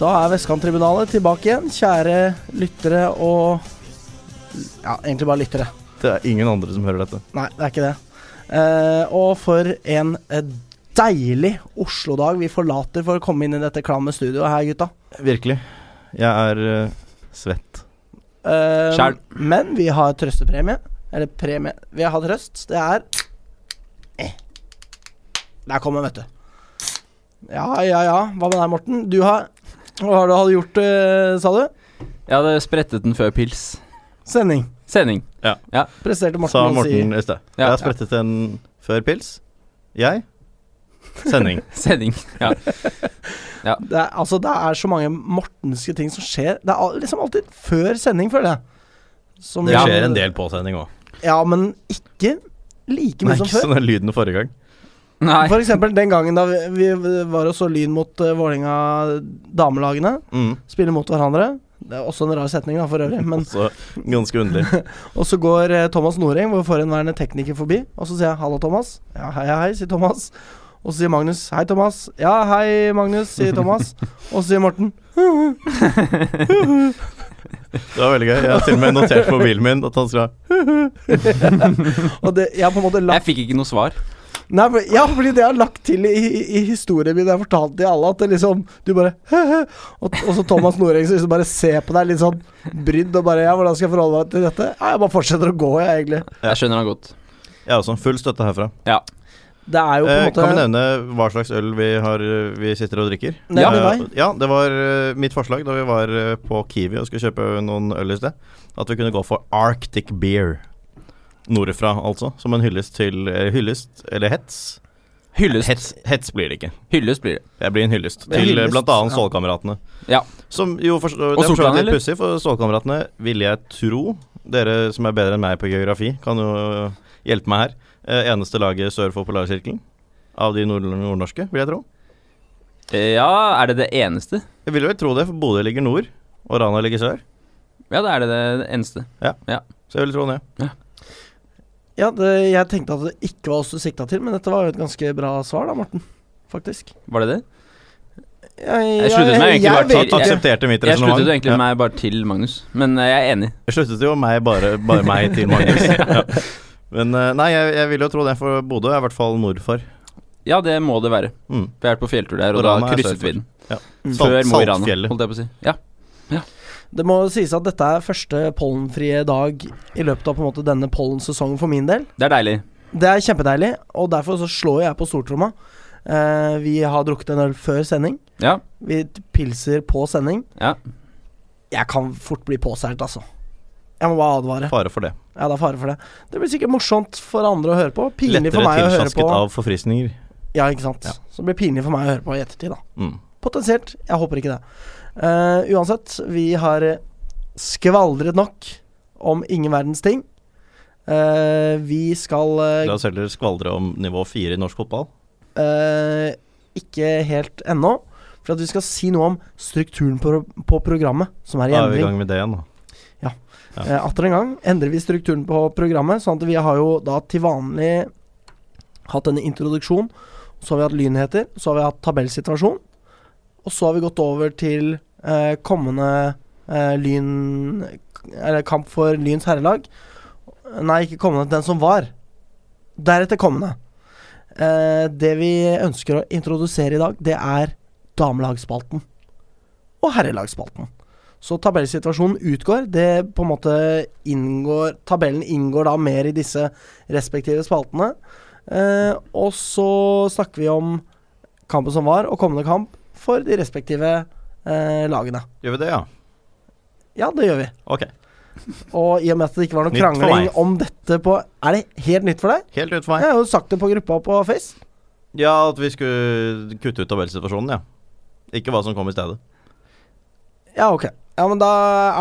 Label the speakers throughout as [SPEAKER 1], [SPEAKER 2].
[SPEAKER 1] Da er Vestkanttribunalet tilbake igjen, kjære lyttere og Ja, egentlig bare lyttere.
[SPEAKER 2] Det er ingen andre som hører dette.
[SPEAKER 1] Nei, det er ikke det. Eh, og for en eh, deilig Oslo-dag vi forlater for å komme inn i dette klamme studioet her, gutta.
[SPEAKER 2] Virkelig. Jeg er eh, svett.
[SPEAKER 1] Eh,
[SPEAKER 2] Skjæl.
[SPEAKER 1] Men vi har trøstepremie. Eller premie Vi har trøst. Det er eh. Der kom den, vet du. Ja, ja, ja. Hva med deg, Morten? Du har Hva har du hadde gjort, eh, sa du?
[SPEAKER 3] Jeg hadde sprettet den før pils.
[SPEAKER 1] Sending.
[SPEAKER 3] Sending.
[SPEAKER 1] Presterte Morten,
[SPEAKER 2] Sa
[SPEAKER 1] å
[SPEAKER 2] Morten i sted.
[SPEAKER 3] Ja.
[SPEAKER 2] Jeg har sprettet en før pils. Jeg. Sending.
[SPEAKER 3] Sending. Ja.
[SPEAKER 1] si. Det er, altså, det er så mange mortenske ting som skjer. Det er al- liksom alltid før sending, føler jeg. Som-
[SPEAKER 2] Det skjer en del på sending òg.
[SPEAKER 1] Ja, men ikke like
[SPEAKER 2] Nei,
[SPEAKER 1] mye som
[SPEAKER 2] ikke
[SPEAKER 1] før.
[SPEAKER 2] sånn den lyden forrige gang.
[SPEAKER 3] Nei.
[SPEAKER 1] For eksempel den gangen da vi, vi var og så Lyn mot uh, Vålinga damelagene.
[SPEAKER 2] Mm.
[SPEAKER 1] Spiller mot hverandre. Det er også en rar setning, da, for øvrig. Men,
[SPEAKER 2] Så ganske underlig.
[SPEAKER 1] og så går eh, Thomas Noreng, vår forhenværende tekniker, forbi. Og så sier jeg 'hallo, Thomas'. Ja, hei, hei, sier Thomas. Og så sier Magnus 'hei, Thomas'. Ja, hei, Magnus, sier Thomas. Og så sier Morten
[SPEAKER 2] Det var veldig gøy. Jeg har til og med notert på mobilen min at han skal
[SPEAKER 1] Og det, jeg har på en måte lagt
[SPEAKER 3] Jeg fikk ikke noe svar.
[SPEAKER 1] Nei, for, ja, fordi det jeg har lagt til i, i, i historien min, jeg har fortalt til alle, at det liksom Du bare og, og så Thomas Noreng som liksom bare ser på deg litt sånn brydd og bare Ja, hvordan skal jeg forholde meg til dette? Ja, jeg bare fortsetter å gå, jeg, egentlig.
[SPEAKER 3] Jeg skjønner han godt.
[SPEAKER 2] Jeg har også en full støtte herfra.
[SPEAKER 1] Det er jo på en
[SPEAKER 2] Eh,
[SPEAKER 1] måte
[SPEAKER 2] kan vi nevne hva slags øl vi, har, eh, vi sitter og drikker?
[SPEAKER 1] Nevn
[SPEAKER 3] Ja.
[SPEAKER 1] det
[SPEAKER 2] Eh,
[SPEAKER 1] deg.
[SPEAKER 2] ja, det var eh, mitt forslag da vi var eh, på Kiwi og skulle kjøpe noen øl i sted. At vi kunne gå for Arctic Beer. Nordfra, altså. Som en hyllest til eh, Hyllest, eller hets.
[SPEAKER 3] Hyllest.
[SPEAKER 2] Hets, hets blir det ikke.
[SPEAKER 3] Hyllest blir det.
[SPEAKER 2] Jeg blir en hyllest
[SPEAKER 1] Det er
[SPEAKER 2] til
[SPEAKER 1] hyllest,
[SPEAKER 2] blant annet
[SPEAKER 1] ja.
[SPEAKER 2] Stålkameratene.
[SPEAKER 3] Ja.
[SPEAKER 2] Som jo for, det er for så vidt
[SPEAKER 3] Sortland,
[SPEAKER 2] litt
[SPEAKER 3] eller?
[SPEAKER 2] pussig, for Stålkameratene ville jeg tro Dere som er bedre enn meg på geografi, kan jo hjelpe meg her. Eh, eneste laget sør for polarsirkelen av de nord nordnorske, vil jeg tro.
[SPEAKER 3] Eh, Ja, er det det eneste?
[SPEAKER 2] Jeg vil vel tro det, for Bodø ligger nord, og Rana ligger sør.
[SPEAKER 3] Ja, det er det det eneste.
[SPEAKER 2] Så jeg vil tro det.
[SPEAKER 1] Ja, det, jeg tenkte at det ikke var oss du sikta til, men dette var jo et ganske bra svar, da, Morten. Faktisk.
[SPEAKER 3] Var det det?
[SPEAKER 1] Jeg, jeg,
[SPEAKER 3] sluttet meg egentlig bare
[SPEAKER 1] vet
[SPEAKER 3] til-
[SPEAKER 1] ikke.
[SPEAKER 3] jeg-
[SPEAKER 2] aksepterte mitt
[SPEAKER 3] Jeg
[SPEAKER 2] resonnement.
[SPEAKER 3] sluttet jo egentlig
[SPEAKER 2] Ja.
[SPEAKER 3] meg bare til Magnus, men eh, jeg er enig.
[SPEAKER 2] Jeg sluttet jo meg bare, bare meg til Magnus. ja. Men eh, nei, jeg, jeg vil jo tro det, for Bodø er i hvert fall nord for.
[SPEAKER 3] Ja, det må det være.
[SPEAKER 2] Mm.
[SPEAKER 3] Vi har vært på fjelltur der, og
[SPEAKER 2] Morana
[SPEAKER 3] da
[SPEAKER 2] er
[SPEAKER 3] krysset
[SPEAKER 2] sørfor.
[SPEAKER 3] vi den.
[SPEAKER 2] Salt-
[SPEAKER 3] Før Mo i Rana,
[SPEAKER 2] Saltfjellet.
[SPEAKER 3] holdt jeg på å si. Ja.
[SPEAKER 1] Det må sies at dette er første pollenfrie dag i løpet av på en måte denne pollensesongen for min del.
[SPEAKER 3] Det er deilig.
[SPEAKER 1] Det er kjempedeilig, og derfor så slår jeg på stortromma. Eh, vi har drukket en øl før sending.
[SPEAKER 3] Ja.
[SPEAKER 1] Vi t- pilser på sending.
[SPEAKER 3] Ja.
[SPEAKER 1] Jeg kan fort bli påseilt, altså. Jeg må bare advare.
[SPEAKER 2] Fare for det.
[SPEAKER 1] Ja, det er fare for det. Det blir sikkert morsomt for andre å høre på. Pinlig for
[SPEAKER 2] Lettere
[SPEAKER 1] meg å høre på.
[SPEAKER 2] tilsjasket av forfriskninger.
[SPEAKER 1] Ja, ikke sant.
[SPEAKER 2] Ja.
[SPEAKER 1] Så det blir pinlig for meg å høre på i ettertid, da.
[SPEAKER 2] Mm.
[SPEAKER 1] Potensielt. Jeg håper ikke det. Eh, uansett, vi har eh, skvaldret nok om ingen verdens ting. Eh, vi skal eh,
[SPEAKER 2] La oss heller skvaldre om nivå fire i norsk fotball.
[SPEAKER 1] Eh, ikke helt ennå. For at vi skal si noe om strukturen på, på programmet, som er i
[SPEAKER 2] Da er vi i
[SPEAKER 1] endring.
[SPEAKER 2] gang med det igjen. da. ja.
[SPEAKER 1] Eh, Atter en gang endrer vi strukturen på programmet, sånn at vi har jo da til vanlig hatt en introduksjon. Så har vi hatt lynheter, så har vi hatt tabellsituasjon. Og så har vi gått over til eh, kommende eh, lyn... Eller kamp for Lyns herrelag. Nei, ikke kommende, den som var. Deretter kommende. Eh, det vi ønsker å introdusere i dag, det er damelagsspalten. Og herrelagsspalten. Så tabellsituasjonen utgår. Det på en måte inngår Tabellen inngår da mer i disse respektive spaltene. Eh, og så snakker vi om kampen som var, og kommende kamp for de respektive eh, lagene.
[SPEAKER 2] Gjør vi det, ja?
[SPEAKER 1] Ja, det gjør vi.
[SPEAKER 2] Ok.
[SPEAKER 1] Og i og med at det ikke var noe
[SPEAKER 2] Nytt for
[SPEAKER 1] krangling
[SPEAKER 2] meg.
[SPEAKER 1] om dette på Er det helt nytt for deg?
[SPEAKER 2] Helt ut for meg.
[SPEAKER 1] Jeg har jo sagt det på gruppa på Face.
[SPEAKER 2] Ja, at vi skulle kutte ut tabellsituasjonen, ja. Ikke hva som kom i stedet.
[SPEAKER 1] Ja, ok. Ja, men da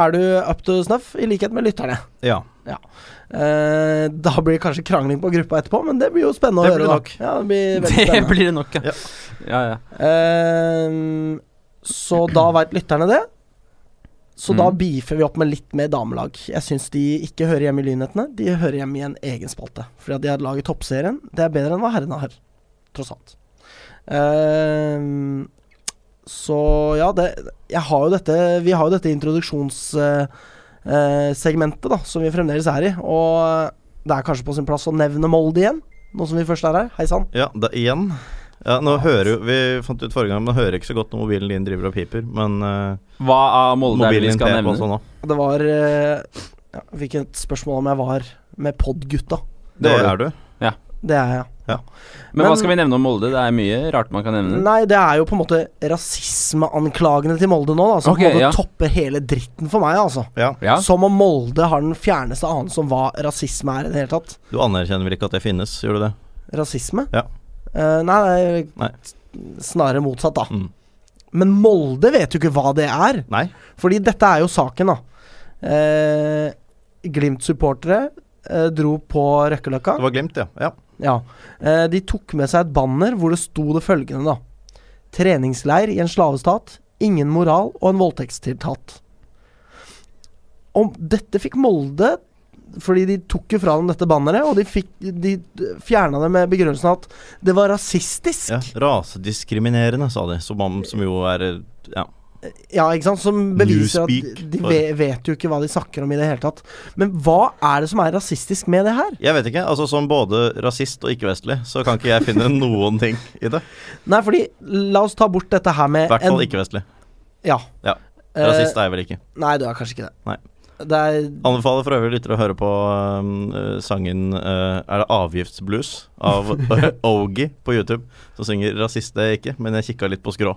[SPEAKER 1] er du up to snuff, i likhet med lytterne.
[SPEAKER 2] Ja.
[SPEAKER 1] Eh, da blir det kanskje krangling på gruppa etterpå, men det blir jo spennende
[SPEAKER 2] Det
[SPEAKER 1] å
[SPEAKER 2] blir
[SPEAKER 1] høre. da.
[SPEAKER 2] nok.
[SPEAKER 1] Ja, det blir veldig
[SPEAKER 3] Det
[SPEAKER 1] spennende.
[SPEAKER 3] blir det nok,
[SPEAKER 2] Ja.
[SPEAKER 3] ja. Ja, ja.
[SPEAKER 1] Eh, så da veit lytterne det. Så da
[SPEAKER 3] Mm.
[SPEAKER 1] beefer vi opp med litt mer damelag. Jeg syns de ikke hører hjemme i Lynhetene. De hører hjemme i en egen spalte. Fordi at de har laget toppserien. Det er bedre enn hva herrene har, tross alt. Eh, Så ja, det, jeg har jo dette, vi har jo dette introduksjonssegmentet da, som vi fremdeles er i. Og det er kanskje på sin plass å nevne Molde igjen, nå som vi først er her. Hei sann.
[SPEAKER 2] Ja, da igjen. Ja, nå hører jo Vi fant ut forrige gang, men hører ikke så godt når mobilen din driver og piper. Men eh,
[SPEAKER 3] Hva av Molde er Oh, det
[SPEAKER 2] mobilen
[SPEAKER 3] vi
[SPEAKER 2] din
[SPEAKER 3] skal
[SPEAKER 2] peper
[SPEAKER 3] nevne?
[SPEAKER 2] også nå.
[SPEAKER 1] Det var eh, ja, Jeg fikk et spørsmål om jeg var med podgutta.
[SPEAKER 2] Det
[SPEAKER 3] var
[SPEAKER 2] er du.
[SPEAKER 1] Det er jeg.
[SPEAKER 3] Men, hva
[SPEAKER 1] Men-
[SPEAKER 3] skal vi nevne om Molde? Det er mye rart man kan nevne.
[SPEAKER 1] Nei, det er jo på en måte rasismeanklagene til Molde nå, da, som på
[SPEAKER 3] Ok,
[SPEAKER 1] en måte
[SPEAKER 3] ja.
[SPEAKER 1] topper hele dritten for meg, altså.
[SPEAKER 2] Ja.
[SPEAKER 3] Ja.
[SPEAKER 1] Som om Molde har den fjerneste anelse om hva rasisme er i det hele tatt.
[SPEAKER 2] Du anerkjenner vel ikke at det finnes, gjør du det?
[SPEAKER 1] Rasisme?
[SPEAKER 2] Ja.
[SPEAKER 1] Eh, nei, nei,
[SPEAKER 2] Nei.
[SPEAKER 1] snarere motsatt, da.
[SPEAKER 2] Mm.
[SPEAKER 1] Men Molde vet jo ikke hva det er.
[SPEAKER 2] Nei?
[SPEAKER 1] Fordi dette er jo saken, da. Eh, Glimt-supportere eh, dro på Røkkeløkka.
[SPEAKER 2] Det var Glimt, ja. ja.
[SPEAKER 1] Ja. Eh, de tok med seg et banner hvor det sto det følgende, da. Treningsleir i en slavestat. Ingen moral og en voldtektstiltatt. Om dette fikk Molde fordi de tok jo fra dem dette banneret, og de, fikk, de fjerna det med begrunnelsen at det var rasistisk.
[SPEAKER 2] ja. Rasediskriminerende, sa de. Som, om- som jo er eh, Ja.
[SPEAKER 1] Ja, ikke sant? Som beviser
[SPEAKER 2] Newspeak
[SPEAKER 1] at de
[SPEAKER 2] for-
[SPEAKER 1] ve vet jo ikke hva de snakker om i det hele tatt. Men hva er det som er rasistisk med det her?
[SPEAKER 2] Jeg vet ikke. altså Som både rasist og ikke-vestlig, så kan ikke jeg finne noen ting i det.
[SPEAKER 1] Nei, fordi la oss ta bort dette her
[SPEAKER 2] I
[SPEAKER 1] med
[SPEAKER 2] hvert fall ikke-vestlig.
[SPEAKER 1] Ja.
[SPEAKER 2] Ja.
[SPEAKER 1] Eh,
[SPEAKER 2] Rasist er jeg vel ikke.
[SPEAKER 1] nei, du er kanskje ikke det.
[SPEAKER 2] Nei.
[SPEAKER 1] Det er
[SPEAKER 2] Anbefaler for øvrig lyttere å høre på um, eh, sangen eh, Er det avgiftsblues? av Ogi på YouTube, som synger 'Rasist er jeg ikke', men jeg kikka litt på skrå.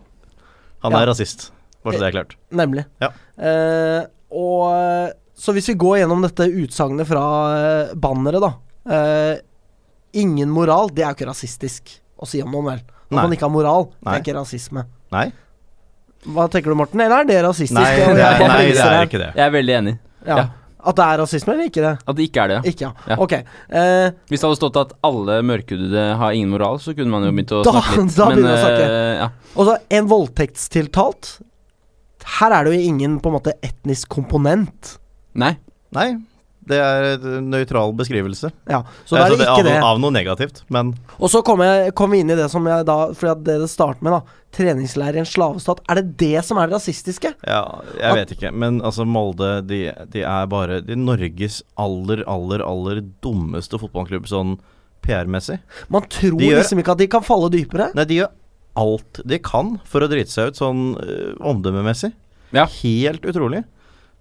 [SPEAKER 2] Han
[SPEAKER 1] Ja.
[SPEAKER 2] er rasist, bare så det er klart.
[SPEAKER 1] Nemlig.
[SPEAKER 2] Ja.
[SPEAKER 1] Eh, og eh, Så hvis vi går gjennom dette utsagnet fra eh, banneret, da. Eh, ingen moral, det er jo ikke rasistisk å si om noen, vel. Når
[SPEAKER 2] Nei.
[SPEAKER 1] man ikke har moral, det
[SPEAKER 2] Nei.
[SPEAKER 1] er ikke rasisme.
[SPEAKER 2] Nei,
[SPEAKER 1] Hva tenker du, Morten? Eller er det rasistisk?
[SPEAKER 2] nei,
[SPEAKER 1] Og
[SPEAKER 2] det
[SPEAKER 1] jeg
[SPEAKER 2] er,
[SPEAKER 1] bare
[SPEAKER 2] nei, det
[SPEAKER 1] viser
[SPEAKER 2] er
[SPEAKER 1] her.
[SPEAKER 2] ikke det.
[SPEAKER 3] Jeg er veldig enig.
[SPEAKER 1] Ja.
[SPEAKER 3] Ja.
[SPEAKER 1] At det er rasisme, eller ikke det?
[SPEAKER 3] At det ikke er det. ja.
[SPEAKER 1] Ikke, ja.
[SPEAKER 3] Ja.
[SPEAKER 1] Ok. Eh,
[SPEAKER 3] Hvis det hadde stått at alle mørkhudede har ingen moral, så kunne man jo begynt å
[SPEAKER 1] Da-
[SPEAKER 3] snakke litt.
[SPEAKER 1] da begynner vi å snakke.
[SPEAKER 3] eh, ja.
[SPEAKER 1] og så en voldtektstiltalt. Her er det jo ingen på en måte etnisk komponent.
[SPEAKER 3] Nei.
[SPEAKER 2] Nei, det er en nøytral beskrivelse.
[SPEAKER 1] Ja, Så da
[SPEAKER 2] Altså,
[SPEAKER 1] er det ikke
[SPEAKER 2] av,
[SPEAKER 1] det.
[SPEAKER 2] Av noe negativt, men
[SPEAKER 1] Og så kom, jeg, kom vi inn i det som jeg da Fordi at det det starter med, da. Treningsleir i en slavestat. Er det det som er det rasistiske?
[SPEAKER 2] ja,
[SPEAKER 1] At-
[SPEAKER 2] jeg vet ikke. Men altså, Molde, de, de er bare de er Norges aller, aller, aller dummeste fotballklubb sånn PR-messig.
[SPEAKER 1] Man tror
[SPEAKER 2] De gjør-
[SPEAKER 1] liksom ikke at de kan falle dypere.
[SPEAKER 2] Nei, de gjør alt de kan for å drite seg ut sånn øh, omdømmemessig.
[SPEAKER 3] Ja.
[SPEAKER 2] Helt utrolig.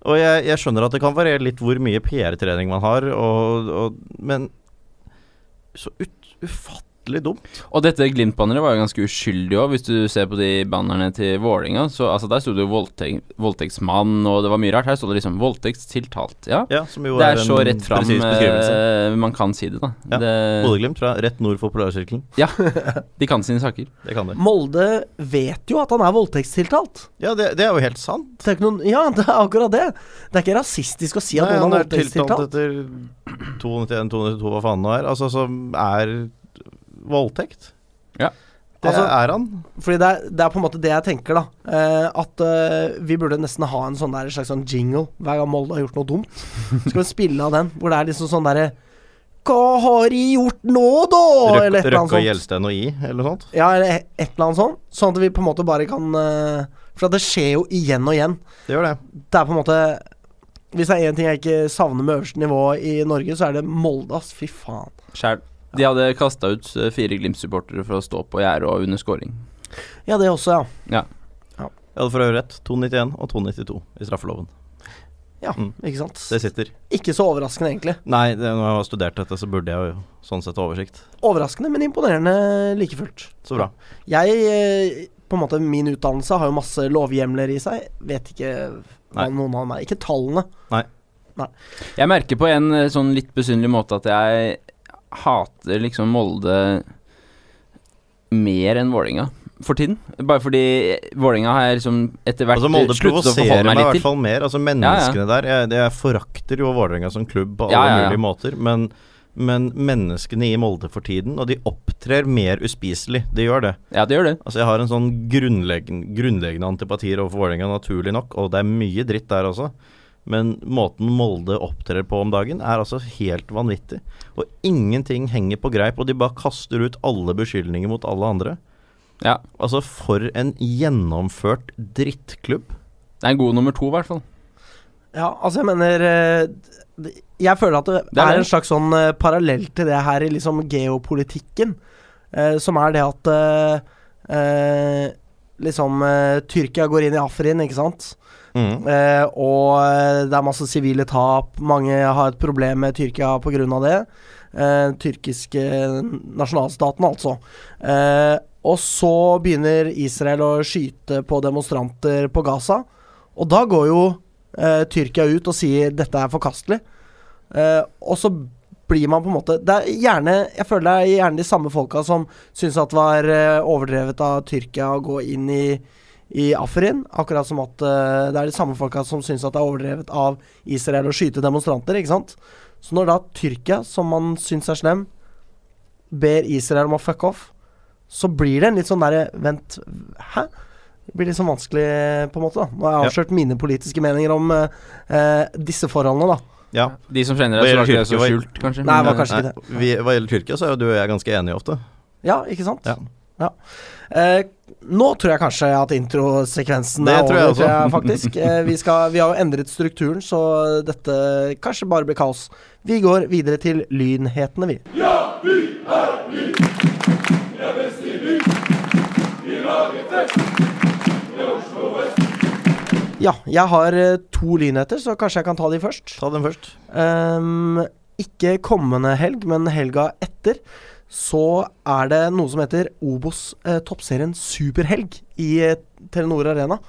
[SPEAKER 2] Og jeg, jeg skjønner at det kan variere litt hvor mye PR-trening man har, og, og, men så ut, ufattelig dumt.
[SPEAKER 3] Og dette Glimt-banneret var jo ganske uskyldig òg, hvis du ser på de bannerne til Vålerenga. Så altså, der sto det jo voldtek voldtektsmann, og det var mye rart. Her sto det liksom voldtektstiltalt. Ja.
[SPEAKER 2] Ja, som jo
[SPEAKER 3] Det er
[SPEAKER 2] en
[SPEAKER 3] så rett fram
[SPEAKER 2] presis beskrivelse.
[SPEAKER 3] eh, man kan si det, da.
[SPEAKER 2] Ja.
[SPEAKER 3] Det,
[SPEAKER 2] Bodø-Glimt fra rett nord for polarsirkelen.
[SPEAKER 3] de kan sine saker.
[SPEAKER 2] Det kan de.
[SPEAKER 1] Molde vet jo at han er voldtektstiltalt.
[SPEAKER 2] Ja, det, det er jo helt sant.
[SPEAKER 1] Det er ikke noen, ja, det er akkurat det. Det er ikke rasistisk å si at
[SPEAKER 2] Nei,
[SPEAKER 1] noen
[SPEAKER 2] han
[SPEAKER 1] er
[SPEAKER 2] er
[SPEAKER 1] voldtektstiltalt.
[SPEAKER 2] tiltalt etter 291-292, hva faen nå er. Altså, som er voldtekt.
[SPEAKER 3] Ja.
[SPEAKER 2] Det
[SPEAKER 1] Altså-
[SPEAKER 2] er han.
[SPEAKER 1] Fordi det er, det er på en måte det jeg tenker, da. Eh, at eh, vi burde nesten ha en sånn der, en slags sånn jingle hver gang Molde har gjort noe dumt. Så skal vi spille av den, hvor det er liksom sånn derre Hva har de gjort nå, da? Eller et
[SPEAKER 2] Røkke
[SPEAKER 1] eller annet
[SPEAKER 2] Røkke og
[SPEAKER 1] sånt.
[SPEAKER 2] Gjelsten og I, eller noe sånt.
[SPEAKER 1] Ja, eller et et eller annet sånt. Sånn at vi på en måte bare kan eh, For at det skjer jo igjen og igjen.
[SPEAKER 2] Det gjør det.
[SPEAKER 1] Det er på en måte Hvis det er én ting jeg ikke savner med øverste nivå i Norge, så er det Molde, ass. Fy faen.
[SPEAKER 3] Skjæl. De hadde kasta ut eh, fire Glimt-supportere for å stå på gjerdet og under scoring.
[SPEAKER 1] Ja, det også, ja.
[SPEAKER 2] Jeg hadde for øvrig rett. 291 og 292 i straffeloven.
[SPEAKER 1] Ikke sant?
[SPEAKER 2] Mm. Det sitter.
[SPEAKER 1] Ikke så overraskende, egentlig.
[SPEAKER 2] Nei, det, når jeg har studert dette, så burde jeg jo sånn sett ha oversikt.
[SPEAKER 1] Overraskende, men imponerende like fullt.
[SPEAKER 2] Så bra.
[SPEAKER 1] Jeg eh, på en måte, Min utdannelse har jo masse lovhjemler i seg. Vet ikke hva
[SPEAKER 2] Nei.
[SPEAKER 1] noen av dem er. Ikke tallene.
[SPEAKER 3] Jeg merker på en eh, sånn litt besynderlig måte at jeg hater liksom Molde mer enn Vålerenga for tiden. Bare fordi Vålerenga har jeg liksom etter hvert
[SPEAKER 2] Altså Molde
[SPEAKER 3] sluttet å
[SPEAKER 2] provoserer meg
[SPEAKER 3] forholde
[SPEAKER 2] i
[SPEAKER 3] meg litt
[SPEAKER 2] hvert
[SPEAKER 3] til.
[SPEAKER 2] fall mer. Altså Menneskene der jeg, det- jeg forakter jo Vålerenga som klubb på alle
[SPEAKER 3] Ja, ja, ja.
[SPEAKER 2] mulige måter, men, men menneskene i Molde for tiden, og de opptrer mer uspiselig. De gjør det.
[SPEAKER 3] Ja, det gjør det.
[SPEAKER 2] Altså Jeg har en sånn grunnleggende, grunnleggende antipatier overfor Vålerenga, naturlig nok, og det er mye dritt der også. Men måten Molde opptrer på om dagen, er altså helt vanvittig. Og ingenting henger på greip, og de bare kaster ut alle beskyldninger mot alle andre.
[SPEAKER 3] Ja.
[SPEAKER 2] Altså, for en gjennomført drittklubb.
[SPEAKER 3] Det er en god nummer to, i hvert fall.
[SPEAKER 1] Ja, altså jeg mener eh, d- Jeg føler at det,
[SPEAKER 3] Det er
[SPEAKER 1] er,
[SPEAKER 3] det.
[SPEAKER 1] en slags sånn eh, parallell til det her i liksom geopolitikken. eh, som er det at eh, eh, liksom eh, Tyrkia går inn i Afrin, ikke sant?
[SPEAKER 2] Mm.
[SPEAKER 1] Eh, og eh, det er masse sivile tap. Mange har et problem med Tyrkia pga. det. Eh, tyrkiske nasjonalstaten, altså. Eh, og så begynner Israel å skyte på demonstranter på Gaza. Og da går jo eh, Tyrkia ut og sier 'dette er forkastelig'. Eh, og så blir man på en måte Det er gjerne Jeg føler det er gjerne de samme folka som syns at det var eh, overdrevet av Tyrkia å gå inn i i Afrin. Akkurat som at eh, det er de samme folka som syns at det er overdrevet av Israel å skyte demonstranter, ikke sant. Så når da Tyrkia, som man syns er slem, ber Israel om å fuck off, så blir det en litt sånn derre Vent, hæ? Det blir litt sånn vanskelig, på en måte. da Nå har jeg avslørt mine politiske meninger om eh, eh, disse forholdene, da.
[SPEAKER 2] Ja.
[SPEAKER 3] De som kjenner
[SPEAKER 2] Hva
[SPEAKER 3] deg,
[SPEAKER 2] gjelder
[SPEAKER 3] så var ikke det så
[SPEAKER 2] Tyrkia, hva-
[SPEAKER 3] skjult, kanskje.
[SPEAKER 1] Nei, det var
[SPEAKER 3] Men, eh,
[SPEAKER 1] kanskje ikke det.
[SPEAKER 2] Nei, vi, hva gjelder Tyrkia, så er jo du og jeg ganske enige ofte.
[SPEAKER 1] Ja, ikke sant?
[SPEAKER 2] Ja.
[SPEAKER 1] Eh, nå tror jeg kanskje at introsekvensen
[SPEAKER 2] Det
[SPEAKER 1] er
[SPEAKER 2] tror
[SPEAKER 1] over,
[SPEAKER 2] jeg også.
[SPEAKER 1] tror jeg faktisk. Eh, vi, skal, vi har jo endret strukturen, så dette kanskje bare blir kaos. Vi går videre til lynhetene, vi. Ja, jeg har eh, to lynheter, så kanskje jeg kan ta de først.
[SPEAKER 2] Ta den først.
[SPEAKER 1] Ehm, ikke kommende helg, men helga etter, så er det noe som heter Obos eh, toppserien Superhelg i eh, Telenor Arena.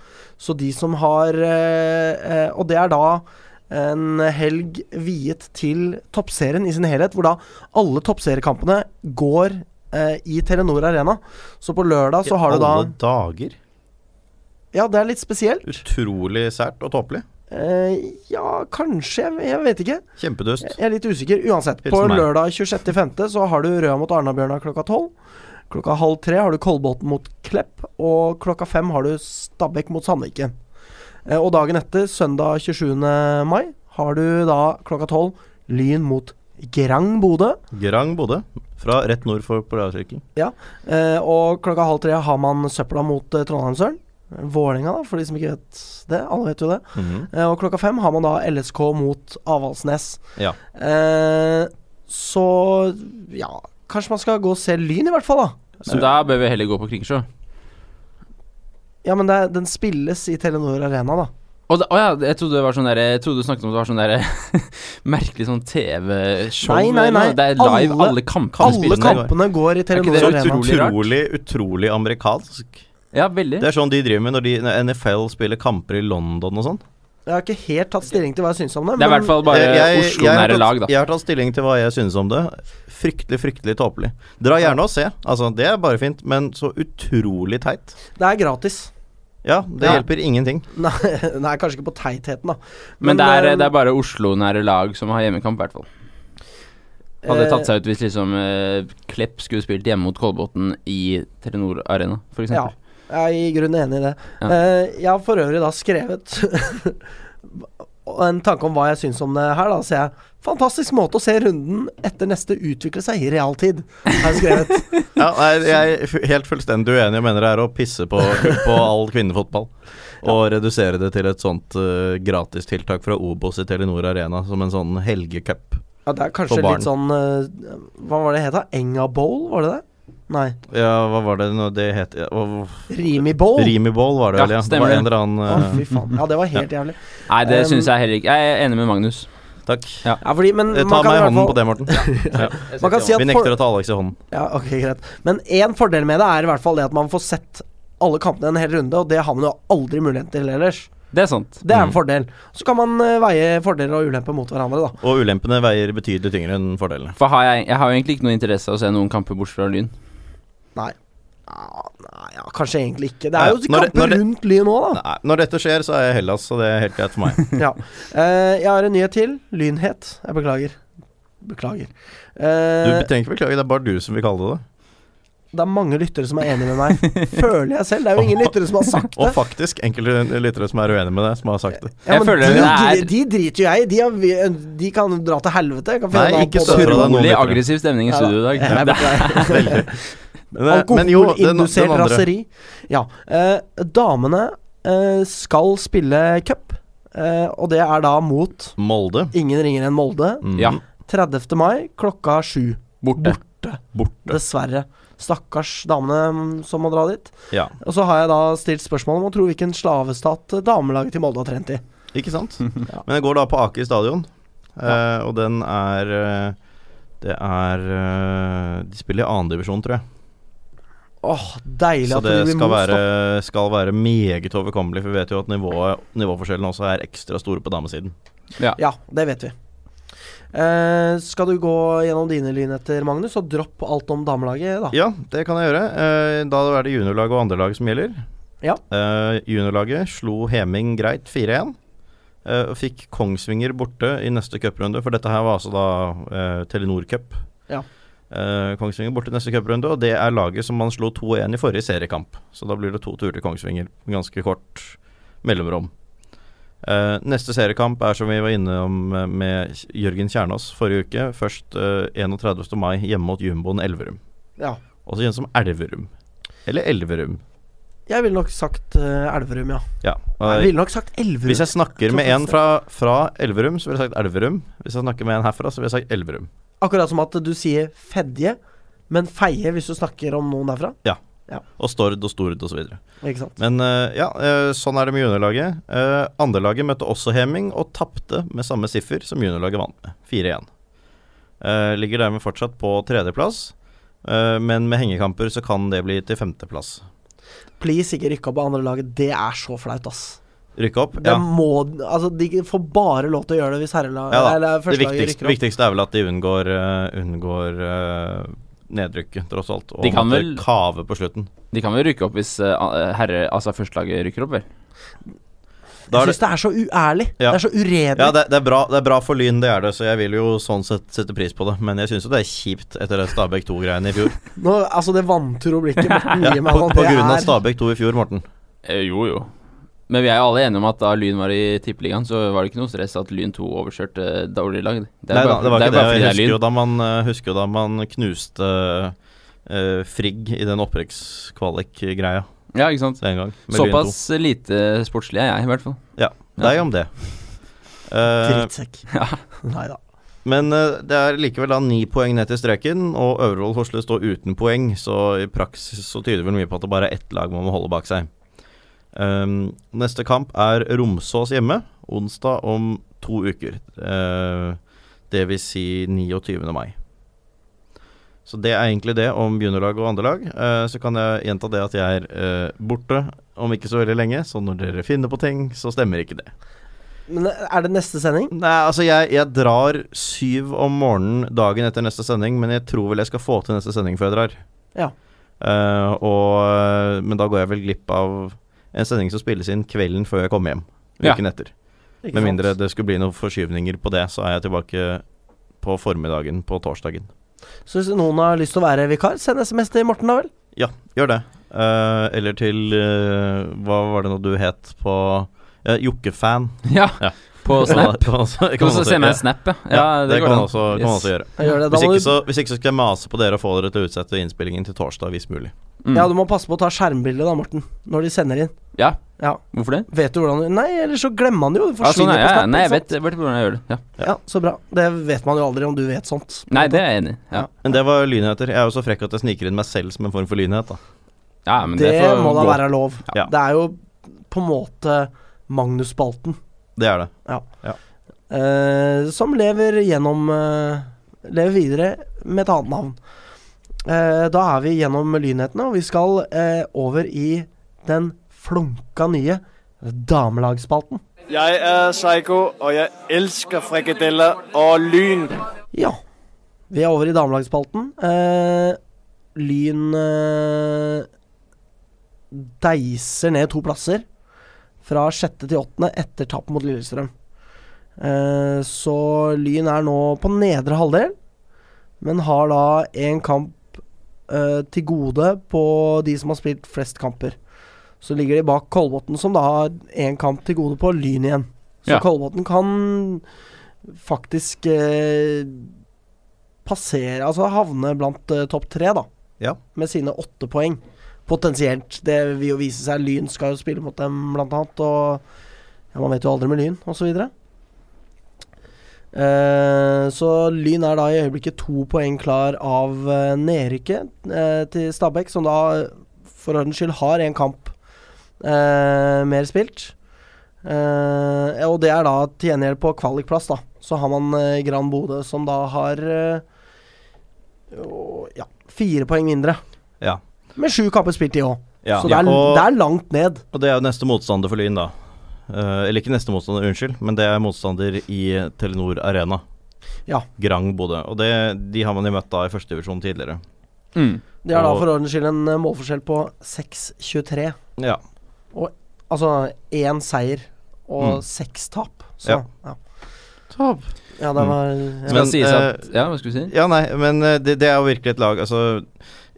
[SPEAKER 1] Så de som har eh, eh, Og det er da en helg viet til toppserien i sin helhet, hvor da alle toppseriekampene går eh, i Telenor Arena. Så på lørdag så har
[SPEAKER 2] I
[SPEAKER 1] du da
[SPEAKER 2] alle dager.
[SPEAKER 1] Ja, det er litt spesielt.
[SPEAKER 2] Utrolig sært og tåpelig.
[SPEAKER 1] Eh, ja, kanskje. Jeg, jeg vet ikke.
[SPEAKER 2] Kjempedust.
[SPEAKER 1] Jeg er litt usikker. Uansett, på
[SPEAKER 2] Hilsen meg.
[SPEAKER 1] lørdag 26.5. så har du Røa mot Arna-Bjørnar klokka tolv. Klokka halv tre har du Kolbotn mot Klepp, og klokka fem har du Stabæk mot Sandviken. Eh, Og dagen etter, søndag 27. mai, har du da klokka tolv Lyn mot Grang Bodø.
[SPEAKER 2] Grang Bodø, fra rett nord for Polarsirkelen.
[SPEAKER 1] Eh, Og klokka halv tre har man Søpla mot eh, Trondheimsølen. Vålerenga, da, for de som ikke vet det. Alle vet jo det.
[SPEAKER 2] Mhm.
[SPEAKER 1] Eh, Og klokka fem har man da LSK mot Avaldsnes.
[SPEAKER 2] Ja.
[SPEAKER 1] Eh, så ja Kanskje man skal gå og se Lyn, i hvert fall. da
[SPEAKER 3] Men da bør vi heller gå på Kringsjå.
[SPEAKER 1] Ja, men det, er- den spilles i Telenor Arena, da.
[SPEAKER 3] Å da- å ja, jeg trodde det var sånn der, Jeg trodde du snakket om det var sånn der merkelig sånn TV-show.
[SPEAKER 1] Nei, nei,
[SPEAKER 3] eller noe.
[SPEAKER 1] nei.
[SPEAKER 3] Det er live,
[SPEAKER 1] Alle-
[SPEAKER 3] alle, kampene
[SPEAKER 1] Alle
[SPEAKER 3] spilles der.
[SPEAKER 1] kampene går i
[SPEAKER 3] ikke
[SPEAKER 1] Telenor
[SPEAKER 3] det
[SPEAKER 2] Så
[SPEAKER 1] Arena.
[SPEAKER 3] utrolig
[SPEAKER 2] utrolig,
[SPEAKER 3] rart?
[SPEAKER 2] utrolig, utrolig amerikansk.
[SPEAKER 3] Ja, veldig.
[SPEAKER 2] Det er sånn de driver med når, de, når NFL spiller kamper i London og sånn.
[SPEAKER 1] Jeg har ikke helt tatt stilling til hva jeg syns om det.
[SPEAKER 3] Det er i hvert fall bare
[SPEAKER 2] Jeg- jeg- jeg har
[SPEAKER 3] Oslo-nære
[SPEAKER 2] tatt-
[SPEAKER 3] lag, da.
[SPEAKER 2] Jeg har tatt stilling til hva jeg synes om det. Fryktelig, fryktelig tåpelig. Dra gjerne og se. Altså, det er bare fint, men så utrolig teit.
[SPEAKER 1] det er gratis.
[SPEAKER 2] Ja, det
[SPEAKER 3] Ja.
[SPEAKER 2] hjelper ingenting.
[SPEAKER 1] Nei, nei, kanskje ikke på teitheten, da.
[SPEAKER 3] Men, det, er,
[SPEAKER 1] eh,
[SPEAKER 3] det er bare Oslo-nære lag som har hjemmekamp, i hvert fall. Hadde
[SPEAKER 1] eh,
[SPEAKER 3] tatt seg ut hvis liksom eh, Klepp skulle spilt hjemme mot Kolbotn i Telenor Arena, for
[SPEAKER 1] Ja,
[SPEAKER 3] eksempel.
[SPEAKER 1] jeg er i grunnen enig i det.
[SPEAKER 3] Ja.
[SPEAKER 1] Eh, jeg har for øvrig da skrevet en tanke om hva jeg syns om det her, da. Så jeg Fantastisk måte å se runden etter neste utvikle seg i realtid, har jeg skrevet.
[SPEAKER 2] Ja, nei, jeg er fu- helt fullstendig uenig og mener det er å pisse på, på all kvinnefotball. Og redusere det til et sånt uh, gratistiltak fra Obos i Telenor Arena, som en sånn helgecup.
[SPEAKER 1] Ja, det er kanskje
[SPEAKER 2] For barn.
[SPEAKER 1] litt sånn eh, Hva var det het, da? Enga Bowl, var det det? Nei.
[SPEAKER 2] Ja, hva var det nå det het? Ja, hva-
[SPEAKER 1] Rimi Bowl.
[SPEAKER 2] Rimi Bowl var det
[SPEAKER 3] Ja,
[SPEAKER 2] vel, ja. Det var
[SPEAKER 3] stemmer
[SPEAKER 2] en
[SPEAKER 3] det.
[SPEAKER 2] eller annen
[SPEAKER 1] Å, fy
[SPEAKER 2] eh,
[SPEAKER 1] faen. Ja, det var helt jævlig.
[SPEAKER 3] Nei, det
[SPEAKER 1] Um,
[SPEAKER 3] syns jeg heller ikke. Jeg er enig med Magnus.
[SPEAKER 2] Takk.
[SPEAKER 1] Ja, fordi, men
[SPEAKER 2] Eh,
[SPEAKER 1] man kan
[SPEAKER 2] Ta meg i
[SPEAKER 1] i hvert
[SPEAKER 2] hånden
[SPEAKER 1] fall-
[SPEAKER 2] på det, Morten.
[SPEAKER 1] Man kan si at
[SPEAKER 2] Vi
[SPEAKER 1] for-
[SPEAKER 2] nekter å ta Alex i hånden.
[SPEAKER 1] Ja, ok, greit. Men én fordel med det er i hvert fall det at man får sett alle kampene en hel runde, og det har man jo aldri mulighet til ellers.
[SPEAKER 3] Det er sant.
[SPEAKER 1] Det er
[SPEAKER 2] Mm.
[SPEAKER 1] en fordel. Så kan man eh, veie fordeler og ulemper mot hverandre, da.
[SPEAKER 2] Og ulempene veier betydelig tyngre enn fordelene.
[SPEAKER 3] For har jeg, jeg har jo egentlig ikke noe interesse av å se noen kamper bort fra Lyn.
[SPEAKER 1] Ja, Ah, nei, ja, kanskje egentlig ikke. Det er jo
[SPEAKER 2] Ja, når det- når
[SPEAKER 1] kamper
[SPEAKER 2] det-
[SPEAKER 1] rundt Lyn nå, da.
[SPEAKER 2] Nei, når dette skjer, så er jeg i Hellas, så det er helt greit for meg.
[SPEAKER 1] Ja. Eh, jeg har en nyhet til. Lynhet. Jeg beklager. Beklager.
[SPEAKER 2] Du
[SPEAKER 1] Eh,
[SPEAKER 2] trenger ikke beklage, det er bare du som vil kalle det det.
[SPEAKER 1] Det er mange lyttere som er enig med meg. Føler jeg selv. Det er jo ingen lyttere som har sagt
[SPEAKER 2] Og
[SPEAKER 1] det.
[SPEAKER 2] faktisk enkelte lyttere som er uenige med deg, som har sagt det.
[SPEAKER 1] Ja,
[SPEAKER 3] Jeg
[SPEAKER 1] men
[SPEAKER 3] føler
[SPEAKER 1] de,
[SPEAKER 3] det er-
[SPEAKER 1] de driter jo jeg i. De, har- de kan dra til helvete. Jeg Kan finne
[SPEAKER 2] Nei,
[SPEAKER 1] en annen
[SPEAKER 2] ikke
[SPEAKER 1] podd.
[SPEAKER 2] støtter deg nå,
[SPEAKER 3] Utrolig
[SPEAKER 2] lyttere.
[SPEAKER 3] aggressiv stemning i
[SPEAKER 1] Ja,
[SPEAKER 3] studio i dag.
[SPEAKER 1] Jeg beklager.
[SPEAKER 2] Men det- men jo, den- den
[SPEAKER 1] Alkoholindusert
[SPEAKER 2] andre.
[SPEAKER 1] raseri. Ja. eh, damene eh, skal spille cup, eh, og det er da mot
[SPEAKER 2] Molde.
[SPEAKER 1] ingen ringere enn Molde.
[SPEAKER 2] Mm.
[SPEAKER 3] Ja.
[SPEAKER 1] 30. mai klokka sju.
[SPEAKER 3] Borte.
[SPEAKER 2] Borte.
[SPEAKER 1] Dessverre. Stakkars damene mm, som må dra dit.
[SPEAKER 2] Ja.
[SPEAKER 1] Og så har jeg da stilt spørsmål om å tro hvilken slavestat eh, damelaget til Molde har trent i.
[SPEAKER 2] Ikke sant?
[SPEAKER 1] Ja.
[SPEAKER 2] Men jeg går da på Aker stadion, eh, og den er eh, Det er eh, De spiller i andredivisjon, tror jeg.
[SPEAKER 1] Åh, deilig
[SPEAKER 2] Så
[SPEAKER 1] at
[SPEAKER 2] det
[SPEAKER 1] vi blir
[SPEAKER 2] skal
[SPEAKER 1] most,
[SPEAKER 2] være,
[SPEAKER 1] da.
[SPEAKER 2] skal være meget overkommelig, for vi vet jo at nivået, nivåforskjellene også er ekstra store på damesiden.
[SPEAKER 1] Ja, det vet vi. Eh, skal du gå gjennom dine lynheter, Magnus, og dropp alt om damelaget, da?
[SPEAKER 2] Ja, det kan jeg gjøre. Eh, Da er det juniorlaget og andrelaget som gjelder.
[SPEAKER 1] Ja.
[SPEAKER 2] Eh, juniorlaget slo Heming greit 4-1. eh, og fikk Kongsvinger borte i neste cuprunde, for dette her var altså da eh, Telenor Cup.
[SPEAKER 1] Ja.
[SPEAKER 2] Eh, Kongsvinger borte i neste cuprunde, og det er laget som man slo 2-1 i forrige seriekamp. Så da blir det to turer til Kongsvinger. Ganske kort mellomrom. Eh, neste seriekamp er som vi var innom eh, med Jørgen Kjernås forrige uke. Først eh, 31. mai hjemme mot jumboen Elverum.
[SPEAKER 1] Ja.
[SPEAKER 2] Også kjent som Elverum. Eller Elverum.
[SPEAKER 1] Jeg ville nok sagt eh, Elverum, ja.
[SPEAKER 2] Ja.
[SPEAKER 1] Jeg ville nok sagt Elverum.
[SPEAKER 2] Hvis jeg snakker med
[SPEAKER 1] tror
[SPEAKER 2] en
[SPEAKER 1] faktisk
[SPEAKER 2] fra, fra Elverum, så ville jeg sagt Elverum. Hvis jeg snakker med en herfra, så ville jeg sagt Elverum.
[SPEAKER 1] Akkurat som at du sier Fedje, men Feie hvis du snakker om noen derfra.
[SPEAKER 2] Og Stord og Stord osv.
[SPEAKER 1] Ikke sant?
[SPEAKER 2] Men eh, ja, eh, sånn er det med juniorlaget. Uh, Andrelaget møtte også Heming og tapte med samme siffer som juniorlaget vant med, 4-1. Eh, ligger dermed fortsatt på tredjeplass, eh, men med hengekamper så kan det bli til femteplass.
[SPEAKER 1] Please, ikke rykke opp på andre laget. Det er så flaut, ass.
[SPEAKER 2] Rykke opp?
[SPEAKER 1] Det
[SPEAKER 2] Ja.
[SPEAKER 1] må, altså, de får bare lov til å gjøre det hvis herrelaget
[SPEAKER 2] Ja da,
[SPEAKER 1] eller
[SPEAKER 2] Det
[SPEAKER 1] førstelaget
[SPEAKER 2] viktigste,
[SPEAKER 1] rykker opp.
[SPEAKER 2] viktigste er vel at de unngår, eh, unngår eh, nedrykket, tross alt. Og
[SPEAKER 3] De kan
[SPEAKER 2] måtte
[SPEAKER 3] vel-
[SPEAKER 2] kave på slutten.
[SPEAKER 3] De kan vel rykke opp hvis eh, a- herre, altså førstelaget rykker opp, vel?
[SPEAKER 2] Da
[SPEAKER 1] Jeg
[SPEAKER 2] er det,
[SPEAKER 1] syns det er så uærlig.
[SPEAKER 2] Ja.
[SPEAKER 1] Det er så uredelig.
[SPEAKER 2] ja, det, det, er bra, det er bra for Lyn, det er det, så jeg vil jo sånn sett sette pris på det. Men jeg syns jo det er kjipt etter det Stabæk 2-greiene i fjor.
[SPEAKER 1] Nå, altså, det vantro blikket Morten
[SPEAKER 2] Ja,
[SPEAKER 1] gir meg
[SPEAKER 2] på,
[SPEAKER 1] nå,
[SPEAKER 2] på
[SPEAKER 1] det
[SPEAKER 2] grunn av
[SPEAKER 1] er-
[SPEAKER 2] Stabæk 2 i fjor, Morten.
[SPEAKER 3] Eh, jo, jo. Men vi er jo alle enige om at da Lyn var i Tippeligaen, så var det ikke noe stress at Lyn 2 overkjørte eh, dårlig lag. Det
[SPEAKER 2] Nei da, det var
[SPEAKER 3] er
[SPEAKER 2] ikke det.
[SPEAKER 3] bare
[SPEAKER 2] Jeg
[SPEAKER 3] fordi det er
[SPEAKER 2] husker jo
[SPEAKER 3] Lyn.
[SPEAKER 2] da man, eh, husker jo da man knuste eh, Frigg i den opprykkskvalik-greia
[SPEAKER 3] Ja, ikke sant.
[SPEAKER 2] den gang. med Lyn 2.
[SPEAKER 3] Såpass lite sportslig er jeg, i hvert fall.
[SPEAKER 2] Deg om det. Eh,
[SPEAKER 1] Drittsekk.
[SPEAKER 3] Ja.
[SPEAKER 1] Nei da.
[SPEAKER 2] Men eh, det er likevel da ni poeng ned til streken, og Øvrevoll Horsle står uten poeng, så i praksis så tyder det vel mye på at det bare er ett lag man må holde bak seg. Um, neste kamp er Romsås hjemme, onsdag om to uker. Eh, det vil si 29. mai. Så det er egentlig det om juniorlag og andrelag. Uh, så kan jeg gjenta det at jeg er eh, borte om ikke så veldig lenge, så når dere finner på ting, så stemmer ikke det.
[SPEAKER 1] Men eh, er det neste sending?
[SPEAKER 2] Nei, altså jeg, jeg drar syv om morgenen dagen etter neste sending, men jeg tror vel jeg skal få til neste sending før jeg drar.
[SPEAKER 1] Ja.
[SPEAKER 2] Eh, og, men da går jeg vel glipp av en sending som spilles inn kvelden før jeg kommer hjem.
[SPEAKER 3] Ja.
[SPEAKER 2] Uken etter.
[SPEAKER 1] Ikke
[SPEAKER 2] Med
[SPEAKER 1] sant?
[SPEAKER 2] mindre det skulle bli noen forskyvninger på det, så er jeg tilbake på formiddagen på torsdagen.
[SPEAKER 1] Så hvis noen har lyst til å være vikar, send SMS til Morten, da vel.
[SPEAKER 2] Gjør det. Eh, eller til eh, Hva var det nå du het på uh, Jokkefan.
[SPEAKER 3] Ja,
[SPEAKER 2] Ja.
[SPEAKER 3] på Snap.
[SPEAKER 2] Kan man også- kan
[SPEAKER 3] Kan
[SPEAKER 2] man
[SPEAKER 3] også
[SPEAKER 2] også-
[SPEAKER 3] se meg en
[SPEAKER 2] ja.
[SPEAKER 3] snap, ja. ja
[SPEAKER 2] Ja, det
[SPEAKER 3] går
[SPEAKER 2] kan man
[SPEAKER 3] an.
[SPEAKER 2] også, kan man
[SPEAKER 3] Yes.
[SPEAKER 2] også gjøre.
[SPEAKER 1] Jeg Gjør det. Da
[SPEAKER 2] Hvis
[SPEAKER 1] må du,
[SPEAKER 2] ikke, så, hvis ikke så skal jeg mase på dere og få dere til å utsette innspillingen til torsdag hvis mulig.
[SPEAKER 3] Mm.
[SPEAKER 1] ja, du må passe på å ta skjermbilde, da, Morten, når de sender inn.
[SPEAKER 3] Ja.
[SPEAKER 1] Ja.
[SPEAKER 3] Hvorfor det?
[SPEAKER 1] Vet du hvordan du Nei, ellers så glemmer man det jo. Det
[SPEAKER 3] Ja, sånn
[SPEAKER 1] forsvinner
[SPEAKER 3] er, jeg.
[SPEAKER 1] på Snap.
[SPEAKER 3] nei, jeg
[SPEAKER 1] ikke sant?
[SPEAKER 3] vet, jeg vet hvordan jeg gjør det. Ja.
[SPEAKER 1] Ja, så bra. Det vet man jo aldri om du vet sånt.
[SPEAKER 3] Nei, det er jeg enig i. Ja.
[SPEAKER 1] Ja.
[SPEAKER 2] Men det var lynheter. Jeg er jo så frekk at jeg sniker inn meg selv som en form for lynhet, da.
[SPEAKER 3] ja, men
[SPEAKER 1] det
[SPEAKER 3] det, får
[SPEAKER 1] må da
[SPEAKER 3] gå.
[SPEAKER 1] være lov.
[SPEAKER 2] Ja.
[SPEAKER 1] Det er jo på en måte Magnus-spalten
[SPEAKER 2] Det er det.
[SPEAKER 1] eh, som lever gjennom eh, Lever videre med et annet navn. Eh, da er vi gjennom lynhetene, og vi skal eh, over i den flunka nye damelagsspalten.
[SPEAKER 4] Jeg er Psycho, og jeg elsker frikadeller og lyn.
[SPEAKER 1] Ja. Vi er over i damelagsspalten. Eh, lyn eh, deiser ned to plasser. Fra sjette til åttende etter tap mot Lillestrøm. Eh, så Lyn er nå på nedre halvdel, men har da en kamp eh, til gode på de som har spilt flest kamper. Så ligger de bak Kolbotn, som da har én kamp til gode på Lyn igjen. Så
[SPEAKER 3] Ja.
[SPEAKER 1] Kolbotn kan faktisk eh, passere Altså havne blant eh, topp tre, da.
[SPEAKER 2] Ja.
[SPEAKER 1] med sine åtte poeng. Potensielt. Det vil jo vise seg. Lyn skal jo spille mot dem, blant annet. Og ja, man vet jo aldri med Lyn, osv. Eh, så Lyn er da i øyeblikket to poeng klar av eh, nedrykket eh, til Stabæk, som da eh, for ordens skyld har en kamp eh, mer spilt. Eh, og det er da til gjengjeld på kvalikplass, da. Så har man eh, Gran Bodø, som da har eh, jo, ja, fire poeng mindre.
[SPEAKER 2] Ja.
[SPEAKER 1] Med sju kamper spilt i òg.
[SPEAKER 2] ja.
[SPEAKER 1] så det er,
[SPEAKER 2] og,
[SPEAKER 1] det er langt ned.
[SPEAKER 2] og det er jo neste motstander for Lyn, da. Eh, eller ikke neste motstander, unnskyld, men det er motstander i Telenor Arena.
[SPEAKER 1] Ja.
[SPEAKER 2] Grang Bodø. Og det, de har man jo møtt da i førstedivisjon tidligere.
[SPEAKER 3] Mm.
[SPEAKER 1] De har da
[SPEAKER 2] Og-
[SPEAKER 1] for ordens skyld en eh, målforskjell på 6-23.
[SPEAKER 2] Ja.
[SPEAKER 1] Altså én seier og
[SPEAKER 2] Mm.
[SPEAKER 1] seks tap. Så
[SPEAKER 2] Ja.
[SPEAKER 1] ja. ja. det
[SPEAKER 2] Mm.
[SPEAKER 1] var
[SPEAKER 3] Skal
[SPEAKER 1] ja.
[SPEAKER 2] Men,
[SPEAKER 3] sies at
[SPEAKER 2] eh,
[SPEAKER 3] Ja, hva skulle du si?
[SPEAKER 2] Ja, nei, men eh, det, det er jo virkelig et lag Altså,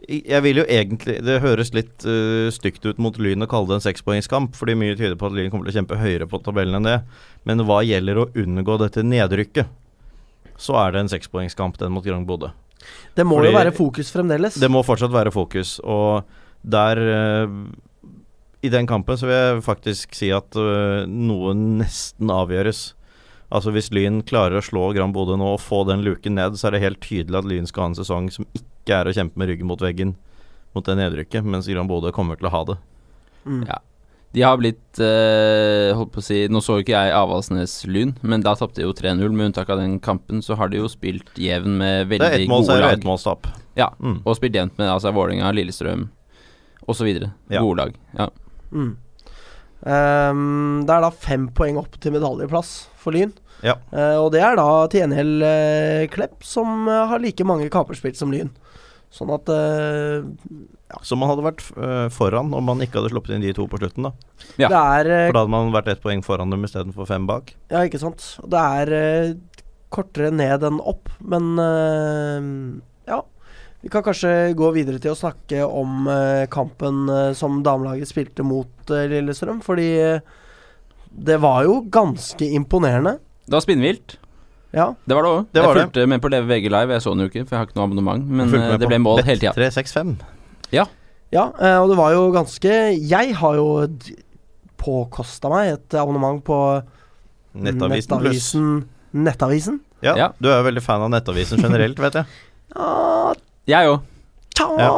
[SPEAKER 2] i- jeg vil jo egentlig Det høres litt eh, stygt ut mot Lyn å kalle det en sekspoengskamp, fordi mye tyder på at Lyn kommer til å kjempe høyere på tabellen enn det. Men hva gjelder å unngå dette nedrykket, så er det en sekspoengskamp, den mot Grand Bodø.
[SPEAKER 1] Det må
[SPEAKER 2] fordi-
[SPEAKER 1] jo være fokus fremdeles.
[SPEAKER 2] Det må fortsatt være fokus, og der eh, I den kampen så vil jeg faktisk si at eh, noe nesten avgjøres. Altså Hvis Lyn klarer å slå Gran Bodø nå og få den luken ned, så er det helt tydelig at Lyn skal ha en sesong som ikke er å kjempe med ryggen mot veggen mot det nedrykket, mens Gran Bodø kommer til å ha det.
[SPEAKER 1] mm.
[SPEAKER 3] Ja. De har blitt eh, holdt på å si Nå så jo ikke jeg Avaldsnes Lyn, men da tapte de jo 3-0. Med unntak av den kampen så har de jo spilt jevn med
[SPEAKER 2] Det er
[SPEAKER 3] veldig
[SPEAKER 2] ett mål
[SPEAKER 3] gode
[SPEAKER 2] seier og
[SPEAKER 3] lag.
[SPEAKER 2] ett måls tap.
[SPEAKER 3] Ja.
[SPEAKER 2] Mm.
[SPEAKER 3] Og spilt jevnt med altså, Vålerenga, Lillestrøm osv.
[SPEAKER 2] Ja.
[SPEAKER 3] Gode lag. Ja.
[SPEAKER 1] Mm. Ehm, det er da fem poeng opp til medaljeplass for Lyn.
[SPEAKER 2] Ja.
[SPEAKER 1] Eh, og det er da til gjengjeld eh, Klepp, som eh, har like mange kamper spilt som Lyn. Sånn at eh,
[SPEAKER 2] Så man hadde vært eh, foran om man ikke hadde sluppet inn de to på slutten, da.
[SPEAKER 3] Ja.
[SPEAKER 1] det er eh,
[SPEAKER 2] For da hadde man vært ett poeng foran dem istedenfor fem bak.
[SPEAKER 1] Ja, ikke sant. Og Det er eh, kortere ned enn opp, men eh, ja. Vi kan kanskje gå videre til å snakke om eh, kampen eh, som damelaget spilte mot eh, Lillestrøm, fordi eh, det var jo ganske imponerende.
[SPEAKER 3] Det var spinnvilt.
[SPEAKER 1] Ja.
[SPEAKER 3] Det var det òg.
[SPEAKER 2] Det var
[SPEAKER 3] Jeg
[SPEAKER 2] det.
[SPEAKER 3] fulgte med på Leve VG Live. Jeg så den jo ikke, for jeg har ikke noe abonnement. Men
[SPEAKER 2] Fulgte
[SPEAKER 3] eh,
[SPEAKER 2] med
[SPEAKER 3] det
[SPEAKER 2] på
[SPEAKER 3] ble mål hele tida.
[SPEAKER 2] Bet365.
[SPEAKER 1] Ja, eh, og det var jo ganske Jeg har jo d- påkosta meg et abonnement på
[SPEAKER 2] Nettavisen pluss.
[SPEAKER 1] Nettavisen. Nettavisen.
[SPEAKER 2] Ja,
[SPEAKER 3] Ja.
[SPEAKER 2] du er jo veldig fan av Nettavisen generelt, vet jeg.
[SPEAKER 1] Ja,
[SPEAKER 3] Jeg òg.
[SPEAKER 1] ta,
[SPEAKER 2] Ja.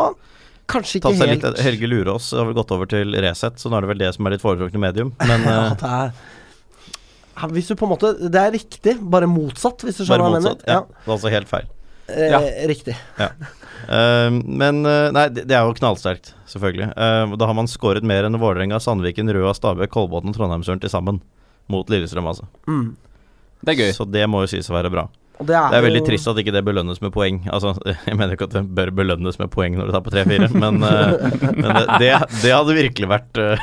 [SPEAKER 1] Kanskje ikke
[SPEAKER 2] Tatt seg
[SPEAKER 1] helt
[SPEAKER 2] litt, Helge Lurås har vel gått over til Resett, så nå er det vel det som er ditt foretrukne medium. Men
[SPEAKER 1] Ja,
[SPEAKER 2] eh,
[SPEAKER 1] at det er Ja, Hvis du på en måte Det er riktig, bare motsatt, hvis du skjønner
[SPEAKER 2] bare
[SPEAKER 1] hva jeg mener.
[SPEAKER 2] motsatt. Ja, det er altså helt feil.
[SPEAKER 1] Eh,
[SPEAKER 3] Ja.
[SPEAKER 1] Riktig.
[SPEAKER 2] Eh, men eh, nei, det det er jo knallsterkt, selvfølgelig. Eh, da har man skåret mer enn Vålerenga, Sandviken, Røa, Stabæk, Kolbotn og Trondheimsøren til sammen. Mot Lillestrøm, altså.
[SPEAKER 1] Mm.
[SPEAKER 3] Det er gøy.
[SPEAKER 2] Så det må jo sies å være bra.
[SPEAKER 1] Og det er,
[SPEAKER 2] Det er
[SPEAKER 1] jo-
[SPEAKER 2] veldig trist at ikke det belønnes med poeng. Altså, jeg mener ikke at det bør belønnes med poeng når du taper 3-4, men, eh, men det, det, det hadde virkelig vært eh,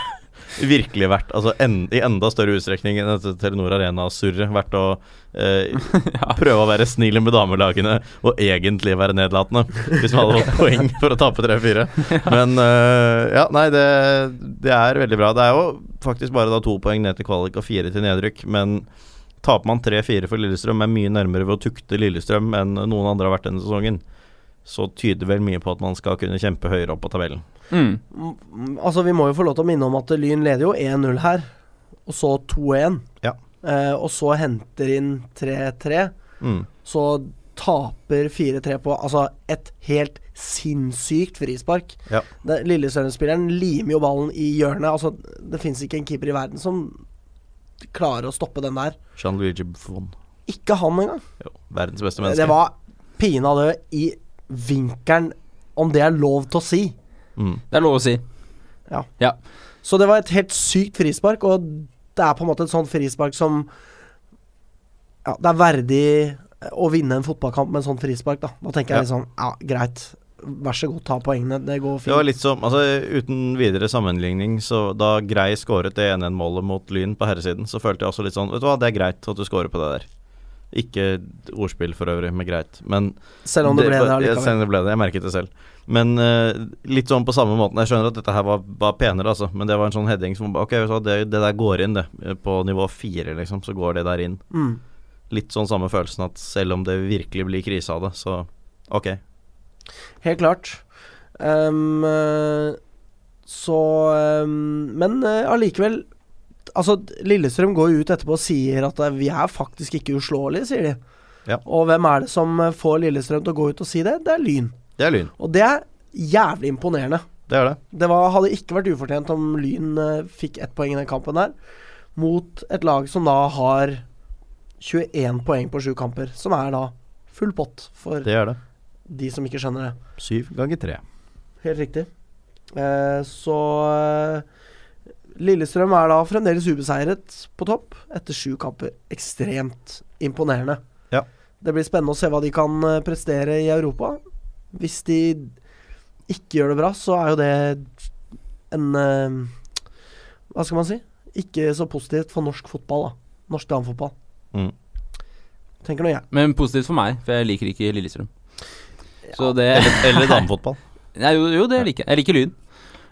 [SPEAKER 2] Virkelig vært, altså en, i enda større utstrekning enn dette Telenor Arena-surret, vært å eh, prøve å være snill med damelagene og egentlig være nedlatende, hvis man hadde fått poeng for å tape 3-4. Men eh, ja, nei, det, det er veldig bra. Det er jo faktisk bare da to poeng ned til kvalik og fire til nedrykk, men Taper man 3-4 for Lillestrøm, er mye nærmere ved å tukte Lillestrøm enn noen andre har vært denne sesongen. Så tyder vel mye på at man skal kunne kjempe høyere opp på tabellen.
[SPEAKER 3] Mm.
[SPEAKER 1] Mm, mm, Altså, vi må jo få lov til å minne om at Lyn leder jo 1-0 her, og så 2-1.
[SPEAKER 2] Ja.
[SPEAKER 1] Eh, og så henter inn 3-3.
[SPEAKER 2] Mm.
[SPEAKER 1] Så taper 4-3 på altså et helt sinnssykt frispark.
[SPEAKER 2] Ja.
[SPEAKER 1] Det- Lillestrøm-spilleren limer jo ballen i hjørnet. Altså, det fins ikke en keeper i verden som klarer å stoppe den der.
[SPEAKER 2] Jean-Luigi Buffon.
[SPEAKER 1] Ikke han engang.
[SPEAKER 2] Jo, verdens beste menneske.
[SPEAKER 1] Det var pinadø i vinkelen, om det er lov til å si.
[SPEAKER 2] mm.
[SPEAKER 3] Det er lov å si.
[SPEAKER 1] Så det var et helt sykt frispark, og det er på en måte et sånt frispark som Ja, det er verdig eh, å vinne en fotballkamp med en sånn frispark, da. Da tenker jeg litt sånn Ja, greit. Vær så god, ta poengene. Det går
[SPEAKER 2] Det var
[SPEAKER 1] fint.
[SPEAKER 2] litt som, altså Uten videre sammenligning, så da Grei skåret det 1-1-målet mot Lyn på herresiden, så følte jeg også litt sånn Vet du hva, det er greit at du skårer på det der. Ikke ordspill for øvrig, med greit, men
[SPEAKER 1] Selv om det ble det
[SPEAKER 2] jeg,
[SPEAKER 1] allikevel.
[SPEAKER 2] det ble det, jeg merket det selv. Men eh, litt sånn på samme måten. Jeg skjønner at dette her var, var penere, altså. Men det var en sånn heading som Ok, vet du hva, det, det der går inn, det. På nivå fire, liksom, så går det der inn.
[SPEAKER 1] Mm.
[SPEAKER 2] Litt sånn samme følelsen at selv om det virkelig blir krise av det, så ok.
[SPEAKER 1] Helt klart. Ehm, eh, så ehm, Men eh, allikevel Altså, Lillestrøm går jo ut etterpå og sier at eh, vi er faktisk ikke uslåelige, sier de.
[SPEAKER 2] Ja.
[SPEAKER 1] Og hvem er det som eh, får Lillestrøm til å gå ut og si det? Det er Lyn.
[SPEAKER 2] Det er Lyn.
[SPEAKER 1] Og det er jævlig imponerende.
[SPEAKER 2] Det er det.
[SPEAKER 1] Det var, hadde ikke vært ufortjent om Lyn eh, fikk ett poeng i den kampen der, mot et lag som da har 21 poeng på sju kamper, som er da full pott for
[SPEAKER 2] Det er det.
[SPEAKER 1] de som ikke skjønner det.
[SPEAKER 2] Syv ganger tre.
[SPEAKER 1] Helt riktig. Eh, så eh, Lillestrøm er da fremdeles ubeseiret på topp etter sju kamper. Ekstremt imponerende.
[SPEAKER 2] Ja.
[SPEAKER 1] Det blir spennende å se hva de kan eh, prestere i Europa. Hvis de ikke gjør det bra, så er jo det en eh, Hva skal man si? Ikke så positivt for norsk fotball, da. Norsk damefotball.
[SPEAKER 2] Mm.
[SPEAKER 1] Tenker nå jeg.
[SPEAKER 3] Men positivt for meg, for jeg liker ikke Lillestrøm. Så det
[SPEAKER 2] Eller, eller damefotball.
[SPEAKER 3] Nei, jo, jo, det liker jeg. Jeg liker Lyn.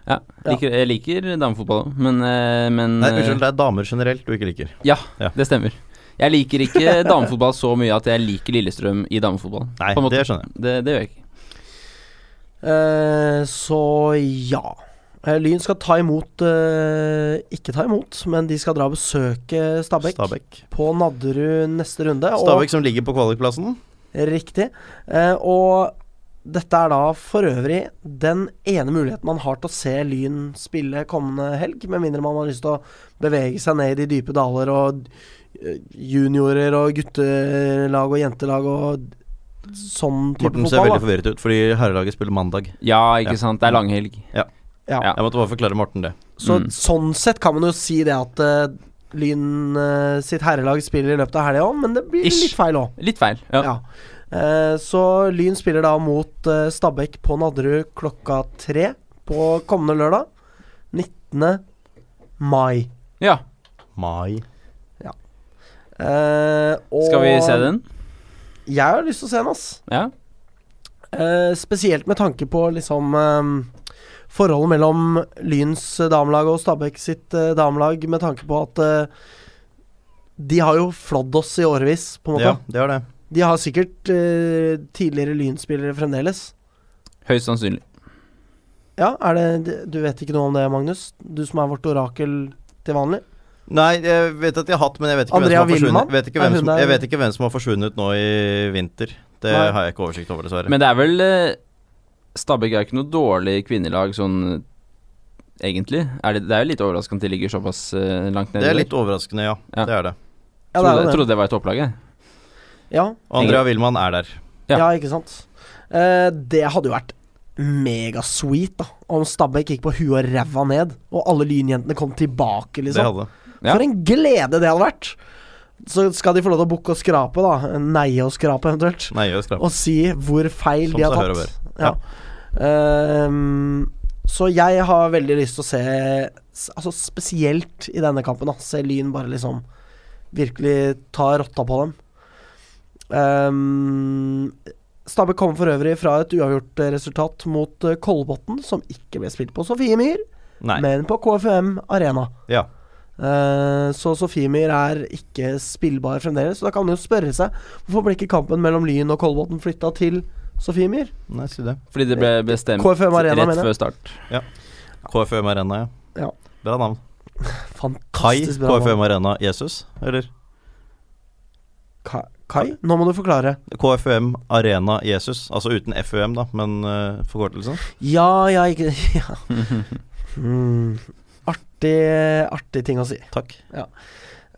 [SPEAKER 3] Ja,
[SPEAKER 1] Ja.
[SPEAKER 3] liker, jeg liker damefotball òg, men, eh, men
[SPEAKER 2] Nei,
[SPEAKER 3] eh,
[SPEAKER 2] unnskyld, det er damer generelt du ikke liker.
[SPEAKER 3] Det stemmer. Jeg liker ikke damefotball så mye at jeg liker Lillestrøm i damefotball.
[SPEAKER 2] Nei,
[SPEAKER 3] på en måte.
[SPEAKER 2] det skjønner jeg.
[SPEAKER 3] Det, det gjør jeg ikke.
[SPEAKER 1] Eh, så ja. Eh, Lyn skal ta imot eh, Ikke ta imot, men de skal dra og besøke Stabæk,
[SPEAKER 2] Stabæk.
[SPEAKER 1] på Nadderud neste runde.
[SPEAKER 2] Stabæk som ligger på kvalikplassen.
[SPEAKER 1] Og, riktig. Eh, og dette er da for øvrig den ene muligheten man har til å se Lyn spille kommende helg, med mindre man har lyst til å bevege seg ned i de dype daler og eh, juniorer og guttelag og jentelag og sånn type
[SPEAKER 2] Morten ser
[SPEAKER 1] fotball.
[SPEAKER 2] veldig
[SPEAKER 1] da.
[SPEAKER 2] forvirret ut, fordi herrelaget spiller mandag.
[SPEAKER 3] Ja, ikke
[SPEAKER 2] Ja.
[SPEAKER 3] sant. Det er langhelg.
[SPEAKER 1] Ja.
[SPEAKER 3] Ja.
[SPEAKER 2] Jeg måtte bare forklare Morten det.
[SPEAKER 1] Så
[SPEAKER 3] Mm.
[SPEAKER 1] sånn sett kan man jo si det at eh, Lyn eh, sitt herrelag spiller i løpet av helga òg, men det blir
[SPEAKER 3] Ish.
[SPEAKER 1] litt feil òg.
[SPEAKER 3] Litt feil. Ja.
[SPEAKER 1] Ja. Eh, så Lyn spiller da mot eh, Stabæk på Nadderud klokka tre på kommende lørdag. 19. mai.
[SPEAKER 3] ja.
[SPEAKER 2] Mai.
[SPEAKER 1] Eh, og
[SPEAKER 3] Skal vi se den?
[SPEAKER 1] Jeg har lyst til å se den, ass.
[SPEAKER 3] Ja.
[SPEAKER 1] Eh, spesielt med tanke på liksom eh, forholdet mellom Lyns eh, damelag og Stabæk sitt eh, damelag, med tanke på at eh, de har jo flådd oss i årevis, på en måte.
[SPEAKER 2] Ja, det er det.
[SPEAKER 1] De har sikkert eh, tidligere Lyn-spillere fremdeles.
[SPEAKER 3] Høyst sannsynlig.
[SPEAKER 1] Ja, er det Du vet ikke noe om det, Magnus? Du som er vårt orakel til vanlig?
[SPEAKER 2] Nei, jeg vet at de har hatt, men jeg vet ikke
[SPEAKER 1] Andrea
[SPEAKER 2] hvem som har
[SPEAKER 1] Wilman?
[SPEAKER 2] forsvunnet. Vet ikke
[SPEAKER 1] Er
[SPEAKER 2] hvem
[SPEAKER 1] hun
[SPEAKER 2] som,
[SPEAKER 1] der?
[SPEAKER 2] jeg vet ikke hvem som har forsvunnet nå i vinter. Det
[SPEAKER 1] Nei.
[SPEAKER 2] har jeg ikke oversikt over, dessverre.
[SPEAKER 3] Men det er vel eh, Stabæk er ikke noe dårlig kvinnelag sånn eh, egentlig. Er det, det er jo litt overraskende at de ligger såpass eh, langt nede.
[SPEAKER 2] det er
[SPEAKER 3] der.
[SPEAKER 2] litt overraskende, ja.
[SPEAKER 3] Ja.
[SPEAKER 2] Det er det.
[SPEAKER 1] Ja, det
[SPEAKER 3] trodde,
[SPEAKER 1] er
[SPEAKER 3] jeg
[SPEAKER 1] jo det.
[SPEAKER 3] trodde det var et topplag, jeg.
[SPEAKER 1] Ja,
[SPEAKER 2] Og Andrea Wilman er der.
[SPEAKER 3] Ja.
[SPEAKER 1] ja. ikke sant? Eh, det hadde jo vært megasweet da om Stabæk gikk på huet og ræva ned, og alle Lynjentene kom tilbake,
[SPEAKER 2] Det
[SPEAKER 1] liksom.
[SPEAKER 2] hadde
[SPEAKER 3] Ja.
[SPEAKER 1] For en glede det hadde vært! Så skal de få lov til å bukke og skrape, da. Neie og skrape, eventuelt.
[SPEAKER 2] Nei, jeg skrap.
[SPEAKER 1] Og si hvor feil
[SPEAKER 2] Som
[SPEAKER 1] de har
[SPEAKER 2] seg hør og
[SPEAKER 1] tatt. Ja. Ehm, så jeg har veldig lyst til å se s- Altså spesielt i denne kampen, da. Se Lyn bare liksom virkelig ta rotta på dem. Um, Stabæk kom for øvrig fra et uavgjort eh, resultat mot eh, Kolbotn, som ikke ble spilt på Sofiemyr.
[SPEAKER 2] Nei.
[SPEAKER 1] Men på KFUM Arena.
[SPEAKER 2] Ja.
[SPEAKER 1] Eh, så Sofiemyr er ikke spillbar fremdeles. Så da kan man jo spørre seg hvorfor ble ikke kampen mellom Lyn og Kolbotn flytta til Sofiemyr?
[SPEAKER 2] Nei, si det.
[SPEAKER 3] Fordi det ble bestemt
[SPEAKER 1] KFUM Arena,
[SPEAKER 3] rett
[SPEAKER 1] mener jeg.
[SPEAKER 3] før start.
[SPEAKER 2] KFUM Arena, ja.
[SPEAKER 1] Ja.
[SPEAKER 2] Bra navn. Kai
[SPEAKER 1] Fantastisk bra. navn.
[SPEAKER 2] KFUM Arena Jesus, eller?
[SPEAKER 1] Ka- Kai? Nå må du forklare.
[SPEAKER 2] KFUM Arena Jesus, altså uten FUM, da, men eh, forkortelsen.
[SPEAKER 1] Ja, ja, ikke ja. Mm. Artig, artig ting å si.
[SPEAKER 2] Takk.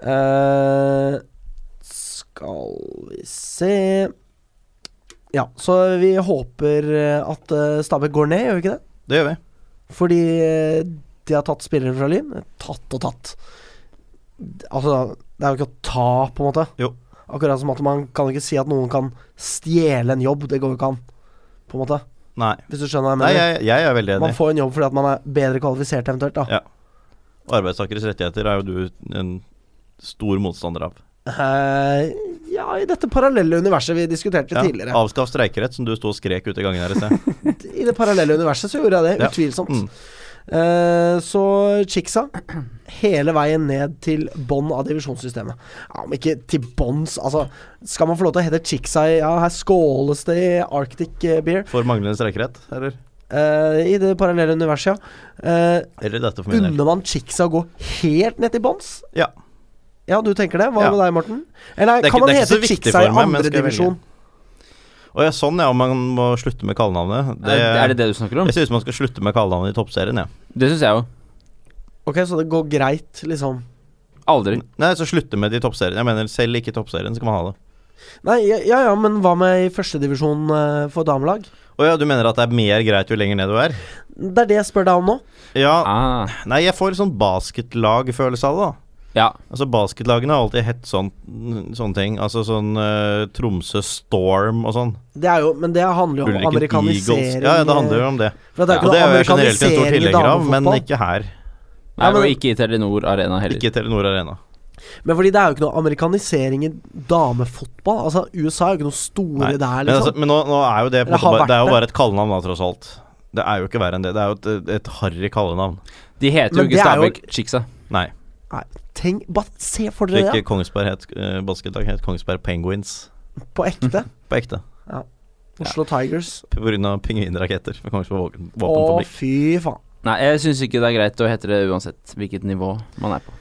[SPEAKER 1] Eh, skal vi se Ja, så vi håper eh, at eh, Stabæk går ned, gjør vi ikke det?
[SPEAKER 2] Det gjør vi.
[SPEAKER 1] Fordi eh, de har tatt spillere fra Lyn. Tatt og tatt. Altså, det er jo ikke å ta, på en måte.
[SPEAKER 2] Jo.
[SPEAKER 1] Akkurat som at man kan ikke si at noen kan stjele en jobb. Det går jo ikke an, på en måte.
[SPEAKER 2] Nei.
[SPEAKER 1] Hvis du skjønner hva jeg
[SPEAKER 2] Nei,
[SPEAKER 1] mener.
[SPEAKER 2] jeg, jeg er veldig enig.
[SPEAKER 1] Man får en jobb fordi at man er bedre kvalifisert, eventuelt. da
[SPEAKER 2] Ja. Arbeidstakeres rettigheter er jo du en stor motstander av.
[SPEAKER 1] Eh, ja, i dette parallelle universet vi diskuterte
[SPEAKER 2] Ja.
[SPEAKER 1] tidligere.
[SPEAKER 2] Avskaff streikerett, som du sto og skrek ute i gangen her i sted.
[SPEAKER 1] I det parallelle universet så gjorde jeg det,
[SPEAKER 2] Ja.
[SPEAKER 1] utvilsomt.
[SPEAKER 2] Mm.
[SPEAKER 1] Eh, så Chicksa hele veien ned til bånn av divisjonssystemet. Ja, men ikke til bånns, altså. Skal man få lov til å hete Chicksa i Ja, her skåles det i Arctic eh, Beer.
[SPEAKER 2] For manglende streikerett, eller?
[SPEAKER 1] eh, i det parallelle universet, ja. Eh,
[SPEAKER 2] Eller dette for min del.
[SPEAKER 1] unner man chicksa å gå helt ned til bånns?
[SPEAKER 2] Ja.
[SPEAKER 1] Ja, du tenker det? Hva
[SPEAKER 2] Ja.
[SPEAKER 1] med deg, Morten? Eller
[SPEAKER 2] Det er
[SPEAKER 1] kan
[SPEAKER 2] ikke-
[SPEAKER 1] man
[SPEAKER 2] det er ikke
[SPEAKER 1] hete
[SPEAKER 2] så viktig
[SPEAKER 1] chicksa i
[SPEAKER 2] for meg, men skal jeg
[SPEAKER 1] andredivisjon?
[SPEAKER 2] Og ja, sånn, ja, om man må slutte med kallenavnet. Det,
[SPEAKER 3] er, er det det du snakker om?
[SPEAKER 2] Jeg synes man skal slutte med kallenavnet i toppserien, jeg.
[SPEAKER 3] Det syns jeg jo.
[SPEAKER 1] Ok, så det går greit, liksom.
[SPEAKER 3] Aldri.
[SPEAKER 2] Nei, så slutte med det i toppserien. Jeg mener, selv ikke i toppserien skal man ha det.
[SPEAKER 1] Nei, ja ja, ja, men hva med i førstedivisjon uh, for damelag?
[SPEAKER 2] Å ja, du mener at det er mer greit jo lenger ned du er?
[SPEAKER 1] Det er det jeg spør deg om nå.
[SPEAKER 2] Ja,
[SPEAKER 3] Ah,
[SPEAKER 2] nei, jeg får sånn basketlag-følelse av det, da.
[SPEAKER 3] ja.
[SPEAKER 2] Altså Basketlagene har alltid hett sånn, sånne ting. Altså sånn eh, Tromsø Storm og sånn.
[SPEAKER 1] Det er jo, men det handler jo om
[SPEAKER 2] Ulriken Eagles.
[SPEAKER 1] amerikanisering.
[SPEAKER 2] Ja, ja, det handler jo om det.
[SPEAKER 1] eh, For det er
[SPEAKER 2] Og
[SPEAKER 1] jo
[SPEAKER 2] det
[SPEAKER 1] ikke
[SPEAKER 2] er
[SPEAKER 1] noe
[SPEAKER 2] jo jeg generelt en stor
[SPEAKER 1] amerikanisering i
[SPEAKER 2] tilhenger av, men
[SPEAKER 1] damefotball.
[SPEAKER 2] ikke her.
[SPEAKER 3] Nei,
[SPEAKER 1] Ja, men-
[SPEAKER 3] og ikke i Telenor Arena heller.
[SPEAKER 2] Ikke Telenor Arena.
[SPEAKER 1] Men fordi det er jo ikke noe amerikanisering i damefotball. Altså, USA er jo ikke noe store
[SPEAKER 2] Nei,
[SPEAKER 1] der,
[SPEAKER 2] Men, altså,
[SPEAKER 1] liksom.
[SPEAKER 2] men nå, nå er jo det på en
[SPEAKER 1] Eller har
[SPEAKER 2] måte bare, Det
[SPEAKER 1] vært
[SPEAKER 2] er jo
[SPEAKER 1] det.
[SPEAKER 2] bare et kallenavn, da, tross alt. Det er jo ikke verre enn det. Det er jo et, et harry kallenavn.
[SPEAKER 3] De heter
[SPEAKER 1] Men
[SPEAKER 3] jo ikke
[SPEAKER 1] det er jo-
[SPEAKER 3] Stabæk Chicksa.
[SPEAKER 2] Nei.
[SPEAKER 1] Tenk, bare se for
[SPEAKER 2] Så
[SPEAKER 1] dere det
[SPEAKER 2] ikke Kongsberg het eh, basketlag, het Kongsberg Penguins.
[SPEAKER 1] ja, på ekte.
[SPEAKER 2] På ekte.
[SPEAKER 1] Oslo Tigers.
[SPEAKER 2] På grunn av pingvinraketter med Kongsberg våpen,
[SPEAKER 1] Å,
[SPEAKER 2] våpen på blikk.
[SPEAKER 1] fy faen.
[SPEAKER 3] Nei, jeg syns ikke det er greit å hete det uansett hvilket nivå man er på.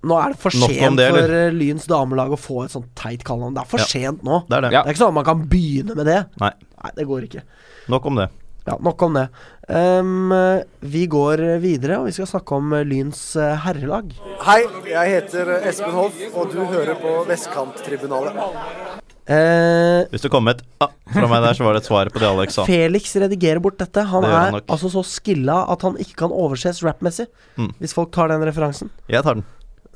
[SPEAKER 1] Nå er det for
[SPEAKER 2] Nok om
[SPEAKER 1] sent
[SPEAKER 2] det, eller?
[SPEAKER 1] for eh, Lyns damelag å få et sånt teit kallenavn. Det er for
[SPEAKER 2] Ja.
[SPEAKER 1] sent nå.
[SPEAKER 2] Det er det.
[SPEAKER 3] Ja.
[SPEAKER 1] Det er ikke sånn at man kan begynne med det.
[SPEAKER 2] Nei.
[SPEAKER 1] Nei, det går ikke.
[SPEAKER 2] Nok om det.
[SPEAKER 1] Ja, Nok om det. Ehm, vi går videre, og vi skal snakke om eh, Lyns eh, herrelag.
[SPEAKER 5] Hei, jeg heter Espen Hoff, og du hører på Vestkanttribunalet.
[SPEAKER 1] Eh,
[SPEAKER 2] Hvis det kom et ah, fra meg der, så var det et svar på det Alex sa.
[SPEAKER 1] Felix redigerer bort dette. Han er
[SPEAKER 2] Det gjør han nok.
[SPEAKER 1] altså så skilla at han ikke kan overses rappmessig.
[SPEAKER 2] Mm.
[SPEAKER 1] Hvis folk tar den referansen.
[SPEAKER 2] Jeg tar den.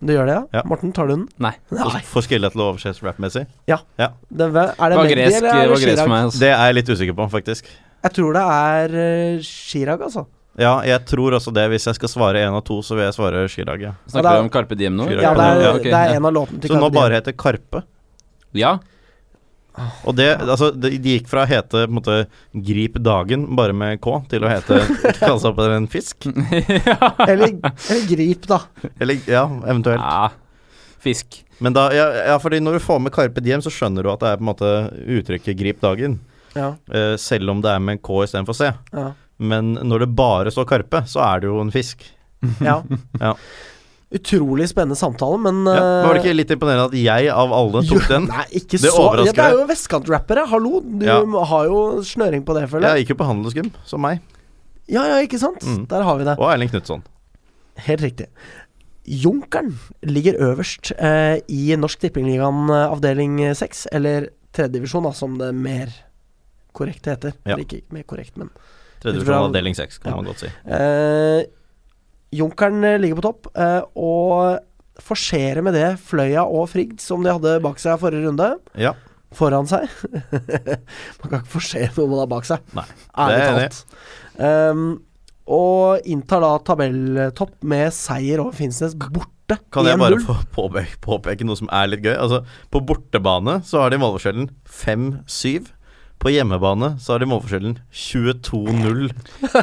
[SPEAKER 1] Du gjør det, ja?
[SPEAKER 2] Ja.
[SPEAKER 1] Morten, tar du den?
[SPEAKER 3] Nei.
[SPEAKER 1] Nei.
[SPEAKER 2] Får skille til å overses rappmessig.
[SPEAKER 1] Det, er det
[SPEAKER 3] Det var
[SPEAKER 1] Mendy,
[SPEAKER 3] gresk,
[SPEAKER 1] eller er
[SPEAKER 3] det var gresk
[SPEAKER 1] Chirag?
[SPEAKER 3] for meg. Altså.
[SPEAKER 2] Det er jeg litt usikker på, faktisk.
[SPEAKER 1] Jeg tror det er eh, Chirag, altså.
[SPEAKER 2] Ja, jeg tror også det. Hvis jeg skal svare én av to, så vil jeg svare Chirag. Ja.
[SPEAKER 3] Snakker
[SPEAKER 1] Ja, det
[SPEAKER 3] vi
[SPEAKER 1] er-
[SPEAKER 3] om Carpe Diem nå?
[SPEAKER 2] Chirag
[SPEAKER 1] Ja, det er,
[SPEAKER 2] Ja,
[SPEAKER 3] ok.
[SPEAKER 1] det er en av låtene til
[SPEAKER 2] Som nå
[SPEAKER 1] Carpe Diem.
[SPEAKER 2] bare heter Karpe.
[SPEAKER 3] Ja.
[SPEAKER 2] Og det, altså, det- de gikk fra å hete på en måte, 'Grip dagen', bare med K, til å hete kalle seg opp etter en fisk.
[SPEAKER 1] eller, eller Grip, da.
[SPEAKER 2] Eller ja, eventuelt.
[SPEAKER 3] ja. Fisk.
[SPEAKER 2] Men da, ja, ja, fordi når du får med Karpe Diem, så skjønner du at det er på en måte uttrykket 'grip dagen',
[SPEAKER 1] Ja,
[SPEAKER 2] eh, selv om det er med en K istedenfor C.
[SPEAKER 1] ja.
[SPEAKER 2] Men når det bare står Karpe, så er det jo en fisk.
[SPEAKER 1] ja.
[SPEAKER 2] Ja.
[SPEAKER 1] Utrolig spennende samtale, men
[SPEAKER 2] Ja, men var det
[SPEAKER 1] eh,
[SPEAKER 2] ikke litt imponerende at jeg av alle tok
[SPEAKER 1] jo,
[SPEAKER 2] den?
[SPEAKER 1] Nei, ikke
[SPEAKER 2] Det
[SPEAKER 1] så
[SPEAKER 2] overrasker
[SPEAKER 1] ja, Det er
[SPEAKER 2] deg.
[SPEAKER 1] jo vestkantrappere, hallo! Du
[SPEAKER 2] Ja.
[SPEAKER 1] har jo snøring på det, føler jeg.
[SPEAKER 2] Jeg gikk jo på handelsgym, som meg.
[SPEAKER 1] Ja, ja, ikke sant?
[SPEAKER 2] Mm.
[SPEAKER 1] Der har vi det.
[SPEAKER 2] Og Erling Knutson.
[SPEAKER 1] Helt riktig. Junkeren ligger øverst eh, i Norsk Tippingligaen eh, avdeling 6, eller tredjedivisjon, som det mer korrekte heter.
[SPEAKER 2] Ja.
[SPEAKER 1] Eller Ikke mer korrekt, men
[SPEAKER 2] Tredje
[SPEAKER 1] Ut fra-
[SPEAKER 2] divisjon avdeling seks, kan
[SPEAKER 1] Ja.
[SPEAKER 2] man godt si.
[SPEAKER 1] eh, Junkeren eh, ligger på topp, eh, og forserer med det Fløya og Frigd, som de hadde bak seg forrige runde.
[SPEAKER 2] Ja,
[SPEAKER 1] Foran seg. man kan ikke forsere noe man har bak seg.
[SPEAKER 2] Nei,
[SPEAKER 1] Ærlig
[SPEAKER 2] det er
[SPEAKER 1] talt. Ehm, og inntar da tabelltopp med seier over Finnsnes borte.
[SPEAKER 2] Kan jeg bare
[SPEAKER 1] 1-0.
[SPEAKER 2] få påpeke, påpeke noe som er litt gøy? Altså, På bortebane så har de målforskjellen 5-7. På hjemmebane så har de målforskjellen 22-0.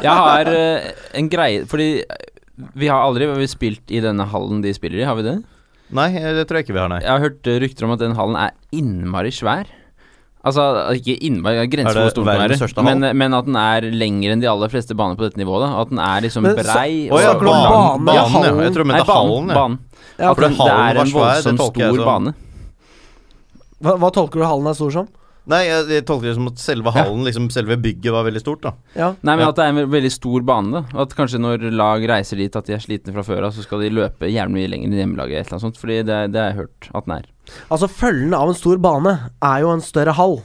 [SPEAKER 3] Jeg har eh, en greie Fordi vi har aldri vi har spilt i denne hallen de spiller i, har vi det?
[SPEAKER 2] Nei, eh, det tror jeg ikke vi har, nei.
[SPEAKER 3] Jeg har hørt eh, rykter om at den hallen er innmari svær. Altså ikke innmari, det er
[SPEAKER 2] Er
[SPEAKER 3] grenser for
[SPEAKER 2] det
[SPEAKER 3] hvor stor den
[SPEAKER 2] verdens
[SPEAKER 3] er.
[SPEAKER 2] største hall?
[SPEAKER 3] Men, men at den er lengre enn de aller fleste baner på dette nivået. Da. At den er liksom
[SPEAKER 1] Men så-
[SPEAKER 3] brei
[SPEAKER 2] Å ja,
[SPEAKER 1] snakker du om
[SPEAKER 2] banen,
[SPEAKER 1] banen, ja,
[SPEAKER 2] banen, ja.
[SPEAKER 1] hallen?
[SPEAKER 2] Jeg tror du
[SPEAKER 3] Nei,
[SPEAKER 2] mente hallen.
[SPEAKER 3] banen.
[SPEAKER 2] Ja.
[SPEAKER 3] banen.
[SPEAKER 1] Ja,
[SPEAKER 3] At
[SPEAKER 2] for det
[SPEAKER 3] den, det
[SPEAKER 2] hallen
[SPEAKER 3] er
[SPEAKER 2] var svær,
[SPEAKER 3] en
[SPEAKER 2] det
[SPEAKER 3] voldsomt
[SPEAKER 2] tolker jeg
[SPEAKER 3] stor
[SPEAKER 2] som-
[SPEAKER 3] bane.
[SPEAKER 1] Hva, hva tolker du hallen er stor som?
[SPEAKER 2] Nei, jeg, jeg tolker det som at selve hallen, liksom selve bygget, var veldig stort, da.
[SPEAKER 1] Ja.
[SPEAKER 3] Nei, men
[SPEAKER 2] Ja.
[SPEAKER 3] at det er en ve- veldig stor bane, da. At kanskje når lag reiser dit at de er slitne fra før av, så skal de løpe jævlig mye lenger enn hjemmelaget eller et eller annet sånt. Fordi det, det har jeg hørt at den er.
[SPEAKER 1] Altså, følgen av en stor bane er jo en større hall.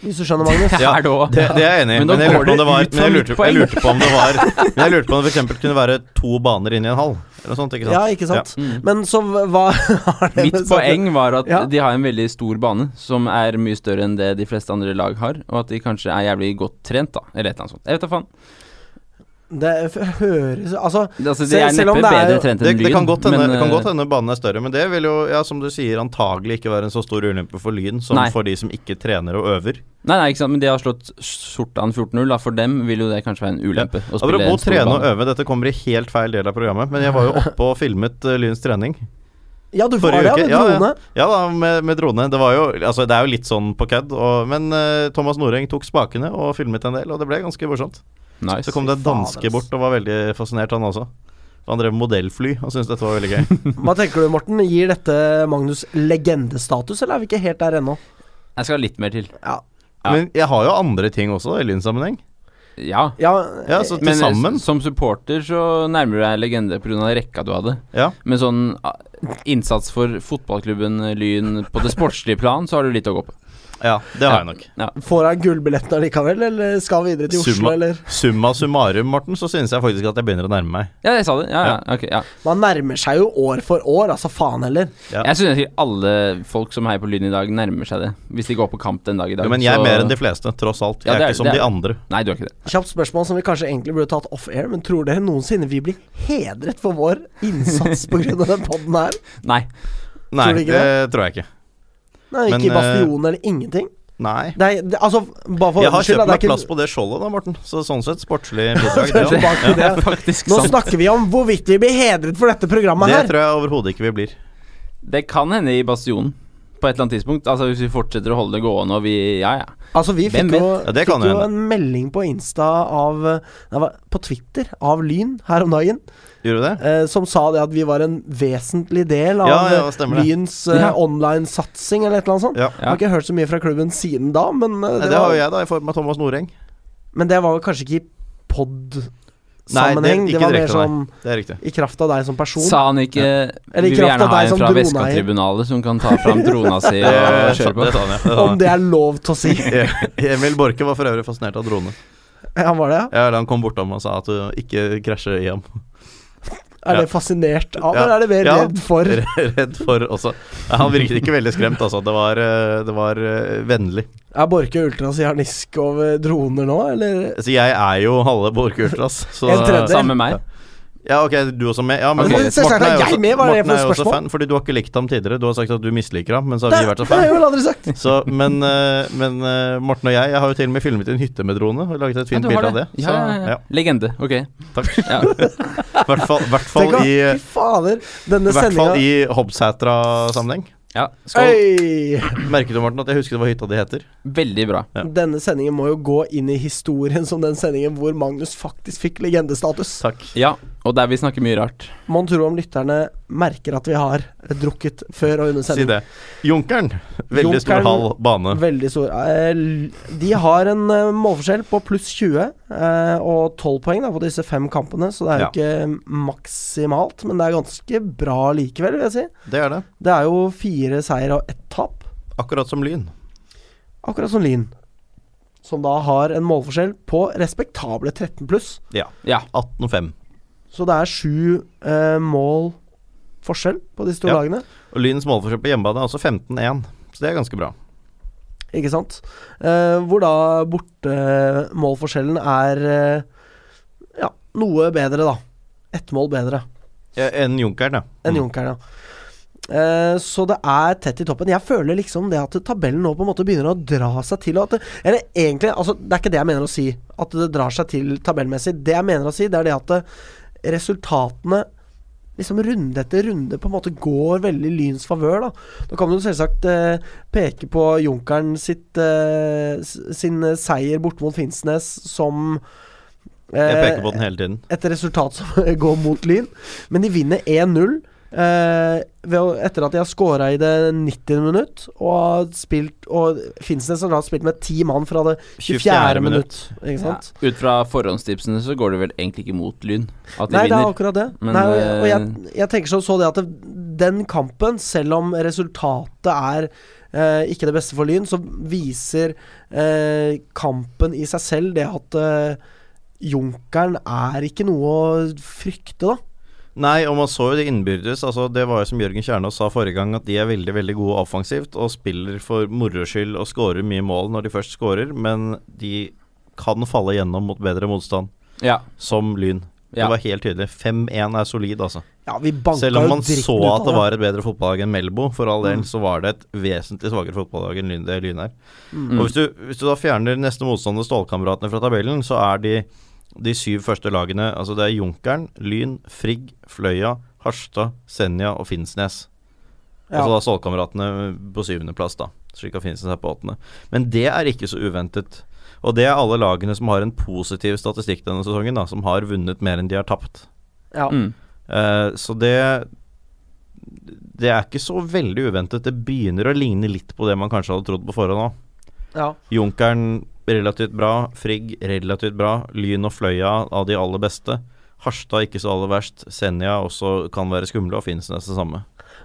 [SPEAKER 1] Hvis du skjønner, Magnus.
[SPEAKER 2] Ja,
[SPEAKER 3] er det også.
[SPEAKER 2] Det, det er jeg enig i,
[SPEAKER 3] Men
[SPEAKER 2] men,
[SPEAKER 3] da
[SPEAKER 2] jeg
[SPEAKER 3] går
[SPEAKER 2] lurte på om det var men jeg
[SPEAKER 3] det ut fra mitt
[SPEAKER 2] lurte, jeg lurte på om det var Men jeg lurte på om det for eksempel kunne være to baner inne i en hall, eller noe sånt, ikke sant?
[SPEAKER 1] Ja, ikke sant?
[SPEAKER 3] Mm.
[SPEAKER 1] Men så hva har det
[SPEAKER 3] Mitt
[SPEAKER 1] med saken-
[SPEAKER 3] poeng var at
[SPEAKER 1] Ja.
[SPEAKER 3] de har en veldig stor bane, som er mye større enn det de fleste andre lag har, og at de kanskje er jævlig godt trent, da, eller et eller annet sånt. Jeg vet da faen.
[SPEAKER 1] Det f- høres Altså,
[SPEAKER 3] Det- Altså, de
[SPEAKER 1] Selv-
[SPEAKER 3] er
[SPEAKER 1] selv om
[SPEAKER 3] neppe
[SPEAKER 1] det er jo-
[SPEAKER 3] bedre trent
[SPEAKER 2] Det,
[SPEAKER 3] enn Lyn,
[SPEAKER 2] det kan godt hende
[SPEAKER 3] men,
[SPEAKER 2] det kan godt
[SPEAKER 3] eh,
[SPEAKER 2] hende banen er større, men det vil jo, ja, som du sier, antagelig ikke være en så stor ulempe for Lyn som
[SPEAKER 3] Nei.
[SPEAKER 2] for de som ikke trener og øver.
[SPEAKER 3] Nei, nei, ikke sant, men de har slått Sortan 14-0, da. For dem vil jo det kanskje være en ulempe. å spille en
[SPEAKER 2] Apropos
[SPEAKER 3] stor
[SPEAKER 2] trene og
[SPEAKER 3] bane.
[SPEAKER 2] øve, dette kommer i helt feil del av programmet, men jeg var jo oppe og filmet eh, Lyns trening.
[SPEAKER 1] Ja, du får
[SPEAKER 2] Forrige
[SPEAKER 1] det av
[SPEAKER 2] uke,
[SPEAKER 1] en
[SPEAKER 2] ja, ja.
[SPEAKER 1] drone.
[SPEAKER 2] Ja da, med, med drone. Det, var jo, altså, det er jo litt sånn på kødd, og, men eh, Thomas Noreng tok spakene og filmet en del, og det ble ganske morsomt. Så
[SPEAKER 3] Nice.
[SPEAKER 2] kom det en
[SPEAKER 1] Fy fader,
[SPEAKER 2] danske
[SPEAKER 1] ass.
[SPEAKER 2] bort og var veldig fascinert, han også. Han drev modellfly og syntes dette var veldig gøy.
[SPEAKER 1] Hva tenker du, Morten? Gir dette Magnus legendestatus, eller er vi ikke helt der ennå?
[SPEAKER 3] Jeg skal ha litt mer til.
[SPEAKER 1] Ja.
[SPEAKER 3] Ja.
[SPEAKER 2] Men jeg har jo andre ting også, da, i lynsammenheng.
[SPEAKER 3] Ja.
[SPEAKER 1] ja,
[SPEAKER 2] Ja, så til
[SPEAKER 3] Men eh,
[SPEAKER 2] sammen.
[SPEAKER 3] s- som supporter så nærmer du deg legende pga. rekka du hadde.
[SPEAKER 2] Ja.
[SPEAKER 3] Men sånn ah, innsats for fotballklubben Lyn på det sportslige plan, så har du litt å gå på.
[SPEAKER 2] ja, det har jeg nok.
[SPEAKER 1] Får han gullbilletten allikevel, eller skal han videre til Oslo,
[SPEAKER 2] Summa-
[SPEAKER 1] eller?
[SPEAKER 2] Summa summarum, Morten, så synes jeg faktisk at jeg begynner å nærme meg.
[SPEAKER 3] Ja, jeg sa det. Ja, ja. ok, ja.
[SPEAKER 1] Man nærmer seg jo år for år, altså faen heller.
[SPEAKER 2] Ja.
[SPEAKER 3] Jeg synes egentlig alle folk som heier på Lyn i dag, nærmer seg det. Hvis de går på kamp den dag i dag.
[SPEAKER 2] Jo, men jeg er
[SPEAKER 3] så-
[SPEAKER 2] mer enn de fleste, tross alt. Jeg
[SPEAKER 3] Ja, det
[SPEAKER 2] er
[SPEAKER 3] er-
[SPEAKER 2] ikke som
[SPEAKER 3] det er-
[SPEAKER 2] de andre.
[SPEAKER 3] Nei, du er ikke det.
[SPEAKER 1] Kjapt spørsmål som vi kanskje egentlig burde tatt off air, men tror dere noensinne vi blir hedret for vår innsats pga. den poden her?
[SPEAKER 3] Nei.
[SPEAKER 2] Nei,
[SPEAKER 1] du ikke
[SPEAKER 2] det tror jeg ikke.
[SPEAKER 1] Nei,
[SPEAKER 2] Men, eh,
[SPEAKER 1] ikke bastion eller ingenting.
[SPEAKER 2] Nei.
[SPEAKER 1] Det er, det, altså, bare for
[SPEAKER 2] Jeg har
[SPEAKER 1] ordens skyld,
[SPEAKER 2] kjøpt
[SPEAKER 1] da,
[SPEAKER 2] meg
[SPEAKER 1] det er
[SPEAKER 2] plass
[SPEAKER 1] ikke-
[SPEAKER 2] på det skjoldet da, Morten. Så sånn sett, sportslig bidrag.
[SPEAKER 1] Det er
[SPEAKER 2] det,
[SPEAKER 1] tilbake til
[SPEAKER 3] Det er
[SPEAKER 1] det.
[SPEAKER 3] faktisk
[SPEAKER 1] Nå
[SPEAKER 3] sant.
[SPEAKER 1] snakker vi om hvorvidt vi blir hedret for dette programmet
[SPEAKER 2] det
[SPEAKER 1] her.
[SPEAKER 2] tror jeg overhodet ikke vi blir.
[SPEAKER 3] Det kan hende i Bastionen på et eller annet tidspunkt. Altså Hvis vi fortsetter å holde det gående og vi Ja, ja.
[SPEAKER 1] Altså, vi
[SPEAKER 3] Hvem
[SPEAKER 1] fikk jo,
[SPEAKER 2] Ja, det kan
[SPEAKER 1] fikk jo
[SPEAKER 2] hende.
[SPEAKER 1] en melding på Insta av nei, hva- På Twitter av Lyn her om dagen,
[SPEAKER 2] Gjorde du det?
[SPEAKER 1] eh, som sa det at vi var en vesentlig del av
[SPEAKER 2] Ja, ja,
[SPEAKER 1] eh,
[SPEAKER 2] stemmer det.
[SPEAKER 1] Lyns eh,
[SPEAKER 3] Ja.
[SPEAKER 1] online-satsing, eller et eller annet sånt.
[SPEAKER 2] Ja.
[SPEAKER 1] Jeg har ikke hørt så mye fra klubben siden da, men, eh,
[SPEAKER 2] Nei,
[SPEAKER 1] det,
[SPEAKER 2] det har
[SPEAKER 1] var,
[SPEAKER 2] jo jeg, da, i form av Thomas Noreng.
[SPEAKER 1] men det var vel kanskje ikke i
[SPEAKER 2] Nei, det-
[SPEAKER 1] pod-sammenheng.
[SPEAKER 2] ikke
[SPEAKER 1] Det, var mer
[SPEAKER 2] direkte, nei.
[SPEAKER 1] sånn
[SPEAKER 2] Det er riktig.
[SPEAKER 1] i kraft av deg som person.
[SPEAKER 3] Sa han ikke
[SPEAKER 1] Eller i
[SPEAKER 3] Vi vil
[SPEAKER 1] kraft
[SPEAKER 3] gjerne
[SPEAKER 1] av
[SPEAKER 3] ha
[SPEAKER 1] deg
[SPEAKER 3] en
[SPEAKER 1] som
[SPEAKER 3] fra
[SPEAKER 1] droneeier.
[SPEAKER 3] Vestkatribunalet som kan ta fram drona si
[SPEAKER 2] Det,
[SPEAKER 3] og
[SPEAKER 2] sa-
[SPEAKER 3] kjøre på?
[SPEAKER 2] det sa han, ja. Det sa
[SPEAKER 1] Om
[SPEAKER 2] han.
[SPEAKER 1] det er lov til å si.
[SPEAKER 2] Emil Borke var for øvrig fascinert av drone.
[SPEAKER 1] Ja, var det, ja?
[SPEAKER 2] Ja, eller han kom bortom og sa at du ikke krasjer i ham.
[SPEAKER 1] Er
[SPEAKER 2] Ja.
[SPEAKER 1] det fascinert av,
[SPEAKER 2] Ja.
[SPEAKER 1] eller er det mer
[SPEAKER 2] Ja.
[SPEAKER 1] redd for?
[SPEAKER 2] Redd for også. Ja, Han virket ikke veldig skremt, altså. Det var, eh, det var eh, vennlig.
[SPEAKER 1] Er Borke ultrasianisk over droner nå, eller?
[SPEAKER 2] Så Altså, jeg er jo halve Borke Ultras. Så
[SPEAKER 1] En tredjedel.
[SPEAKER 3] Samme meg.
[SPEAKER 2] Ja, ok, du også med. Ja, men
[SPEAKER 1] Ok,
[SPEAKER 2] Morten-
[SPEAKER 1] selvsagt er
[SPEAKER 2] Morten jo
[SPEAKER 1] jeg
[SPEAKER 2] også-
[SPEAKER 1] med, hva er det
[SPEAKER 2] Morten
[SPEAKER 1] for et
[SPEAKER 2] jo også
[SPEAKER 1] spørsmål?
[SPEAKER 2] fan, fordi du har ikke likt ham tidligere. Du har sagt at du misliker ham, men så har
[SPEAKER 1] Det
[SPEAKER 2] vi vært så
[SPEAKER 1] det har
[SPEAKER 2] fan.
[SPEAKER 1] jeg vel aldri sagt.
[SPEAKER 2] Så, men, eh, men eh, Morten og jeg, jeg har jo til og med filmet en hytte med drone og laget et fint
[SPEAKER 3] Ja, du har
[SPEAKER 2] bilde av det.
[SPEAKER 3] Ja, ja, ja.
[SPEAKER 2] ja.
[SPEAKER 3] Legende. Ok.
[SPEAKER 2] Takk.
[SPEAKER 3] Ja.
[SPEAKER 2] I hvert fall, hvert fall
[SPEAKER 1] Tenk å,
[SPEAKER 2] i,
[SPEAKER 1] fy fader, denne
[SPEAKER 2] hvert fall
[SPEAKER 1] sendinga
[SPEAKER 2] i Hobbsætra-sammenheng.
[SPEAKER 3] ja. Skål.
[SPEAKER 1] Øy!
[SPEAKER 2] Merket du, Morten, at jeg husket hva hytta di heter?
[SPEAKER 3] Veldig bra.
[SPEAKER 2] Ja.
[SPEAKER 1] Denne sendingen må jo gå inn i historien som den sendingen hvor Magnus faktisk fikk legendestatus.
[SPEAKER 2] Takk.
[SPEAKER 3] Ja, og der vi snakker mye rart.
[SPEAKER 1] Mon tro om lytterne merker at vi har drukket før og under
[SPEAKER 2] Si
[SPEAKER 1] sending.
[SPEAKER 2] det. Junkeren. Veldig
[SPEAKER 1] Junkeren-
[SPEAKER 2] stor hall bane.
[SPEAKER 1] Veldig stor eh, l- De har en eh, målforskjell på pluss 20 eh, og 12 poeng da, på disse fem kampene, så det er jo ikke maksimalt, men det er ganske bra likevel, vil jeg si.
[SPEAKER 2] Det er det.
[SPEAKER 1] Det er jo fire seier og ett tap,
[SPEAKER 2] Akkurat som Lyn.
[SPEAKER 1] akkurat som Lyn. Som da har en målforskjell på respektable 13 pluss.
[SPEAKER 2] Ja.
[SPEAKER 3] Ja.
[SPEAKER 2] 18-5.
[SPEAKER 1] Så det er sju eh, mål forskjell på disse to
[SPEAKER 2] Ja.
[SPEAKER 1] lagene,
[SPEAKER 2] Og Lyns målforskjell på hjemmebane er også 15-1, så det er ganske bra.
[SPEAKER 1] ikke sant? Eh, hvor da bortemålforskjellen er eh, ja, noe bedre, da. Ett mål bedre
[SPEAKER 2] Ja, Enn Junkeren, ja.
[SPEAKER 1] enn
[SPEAKER 2] Mm.
[SPEAKER 1] Junkeren, ja. Eh, så det er tett i toppen. Jeg føler liksom det at tabellen nå på en måte begynner å dra seg til. Og at det, eller egentlig, altså, det er ikke det jeg mener å si, at det drar seg til tabellmessig. Det jeg mener å si, det er det at det, resultatene liksom runde etter runde på en måte går veldig Lyns favør. Da Da kan du selvsagt eh, peke på Junkeren sitt, eh, s- sin eh, seier borte mot Finnsnes som
[SPEAKER 2] Jeg
[SPEAKER 1] eh,
[SPEAKER 2] peker på den hele tiden.
[SPEAKER 1] et resultat som går mot Lyn. Men de vinner 1-0 eh, ved å- etter at de har scora i det 90. minutt. Og har spilt Og Finnsnes har da spilt med ti mann fra det 24. minutt. Ikke
[SPEAKER 3] Ja.
[SPEAKER 1] sant?
[SPEAKER 3] Ut fra forhåndstipsene så går det vel egentlig ikke mot Lyn at de
[SPEAKER 1] Nei, det er
[SPEAKER 3] vinner.
[SPEAKER 1] akkurat det.
[SPEAKER 3] Men,
[SPEAKER 1] Nei, og jeg,
[SPEAKER 3] eh,
[SPEAKER 1] jeg tenker sånn så det at det, den kampen, selv om resultatet er eh, ikke det beste for Lyn, så viser eh, kampen i seg selv det at eh, Junkeren er ikke noe å frykte, da.
[SPEAKER 2] Nei, og man så jo det innbyrdes. Altså, det var jo som Jørgen Kjernås sa forrige gang, at de er veldig veldig gode offensivt og spiller for moro skyld og scorer mye mål når de først scorer, men de kan falle gjennom mot bedre motstand,
[SPEAKER 3] Ja.
[SPEAKER 2] som Lyn.
[SPEAKER 3] Ja.
[SPEAKER 2] Det var helt tydelig. 5-1 er solid, altså.
[SPEAKER 1] Ja, vi banka
[SPEAKER 2] Selv om man
[SPEAKER 1] jo dritten
[SPEAKER 2] så
[SPEAKER 1] ut av Mm.
[SPEAKER 2] at det var et bedre fotballag enn Melbo, for all del, så var det et vesentlig svakere fotballag enn Lyn, det Lyn er.
[SPEAKER 1] Mm.
[SPEAKER 2] Og hvis du, hvis du da fjerner neste motstander, Stålkameratene, fra tabellen, så er de de syv første lagene Altså det er Junkeren, Lyn, Frigg, Fløya, Harstad, Senja og Finnsnes.
[SPEAKER 1] Ja.
[SPEAKER 2] Og så da Stålkameratene på syvendeplass, da. Slik at Finsen er på åttende. Men det er ikke så uventet. Og det er alle lagene som har en positiv statistikk denne sesongen, da. Som har vunnet mer enn de har tapt.
[SPEAKER 1] Ja.
[SPEAKER 3] Mm.
[SPEAKER 2] Eh, så det Det er ikke så veldig uventet. Det begynner å ligne litt på det man kanskje hadde trodd på forhånd òg.
[SPEAKER 1] Ja.
[SPEAKER 2] Junkeren relativt bra, Frigg relativt bra, Lyn og Fløya av de aller beste. Harstad ikke så aller verst, Senja også kan være skumle, og Finnsnes det samme.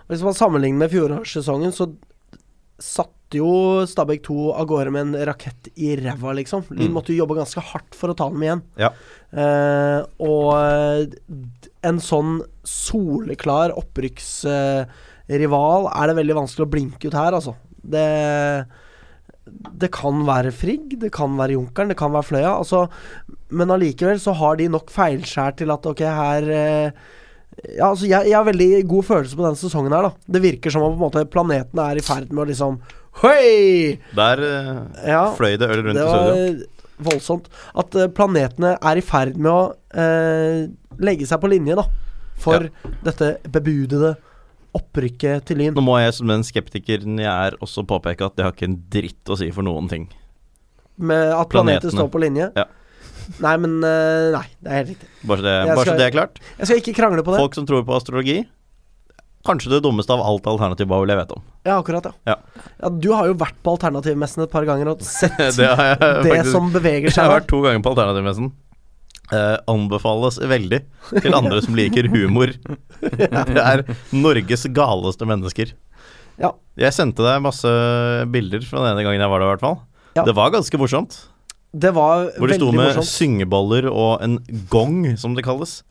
[SPEAKER 1] Hvis man sammenligner med fjorårssesongen, så satte jo Stabæk 2 av gårde med en rakett i ræva, liksom. Lyn
[SPEAKER 2] Mm.
[SPEAKER 1] måtte jo jobbe ganske hardt for å ta dem igjen.
[SPEAKER 2] Ja.
[SPEAKER 1] Eh, og eh, d- en sånn soleklar opprykksrival eh, rival er det veldig vanskelig å blinke ut her, altså. Det, det kan være Frigg, det kan være Junkeren, det kan være Fløya. Altså, men allikevel så har de nok feilskjær til at ok, her eh, ja, altså jeg, jeg har veldig god følelse på denne sesongen her, da. Det virker som om på en måte planetene er i ferd med å liksom Høy!
[SPEAKER 2] Der eh,
[SPEAKER 1] Ja,
[SPEAKER 2] fløy det øl rundt
[SPEAKER 1] det
[SPEAKER 2] i
[SPEAKER 1] var
[SPEAKER 2] studio.
[SPEAKER 1] voldsomt. At eh, planetene er i ferd med å eh, legge seg på linje, da. For
[SPEAKER 2] Ja.
[SPEAKER 1] dette bebudede opprykket til Lyn.
[SPEAKER 2] Nå må jeg som den skeptikeren jeg er, også påpeke at det har ikke en dritt å si for noen ting.
[SPEAKER 1] Med at planeter
[SPEAKER 2] Planetene.
[SPEAKER 1] står på linje.
[SPEAKER 2] Ja.
[SPEAKER 1] Nei, men eh, Nei, det er helt riktig.
[SPEAKER 2] Bare så det,
[SPEAKER 1] Jeg
[SPEAKER 2] bare
[SPEAKER 1] skal-
[SPEAKER 2] så det er klart.
[SPEAKER 1] Jeg skal ikke krangle på det.
[SPEAKER 2] Folk som tror på astrologi Kanskje det dummeste av alt alternativ Bowl jeg vet om.
[SPEAKER 1] Ja, akkurat, ja. Ja, Du har jo vært på alternativmessen et par ganger og sett
[SPEAKER 2] Det har jeg
[SPEAKER 1] det
[SPEAKER 2] faktisk
[SPEAKER 1] som beveger
[SPEAKER 2] Jeg
[SPEAKER 1] seg.
[SPEAKER 2] har
[SPEAKER 1] der.
[SPEAKER 2] vært to ganger på alternativmessen. Eh, anbefales veldig til andre som liker humor. Det er Norges galeste mennesker.
[SPEAKER 1] Ja.
[SPEAKER 2] Jeg sendte deg masse bilder fra den ene gangen jeg var der, i hvert fall.
[SPEAKER 1] Ja.
[SPEAKER 2] Det var ganske morsomt.
[SPEAKER 1] Det var
[SPEAKER 2] Hvor de
[SPEAKER 1] veldig
[SPEAKER 2] sto med
[SPEAKER 1] morsomt.
[SPEAKER 2] syngeboller og en gong, som det kalles.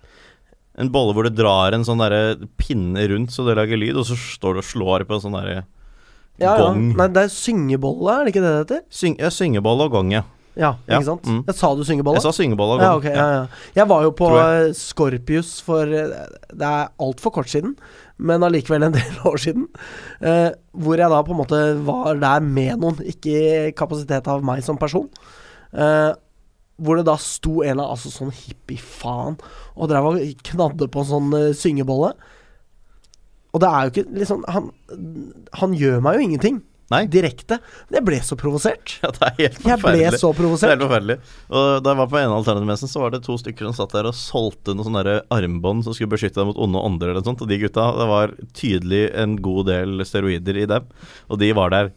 [SPEAKER 2] En bolle hvor det drar en sånn derre pinne rundt så det lager lyd, og så står du og slår på en sånn derre
[SPEAKER 1] Ja, ja.
[SPEAKER 2] gong.
[SPEAKER 1] Nei, det er syngebolle, er det ikke det det heter?
[SPEAKER 2] Syng, ja, syngebolle og gong, ja.
[SPEAKER 1] Ja,
[SPEAKER 2] Ja,
[SPEAKER 1] ikke sant?
[SPEAKER 2] mm.
[SPEAKER 1] Jeg sa du syngebolle?
[SPEAKER 2] Jeg sa syngebolle og
[SPEAKER 1] ja,
[SPEAKER 2] gong.
[SPEAKER 1] ok, ja, ja. Jeg var jo på
[SPEAKER 2] Tror
[SPEAKER 1] eh, Scorpius for eh, Det er altfor kort siden, men allikevel en del år siden. eh, hvor jeg da på en måte var der med noen, ikke i kapasitet av meg som person. eh, hvor det da sto en av altså sånn hippie-faen og drev og knadde på en sånn eh, syngebolle. Og det er jo ikke liksom Han, han gjør meg jo ingenting
[SPEAKER 2] Nei.
[SPEAKER 1] direkte. Men jeg ble så provosert.
[SPEAKER 2] Ja, det er helt
[SPEAKER 1] Jeg ble
[SPEAKER 2] forferdelig.
[SPEAKER 1] så
[SPEAKER 2] Det er
[SPEAKER 1] provosert.
[SPEAKER 2] helt forferdelig. Og da jeg var på ene alternativmessen, så var det to stykker som satt der og solgte noen sånne der armbånd som skulle beskytte deg mot onde ånder eller noe sånt. Og de gutta, det var tydelig en god del steroider i dem. Og de var der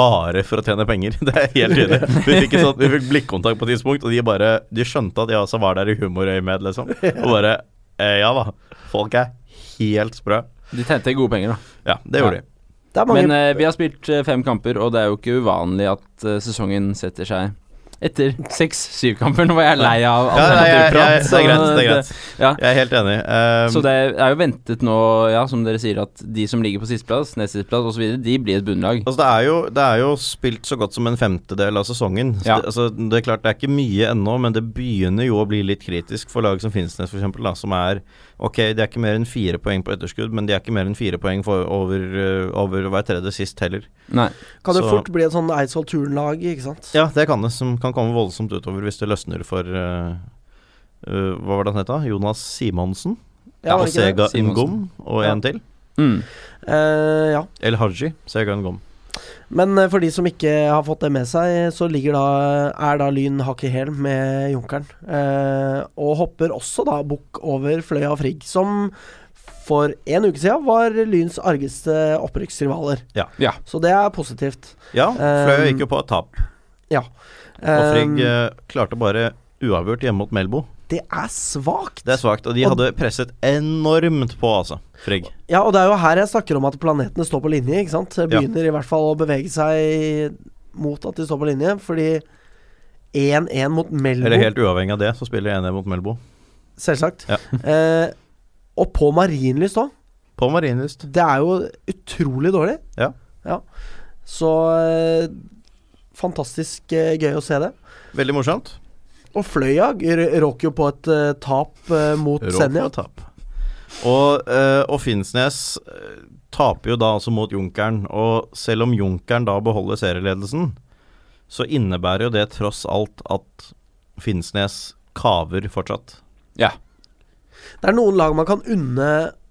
[SPEAKER 2] bare for å tjene penger. Det er helt tydelig. Vi fikk, en sånn, vi fikk blikkontakt på et tidspunkt, og de bare De skjønte at jeg også var der i humorøyemed, liksom. Og bare eh, Ja da. Folk er helt sprø.
[SPEAKER 3] De tjente gode penger, da.
[SPEAKER 2] Ja, det gjorde
[SPEAKER 3] Ja.
[SPEAKER 2] de.
[SPEAKER 1] Det er mange
[SPEAKER 3] Men eh, vi har spilt eh, fem kamper, og det er jo ikke uvanlig at eh, sesongen setter seg etter seks-syv kamper. Nå var jeg lei av
[SPEAKER 2] Ja, nei, jeg, jeg, det er greit. Det er greit.
[SPEAKER 3] ja.
[SPEAKER 2] Jeg er helt enig. Eh,
[SPEAKER 3] Så det er jo ventet nå, ja, som dere sier, at de som ligger på sisteplass, nest sisteplass osv., de blir et bunnlag.
[SPEAKER 2] Altså det, er jo, det er jo spilt så godt som en femtedel av sesongen. Så
[SPEAKER 3] Ja.
[SPEAKER 2] Det, altså, det er klart det er ikke mye ennå, men det begynner jo å bli litt kritisk for lag som Finnsnes f.eks., som er Ok, de er ikke mer enn fire poeng på etterskudd, men de er ikke mer enn fire poeng for, over, eh, over hver tredje sist heller.
[SPEAKER 3] Nei.
[SPEAKER 1] Kan jo
[SPEAKER 2] Så-
[SPEAKER 1] fort bli et sånn Eidsvoll Turn-lag, ikke sant?
[SPEAKER 2] Ja, det kan det, som kan komme voldsomt utover hvis det løsner for eh, eh, Hva var det han het, da? Jonas Simonsen?
[SPEAKER 1] Ja, var det
[SPEAKER 2] og
[SPEAKER 1] ikke det?
[SPEAKER 2] Sega
[SPEAKER 3] Simonsen.
[SPEAKER 2] Ngom? Og
[SPEAKER 1] Ja.
[SPEAKER 2] en til?
[SPEAKER 3] Mm.
[SPEAKER 1] Eh, ja.
[SPEAKER 2] El Haji. Sega Ngom.
[SPEAKER 1] Men eh, for de som ikke har fått det med seg, så ligger da, er da Lyn hakk i hæl med Junkeren. Eh, og hopper også da bukk over Fløya og Frigg, som for en uke siden var Lyns argeste opprykksrivaler.
[SPEAKER 2] Ja.
[SPEAKER 3] Ja.
[SPEAKER 1] Så det er positivt.
[SPEAKER 2] Ja, Fløy
[SPEAKER 1] Eh,
[SPEAKER 2] gikk jo på et tap. Og
[SPEAKER 1] Eh,
[SPEAKER 2] Frigg eh, klarte bare uavgjort hjemme mot Melbo.
[SPEAKER 1] det er svakt.
[SPEAKER 2] Det er svakt. Og de
[SPEAKER 1] Og-
[SPEAKER 2] hadde presset enormt på, altså. Frigg.
[SPEAKER 1] Ja, og det er jo her jeg snakker om at planetene står på linje, ikke sant? Det
[SPEAKER 2] Ja.
[SPEAKER 1] begynner i hvert fall å bevege seg mot at de står på linje, fordi 1-1 mot Melbo,
[SPEAKER 2] Eller helt uavhengig av det, så spiller jeg 1-1 mot Melbo.
[SPEAKER 1] selvsagt.
[SPEAKER 2] Ja.
[SPEAKER 1] Eh, og på Marienlyst òg.
[SPEAKER 2] På Marienlyst.
[SPEAKER 1] Det er jo utrolig dårlig.
[SPEAKER 2] Ja.
[SPEAKER 1] Så eh, fantastisk eh, gøy å se det.
[SPEAKER 2] Veldig morsomt.
[SPEAKER 1] Og Fløya r- råker jo på et eh, tap eh, mot
[SPEAKER 2] Rå
[SPEAKER 1] Senja.
[SPEAKER 2] på tap. Og, eh, og Finnsnes eh, taper jo da altså mot Junkeren, og selv om Junkeren da beholder serieledelsen, så innebærer jo det tross alt at Finnsnes kaver fortsatt.
[SPEAKER 1] Det er noen lag man kan unne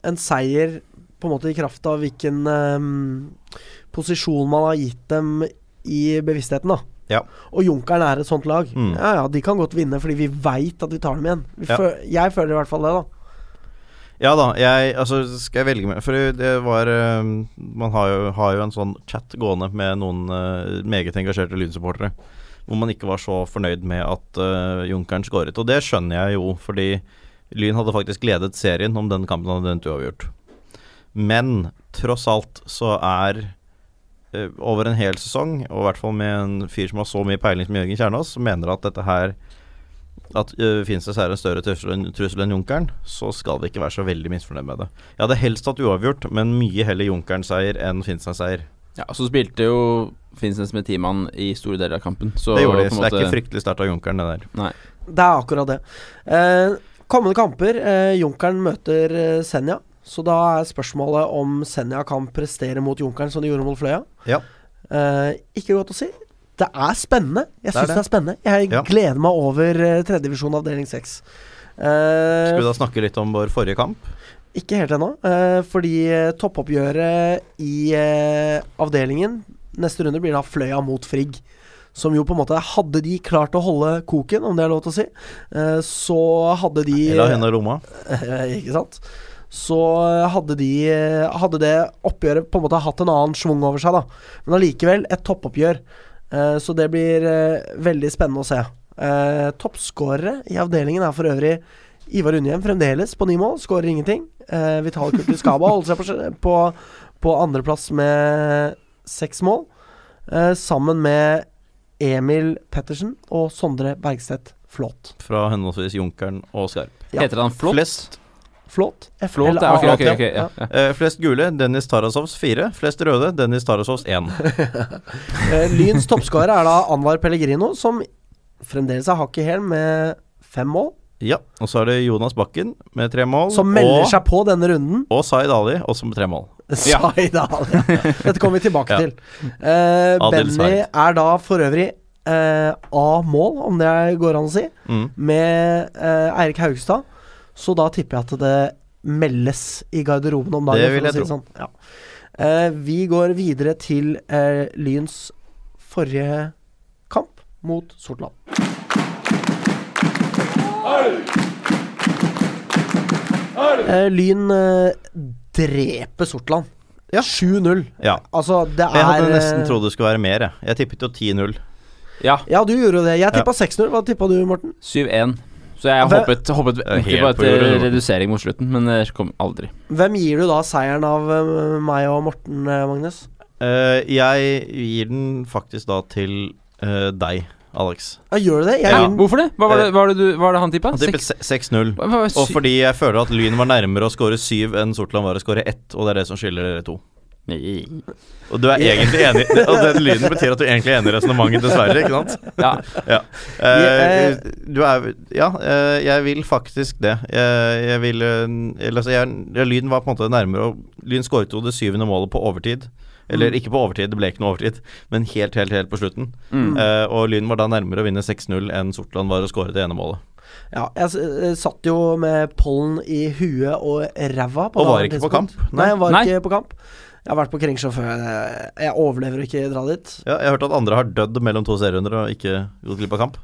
[SPEAKER 1] en seier på en måte i kraft av hvilken ehm, posisjon man har gitt dem i bevisstheten, da.
[SPEAKER 2] Ja.
[SPEAKER 1] Og Junkeren er et sånt lag.
[SPEAKER 2] Mm.
[SPEAKER 1] Ja ja, de kan godt vinne fordi vi veit at vi tar dem igjen. Vi
[SPEAKER 2] Ja.
[SPEAKER 1] fø- jeg føler i hvert fall det, da.
[SPEAKER 2] Ja da, jeg altså, skal jeg velge med For det var eh, Man har jo, har jo en sånn chat gående med noen eh, meget engasjerte lynsupportere. Hvor man ikke var så fornøyd med at eh, Junkeren skåret. Og det skjønner jeg jo, fordi Lyn hadde faktisk ledet serien om den kampen hadde endt uavgjort. Men tross alt så er eh, over en hel sesong, og i hvert fall med en fyr som har så mye peiling som Jørgen Kjernås, som mener at dette her at uh, Finnsnes er en større trussel enn, trussel enn Junkeren, så skal vi ikke være så veldig misfornøyd med det. Jeg hadde helst hatt uavgjort, men mye heller Junkeren-seier enn Finnsnes-seier.
[SPEAKER 3] Ja, og så spilte jo Finnsnes med ti mann i store deler av kampen. Så
[SPEAKER 2] Det gjorde de,
[SPEAKER 3] på en
[SPEAKER 2] så det er
[SPEAKER 3] måte-
[SPEAKER 2] ikke fryktelig sterkt av Junkeren, det der.
[SPEAKER 1] Det er akkurat det. Eh, kommende kamper. Eh, Junkeren møter eh, Senja. Så da er spørsmålet om Senja kan prestere mot Junkeren som de gjorde mot Fløya.
[SPEAKER 2] Ja.
[SPEAKER 1] Eh, ikke godt å si. Det er spennende. Jeg
[SPEAKER 2] Det
[SPEAKER 1] syns
[SPEAKER 2] er
[SPEAKER 1] det.
[SPEAKER 2] det.
[SPEAKER 1] er spennende. Jeg
[SPEAKER 2] Ja.
[SPEAKER 1] gleder meg over eh, tredjedivisjon avdeling seks. Eh,
[SPEAKER 2] Skal vi da snakke litt om vår forrige kamp?
[SPEAKER 1] Ikke helt ennå, eh, fordi eh, toppoppgjøret i eh, avdelingen neste runde blir da Fløya mot Frigg. Som jo på en måte Hadde de klart å holde koken, om det er lov til å si, eh, så hadde de
[SPEAKER 2] Eller henne Roma?
[SPEAKER 1] Eh, Ikke sant? Så eh, hadde de eh, Hadde det oppgjøret på en måte hatt en annen schwung over seg, da. Men allikevel et toppoppgjør. Eh, Så det blir eh, veldig spennende å se. Eh, Toppskårere i avdelingen er for øvrig Ivar Unnhjem fremdeles på ni mål, skårer ingenting. Eh, Vital Kurtiskaba holder seg på, på, på andreplass med seks mål. eh, Sammen med Emil Pettersen og Sondre Bergstedt Flåt.
[SPEAKER 2] Fra henholdsvis Junkeren og Skarp.
[SPEAKER 1] Ja.
[SPEAKER 3] Heter han Flått?
[SPEAKER 2] Flest,
[SPEAKER 1] Flåt?
[SPEAKER 3] Flått, ja, ok, ok, ok, ja. ja.
[SPEAKER 2] eh, flest gule, Dennis Tarasovs fire. Flest røde, Dennis Tarasovs én.
[SPEAKER 1] Eh, Lyns toppskårer er da Anwar Pellegrino, som fremdeles er hakk i hæl med fem mål.
[SPEAKER 2] Ja. Og så er det Jonas Bakken med tre mål.
[SPEAKER 1] Som melder
[SPEAKER 2] og,
[SPEAKER 1] seg på denne runden.
[SPEAKER 2] og Zaid Ali, også med tre mål.
[SPEAKER 3] Ja.
[SPEAKER 1] Zaid Ali. Dette kommer vi tilbake
[SPEAKER 2] Ja.
[SPEAKER 1] til. Eh,
[SPEAKER 2] Adil
[SPEAKER 1] Benny
[SPEAKER 2] Zaid.
[SPEAKER 1] er da for øvrig eh, A-mål, om det går an å si,
[SPEAKER 2] Mm.
[SPEAKER 1] med eh, Eirik Haugstad. Så da tipper jeg at det meldes i garderoben om dagen.
[SPEAKER 2] Det
[SPEAKER 1] for
[SPEAKER 2] vil
[SPEAKER 1] å
[SPEAKER 2] jeg
[SPEAKER 1] si det
[SPEAKER 2] tro.
[SPEAKER 1] sånn. Ja. Eh, vi går videre til eh, Lyns forrige kamp mot Sortland. Eh, Lyn eh, dreper Sortland. 7-0.
[SPEAKER 2] Ja.
[SPEAKER 1] Altså, det er
[SPEAKER 2] Jeg hadde nesten trodd det skulle være mer, jeg. Jeg tippet jo 10-0.
[SPEAKER 3] ja
[SPEAKER 1] Ja, du gjorde det. Jeg
[SPEAKER 2] Ja.
[SPEAKER 1] tippa 6-0. Hva tippa du, Morten?
[SPEAKER 3] 7-1. Så jeg
[SPEAKER 1] Hva-
[SPEAKER 3] hoppet, hoppet
[SPEAKER 2] er
[SPEAKER 3] egentlig
[SPEAKER 2] helt
[SPEAKER 3] på
[SPEAKER 2] på jordet,
[SPEAKER 3] et
[SPEAKER 2] Morten.
[SPEAKER 3] redusering mot slutten, men det kom aldri.
[SPEAKER 1] Hvem gir du da seieren av eh, meg og Morten, eh, Magnus?
[SPEAKER 2] Eh, jeg gir den faktisk da til eh, deg, Alex.
[SPEAKER 1] Ja, gjør du det? Jeg
[SPEAKER 2] Ja.
[SPEAKER 1] gir den-
[SPEAKER 3] Hvorfor det? Hva var det, hva var det, du, hva var det han tippa?
[SPEAKER 2] Eh, Han tippet se- 6-0.
[SPEAKER 3] Hva- hva-
[SPEAKER 2] Og
[SPEAKER 3] sy-
[SPEAKER 2] fordi jeg føler at Lyn var nærmere å score 7 enn Sortland var å score 1, og det er det som skiller dere to.
[SPEAKER 3] Nei.
[SPEAKER 2] Og du er egentlig enig Og den lyden betyr at du egentlig er enig i resonnementet, dessverre, ikke sant?
[SPEAKER 3] Ja,
[SPEAKER 2] Ja. Eh, du er Ja, eh, jeg vil faktisk det. Jeg, jeg vil eh, Eller altså, jeg, ja, Lyn var på en måte nærmere å Lyn skåret jo det syvende målet på overtid.
[SPEAKER 1] Mm.
[SPEAKER 2] Eller ikke på overtid, det ble ikke noe overtid, men helt, helt, helt på slutten.
[SPEAKER 3] Mm.
[SPEAKER 2] Eh, og Lyn var da nærmere å vinne 6-0 enn Sortland var å skåre det ene målet.
[SPEAKER 1] Ja, jeg s- eh, satt jo med pollen i huet og ræva.
[SPEAKER 2] Og var
[SPEAKER 1] daværende
[SPEAKER 2] ikke på
[SPEAKER 1] tidspunkt.
[SPEAKER 2] kamp, nei.
[SPEAKER 1] Nei, jeg var
[SPEAKER 3] Nei.
[SPEAKER 1] ikke på kamp. Jeg har vært på Kringsjå før. eh, Jeg overlever å ikke dra dit.
[SPEAKER 2] Ja, jeg har hørt at andre har dødd mellom to serierunder og ikke gått glipp av kamp.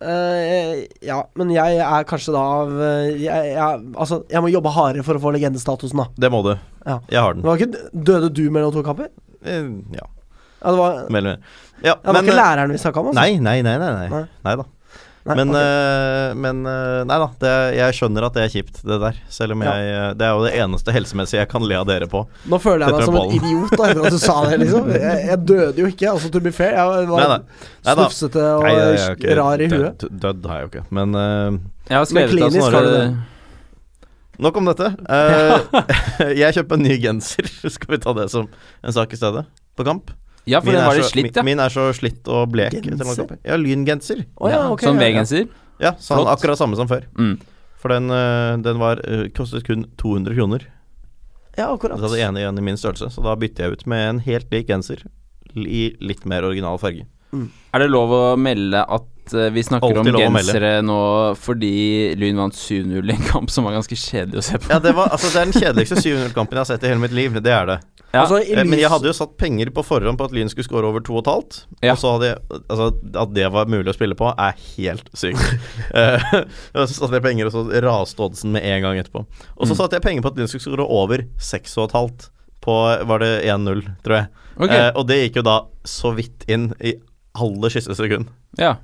[SPEAKER 1] Eh, ja, men jeg er kanskje da av eh, jeg, jeg, Altså, jeg må jobbe hardere for å få legendestatusen, da.
[SPEAKER 2] Det må du.
[SPEAKER 1] Ja.
[SPEAKER 2] Jeg har
[SPEAKER 1] Det
[SPEAKER 2] den.
[SPEAKER 1] var ikke, døde du mellom to kamper?
[SPEAKER 2] Eh, Ja,
[SPEAKER 1] Ja, det var, det
[SPEAKER 2] mellom ja,
[SPEAKER 1] var
[SPEAKER 2] men eh,
[SPEAKER 1] ikke læreren vi snakka om, altså?
[SPEAKER 2] Nei, nei, nei. nei, nei.
[SPEAKER 1] Nei.
[SPEAKER 2] nei da.
[SPEAKER 1] Nei,
[SPEAKER 2] Men,
[SPEAKER 1] ok.
[SPEAKER 2] eh, men eh, Nei da. Det, jeg skjønner at det er kjipt, det der. Selv om
[SPEAKER 1] Ja.
[SPEAKER 2] jeg eh, Det er jo det eneste helsemessige jeg kan le av dere på.
[SPEAKER 1] Nå føler jeg meg
[SPEAKER 2] Dette er
[SPEAKER 1] som en
[SPEAKER 2] ballen.
[SPEAKER 1] idiot da, etter at du sa det, liksom. Jeg, jeg døde jo ikke, altså to be fair. Jeg
[SPEAKER 2] Nei,
[SPEAKER 1] var
[SPEAKER 2] nei. Nei da.
[SPEAKER 1] snufsete og
[SPEAKER 2] Nei, jeg er ikke
[SPEAKER 1] rar i huet.
[SPEAKER 2] Dødd, dødd har jeg jo ikke. Men eh,
[SPEAKER 3] jeg har
[SPEAKER 1] Men
[SPEAKER 3] skrevet sånn at
[SPEAKER 1] klinisk har du
[SPEAKER 3] Snorre
[SPEAKER 1] det.
[SPEAKER 2] nok om dette. Eh, jeg kjøper en ny genser. Skal vi ta det som en sak i stedet? På kamp?
[SPEAKER 3] Ja, for
[SPEAKER 2] Min
[SPEAKER 3] den
[SPEAKER 2] er
[SPEAKER 3] var litt
[SPEAKER 2] så-
[SPEAKER 3] slitt, ja.
[SPEAKER 2] min, min er så slitt og blek. etter mange
[SPEAKER 1] Genser?
[SPEAKER 2] kamper. Ja, lyngenser.
[SPEAKER 1] Å ja, ok,
[SPEAKER 3] sånn
[SPEAKER 1] ja, ja.
[SPEAKER 3] V-genser.
[SPEAKER 2] Ja, sånn
[SPEAKER 3] Flott.
[SPEAKER 2] akkurat samme som før.
[SPEAKER 3] Mm.
[SPEAKER 2] For den, eh, den var eh, kostet kun 200 kroner.
[SPEAKER 1] Ja,
[SPEAKER 2] Så
[SPEAKER 1] akkurat.
[SPEAKER 2] jeg hadde ene igjen i min størrelse, så da bytter jeg ut med en helt lik genser l- i litt mer original farge.
[SPEAKER 3] Er det lov å melde at at eh, vi
[SPEAKER 2] Alltid
[SPEAKER 3] snakker om
[SPEAKER 2] lov å melde.
[SPEAKER 3] gensere nå fordi Lyn vant 7-0 i en kamp som var ganske kjedelig å se på.
[SPEAKER 2] Ja, det, var, altså, det er den kjedeligste 7-0-kampen jeg har sett i hele mitt liv. Det er det.
[SPEAKER 3] Ja,
[SPEAKER 1] Altså, i
[SPEAKER 2] Eh, Men jeg
[SPEAKER 1] lys-
[SPEAKER 2] hadde jo satt penger på forhånd på at Lyn skulle score over 2,5.
[SPEAKER 3] Ja.
[SPEAKER 2] Og så hadde jeg, altså, At det var mulig å spille på, er helt sykt. Eh, og så satte jeg penger, og så raste oddsen med en gang etterpå. Og så
[SPEAKER 3] Mm.
[SPEAKER 2] satte jeg penger på at Lyn skulle score over 6,5 på Var det 1-0, tror jeg.
[SPEAKER 3] Ok.
[SPEAKER 2] Eh, og det gikk jo da så vidt inn i aller siste sekund.
[SPEAKER 3] ja.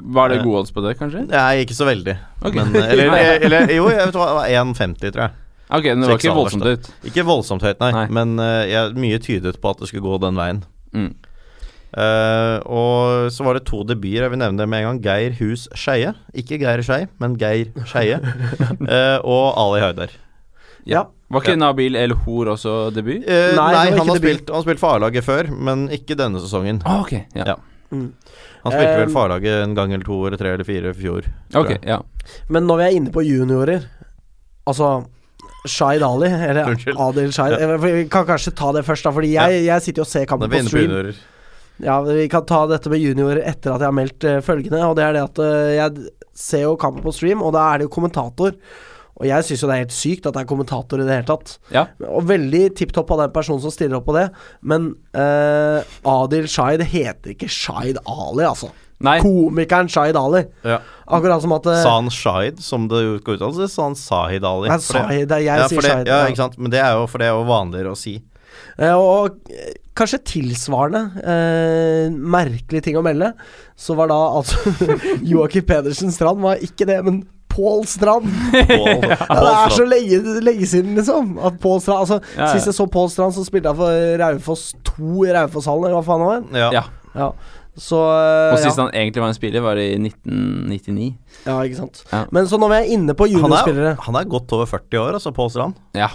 [SPEAKER 3] Var det
[SPEAKER 2] eh,
[SPEAKER 3] gode odds på det, kanskje?
[SPEAKER 2] Nei, ikke så veldig.
[SPEAKER 3] Ok.
[SPEAKER 2] Men, eh, eller, eller Jo, jeg vet hva, det var 1,50, tror jeg.
[SPEAKER 3] Ok, men det var
[SPEAKER 2] seks
[SPEAKER 3] ikke
[SPEAKER 2] aller
[SPEAKER 3] voldsomt ut.
[SPEAKER 2] Ikke voldsomt høyt, nei,
[SPEAKER 3] Nei.
[SPEAKER 2] men eh, jeg, mye tydet på at det skulle gå den veien.
[SPEAKER 3] Mm.
[SPEAKER 2] Eh, og så var det to debuter, jeg vil nevne det med en gang. Geir Hus Skeie. Ikke Geir Skei, men Geir Skeie. Eh, og Ali Haidar.
[SPEAKER 1] Ja.
[SPEAKER 3] Var ikke Nabil El Hor også debut?
[SPEAKER 2] Eh,
[SPEAKER 1] Nei,
[SPEAKER 2] nei,
[SPEAKER 1] det var
[SPEAKER 2] han,
[SPEAKER 1] ikke
[SPEAKER 2] har
[SPEAKER 1] debut.
[SPEAKER 2] spilt, han har spilt for A-laget før, men ikke denne sesongen.
[SPEAKER 3] Å, Ah, ok. Ja.
[SPEAKER 2] Ja.
[SPEAKER 1] Mm.
[SPEAKER 2] Han spilte
[SPEAKER 1] Eh,
[SPEAKER 2] vel for A-laget en gang eller to eller tre eller fire i fjor. tror
[SPEAKER 3] Ok,
[SPEAKER 2] jeg.
[SPEAKER 3] ja.
[SPEAKER 1] Men når vi er inne på juniorer Altså Shahid Ali, eller
[SPEAKER 2] Unnskyld.
[SPEAKER 1] Adil Shahid eh, for Vi kan kanskje ta det først, da, fordi jeg, jeg sitter jo og ser
[SPEAKER 2] Da
[SPEAKER 1] kampen
[SPEAKER 2] er vi
[SPEAKER 1] på
[SPEAKER 2] inne på
[SPEAKER 1] stream.
[SPEAKER 2] juniorer.
[SPEAKER 1] Ja, Vi kan ta dette med juniorer etter at jeg har meldt eh, følgende, og det er det at eh, jeg ser jo kampen på stream, og da er det jo kommentator. Og jeg syns jo det er helt sykt at det er kommentator i det hele tatt.
[SPEAKER 3] Ja.
[SPEAKER 1] Og veldig tipp topp av den personen som stiller opp på det, men eh, Adil Shahid heter ikke Shahid Ali, altså.
[SPEAKER 3] Nei.
[SPEAKER 1] Komikeren Shahid Ali.
[SPEAKER 2] Ja.
[SPEAKER 1] Akkurat som at eh,
[SPEAKER 2] Sa han Shahid, som det skal uttales, eller sa han Sahid Ali?
[SPEAKER 1] Nei,
[SPEAKER 2] For det-
[SPEAKER 1] Shahid, jeg
[SPEAKER 2] ja, for
[SPEAKER 1] sier
[SPEAKER 2] det,
[SPEAKER 1] Shahid.
[SPEAKER 2] ja,
[SPEAKER 1] ja.
[SPEAKER 2] ikke sant? Men det er jo for det er jo vanligere å si.
[SPEAKER 1] Eh, Og eh, kanskje tilsvarende eh, merkelig ting å melde, så var da altså Joakim Pedersen Strand var ikke det, men Pål Strand!
[SPEAKER 2] Pål-
[SPEAKER 1] Ja, det er
[SPEAKER 2] Pål
[SPEAKER 1] så lenge, lenge siden, liksom. At Pål Strand Altså,
[SPEAKER 3] Ja, ja.
[SPEAKER 1] sist jeg så Pål Strand, så spilte han for Raufoss 2 i Raufosshallen, eller hva faen det var.
[SPEAKER 2] Strand. Ja.
[SPEAKER 3] Ja.
[SPEAKER 1] Ja. Så eh,
[SPEAKER 3] Og sist
[SPEAKER 1] ja.
[SPEAKER 3] han egentlig var en spiller, var i 1999.
[SPEAKER 1] ja, ikke sant.
[SPEAKER 3] Ja.
[SPEAKER 1] Men så når vi er inne på
[SPEAKER 2] Han, er,
[SPEAKER 1] juniorspillere
[SPEAKER 2] han er godt over 40 år, altså, Pål Strand.
[SPEAKER 3] Ja.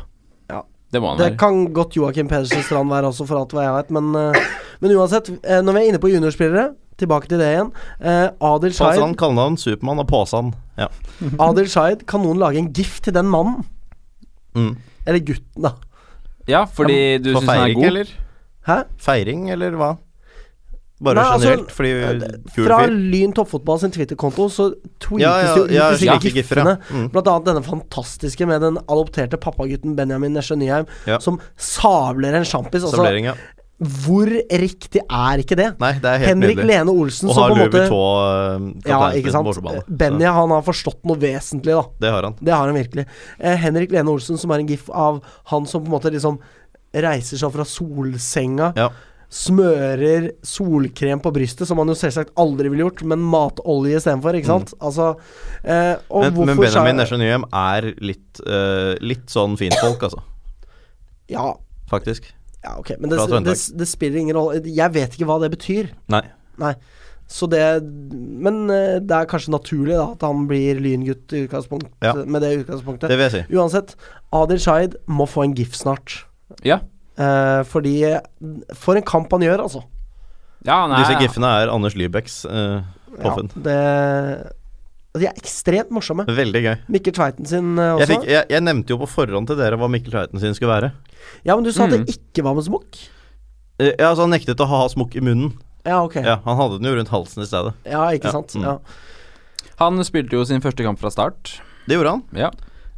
[SPEAKER 1] Ja.
[SPEAKER 3] Det må han
[SPEAKER 1] Det
[SPEAKER 3] være.
[SPEAKER 1] kan godt Joakim Pedersen Strand være også, for alt hva jeg vet. Men, eh, men uansett, eh, når vi er inne på juniorspillere, tilbake til det igjen. Eh, Adil
[SPEAKER 2] Pål
[SPEAKER 1] Shahid
[SPEAKER 2] Strand kaller han Supermann og Påsan. Ja.
[SPEAKER 1] Adil Shahid, kan noen lage en gif til den mannen?
[SPEAKER 2] Mm.
[SPEAKER 1] Eller gutten, da.
[SPEAKER 3] Ja, fordi du
[SPEAKER 2] For
[SPEAKER 3] syns han er
[SPEAKER 2] feiring,
[SPEAKER 3] god.
[SPEAKER 2] eller?
[SPEAKER 1] Hæ?
[SPEAKER 2] Feiring, eller hva? Bare
[SPEAKER 1] Nei, altså,
[SPEAKER 2] generelt, fordi kul
[SPEAKER 1] Fra
[SPEAKER 2] fyr.
[SPEAKER 1] Lyn Toppfotball sin Twitter-konto så tweetes
[SPEAKER 2] Ja, ja,
[SPEAKER 1] det
[SPEAKER 2] ja,
[SPEAKER 1] ut disse
[SPEAKER 2] ja,
[SPEAKER 1] giffene.
[SPEAKER 2] giffer, ja. Mm.
[SPEAKER 1] Blant annet denne fantastiske med den adopterte pappagutten Benjamin Nesje Nyheim
[SPEAKER 2] Ja.
[SPEAKER 1] som sabler en sjampis. Altså,
[SPEAKER 2] Stablering, ja.
[SPEAKER 1] hvor riktig er ikke det?
[SPEAKER 2] Nei, det er helt
[SPEAKER 1] Henrik
[SPEAKER 2] nydelig.
[SPEAKER 1] Lene Olsen
[SPEAKER 2] Og
[SPEAKER 1] som
[SPEAKER 2] har
[SPEAKER 1] på en
[SPEAKER 2] Louis
[SPEAKER 1] måte Ja, ikke
[SPEAKER 2] Vuitton-kapteinspillet på bortebane.
[SPEAKER 1] sant. Eh, Benny han har forstått noe vesentlig, da.
[SPEAKER 2] Det har han.
[SPEAKER 1] Det har han virkelig. Eh, Henrik Lene Olsen, som er en gif av han som på en måte liksom reiser seg fra solsenga,
[SPEAKER 2] Ja.
[SPEAKER 1] smører solkrem på brystet, som han jo selvsagt aldri ville gjort, men matolje istedenfor, ikke sant? Altså eh, Og
[SPEAKER 2] Mm. Men, men
[SPEAKER 1] hvorfor
[SPEAKER 2] Benjamin
[SPEAKER 1] sa-
[SPEAKER 2] Nesje Nyhem er litt, eh, litt sånn finfolk, altså.
[SPEAKER 1] Ja,
[SPEAKER 2] Faktisk.
[SPEAKER 1] ja, ok. Men det,
[SPEAKER 2] Fra
[SPEAKER 1] det,
[SPEAKER 2] Trøndelag.
[SPEAKER 1] det, spiller ingen rolle. Jeg vet ikke hva det betyr.
[SPEAKER 2] Nei.
[SPEAKER 1] Nei. Så det Men eh, det er kanskje naturlig da at han blir lyngutt i utgangspunkt,
[SPEAKER 2] Ja.
[SPEAKER 1] med det utgangspunktet.
[SPEAKER 2] Det vil jeg si.
[SPEAKER 1] Uansett, Adil Shaid må få en gif snart.
[SPEAKER 3] Ja.
[SPEAKER 1] Eh, fordi For en kamp han gjør, altså.
[SPEAKER 3] Ja, han er
[SPEAKER 2] Disse giffene er Anders Lybecks eh, poffen.
[SPEAKER 1] det altså, De er ekstremt morsomme.
[SPEAKER 2] Veldig gøy.
[SPEAKER 1] Mikkel Tveiten sin eh, også.
[SPEAKER 2] Jeg, fikk, jeg, jeg nevnte jo på forhånd til dere hva Mikkel Tveiten sin skulle være.
[SPEAKER 1] Ja, men du sa at
[SPEAKER 3] Mm.
[SPEAKER 1] det ikke var med smokk?
[SPEAKER 2] Eh, Ja, altså Han nektet å ha smokk i munnen.
[SPEAKER 1] Ja, ok. Ja,
[SPEAKER 2] Ja, Han hadde den jo rundt halsen i stedet.
[SPEAKER 1] ikke
[SPEAKER 2] Ja,
[SPEAKER 1] sant.
[SPEAKER 2] mm.
[SPEAKER 1] Ja.
[SPEAKER 3] Han spilte jo sin første kamp fra start.
[SPEAKER 2] Det gjorde han.
[SPEAKER 3] Ja.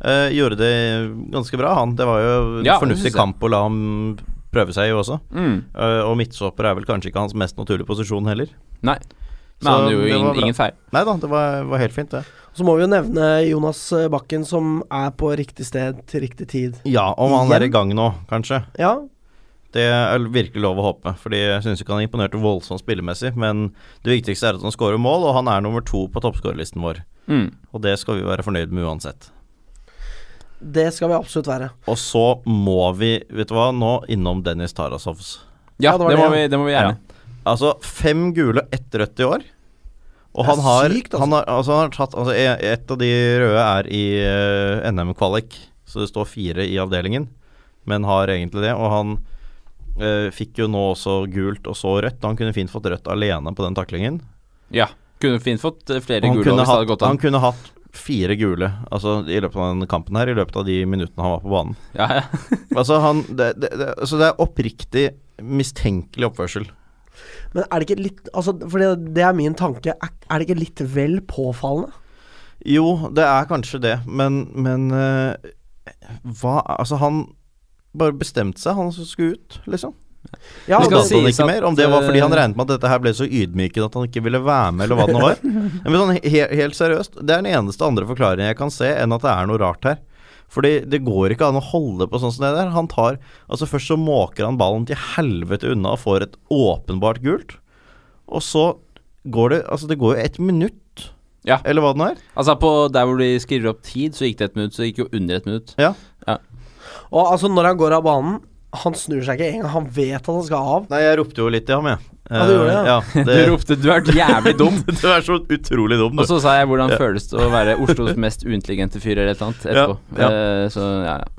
[SPEAKER 2] Eh, gjorde det ganske bra, han. Det var jo en
[SPEAKER 3] Ja, det
[SPEAKER 2] fornuftig
[SPEAKER 3] synes jeg.
[SPEAKER 2] kamp å la ham prøve seg i også.
[SPEAKER 3] Mm.
[SPEAKER 2] Eh, og midtstopper er vel kanskje ikke hans mest naturlige posisjon heller.
[SPEAKER 3] Nei.
[SPEAKER 2] Så
[SPEAKER 3] Men han gjorde
[SPEAKER 2] det
[SPEAKER 3] jo
[SPEAKER 2] var
[SPEAKER 3] ingen,
[SPEAKER 2] bra.
[SPEAKER 3] ingen feil.
[SPEAKER 2] Nei da, det var, var helt fint, det.
[SPEAKER 1] Så må vi jo nevne Jonas eh, Bakken, som er på riktig sted til riktig tid.
[SPEAKER 2] Ja, om han er
[SPEAKER 1] Igjen?
[SPEAKER 2] i gang nå, kanskje.
[SPEAKER 1] Ja,
[SPEAKER 2] Det er virkelig lov å håpe, Fordi jeg syns ikke han imponerte voldsomt spillemessig. Men det viktigste er at han scorer mål, og han er nummer to på toppskårerlisten vår.
[SPEAKER 3] Mm.
[SPEAKER 2] Og det skal vi være fornøyd med uansett.
[SPEAKER 1] det skal vi absolutt være.
[SPEAKER 2] Og så må vi, vet du hva, nå innom Dennis Tarasovs.
[SPEAKER 3] Ja,
[SPEAKER 1] Ja, det
[SPEAKER 3] det,
[SPEAKER 1] var
[SPEAKER 3] må
[SPEAKER 1] det.
[SPEAKER 3] vi, det må vi gjerne.
[SPEAKER 2] Altså fem gule, ett rødt i år.
[SPEAKER 1] Det
[SPEAKER 2] Og
[SPEAKER 1] er
[SPEAKER 2] han har,
[SPEAKER 1] sykt, altså.
[SPEAKER 2] han har, altså, han har tatt altså, e- Et av de røde er i eh, NM-kvalik, så det står fire i avdelingen. Men har egentlig det. Og han eh, fikk jo nå også gult og så rødt. Han kunne fint fått rødt alene på den taklingen.
[SPEAKER 3] Ja. Kunne fint fått eh, flere
[SPEAKER 2] Han
[SPEAKER 3] gule
[SPEAKER 2] kunne,
[SPEAKER 3] hvis det
[SPEAKER 2] hatt,
[SPEAKER 3] hadde gått
[SPEAKER 2] han
[SPEAKER 3] an.
[SPEAKER 2] kunne hatt fire gule altså, i løpet av den kampen her, i løpet av de minuttene han var på banen.
[SPEAKER 3] Ja, ja.
[SPEAKER 2] Altså, han, det, det, det, altså det er oppriktig mistenkelig oppførsel.
[SPEAKER 1] Men er det ikke litt altså, For det, det er min tanke. Er, er det ikke litt vel påfallende?
[SPEAKER 2] Jo, det er kanskje det, men, men eh, hva Altså, han bare bestemte seg, han som skulle ut, liksom.
[SPEAKER 1] Ja, altså, det,
[SPEAKER 2] det
[SPEAKER 3] skal si-
[SPEAKER 2] han
[SPEAKER 3] sies
[SPEAKER 2] ikke
[SPEAKER 3] at,
[SPEAKER 2] mer, Om det var fordi han
[SPEAKER 3] eh,
[SPEAKER 2] regnet med at dette her ble så ydmykende at han ikke ville være med, eller hva det nå var. Men sånn, he helt seriøst, det er den eneste andre forklaringen jeg kan se, enn at det er noe rart her. Fordi det går ikke an å holde på sånn som det der. Han tar Altså, først så måker han ballen til helvete unna og får et åpenbart gult. Og så går det Altså, det går jo ett minutt,
[SPEAKER 3] Ja.
[SPEAKER 2] eller hva det nå er.
[SPEAKER 3] Altså på Der hvor de skriver opp tid, så gikk det et minutt. Så gikk jo under et minutt.
[SPEAKER 2] Ja.
[SPEAKER 1] og altså, når han går av banen Han snur seg ikke engang. Han vet at han skal av.
[SPEAKER 2] Nei, jeg ropte jo litt til ham, jeg.
[SPEAKER 1] Ja, du gjorde det, ja.
[SPEAKER 2] Eh, ja,
[SPEAKER 3] Du ropte 'du er jævlig dum',
[SPEAKER 2] Du er så utrolig dum,
[SPEAKER 3] og
[SPEAKER 2] du.
[SPEAKER 3] så sa jeg 'hvordan
[SPEAKER 2] Ja.
[SPEAKER 3] føles det å være Oslos mest uintelligente fyr', eller et eller annet, etterpå.
[SPEAKER 2] ja.
[SPEAKER 3] Eh, så ja, ja.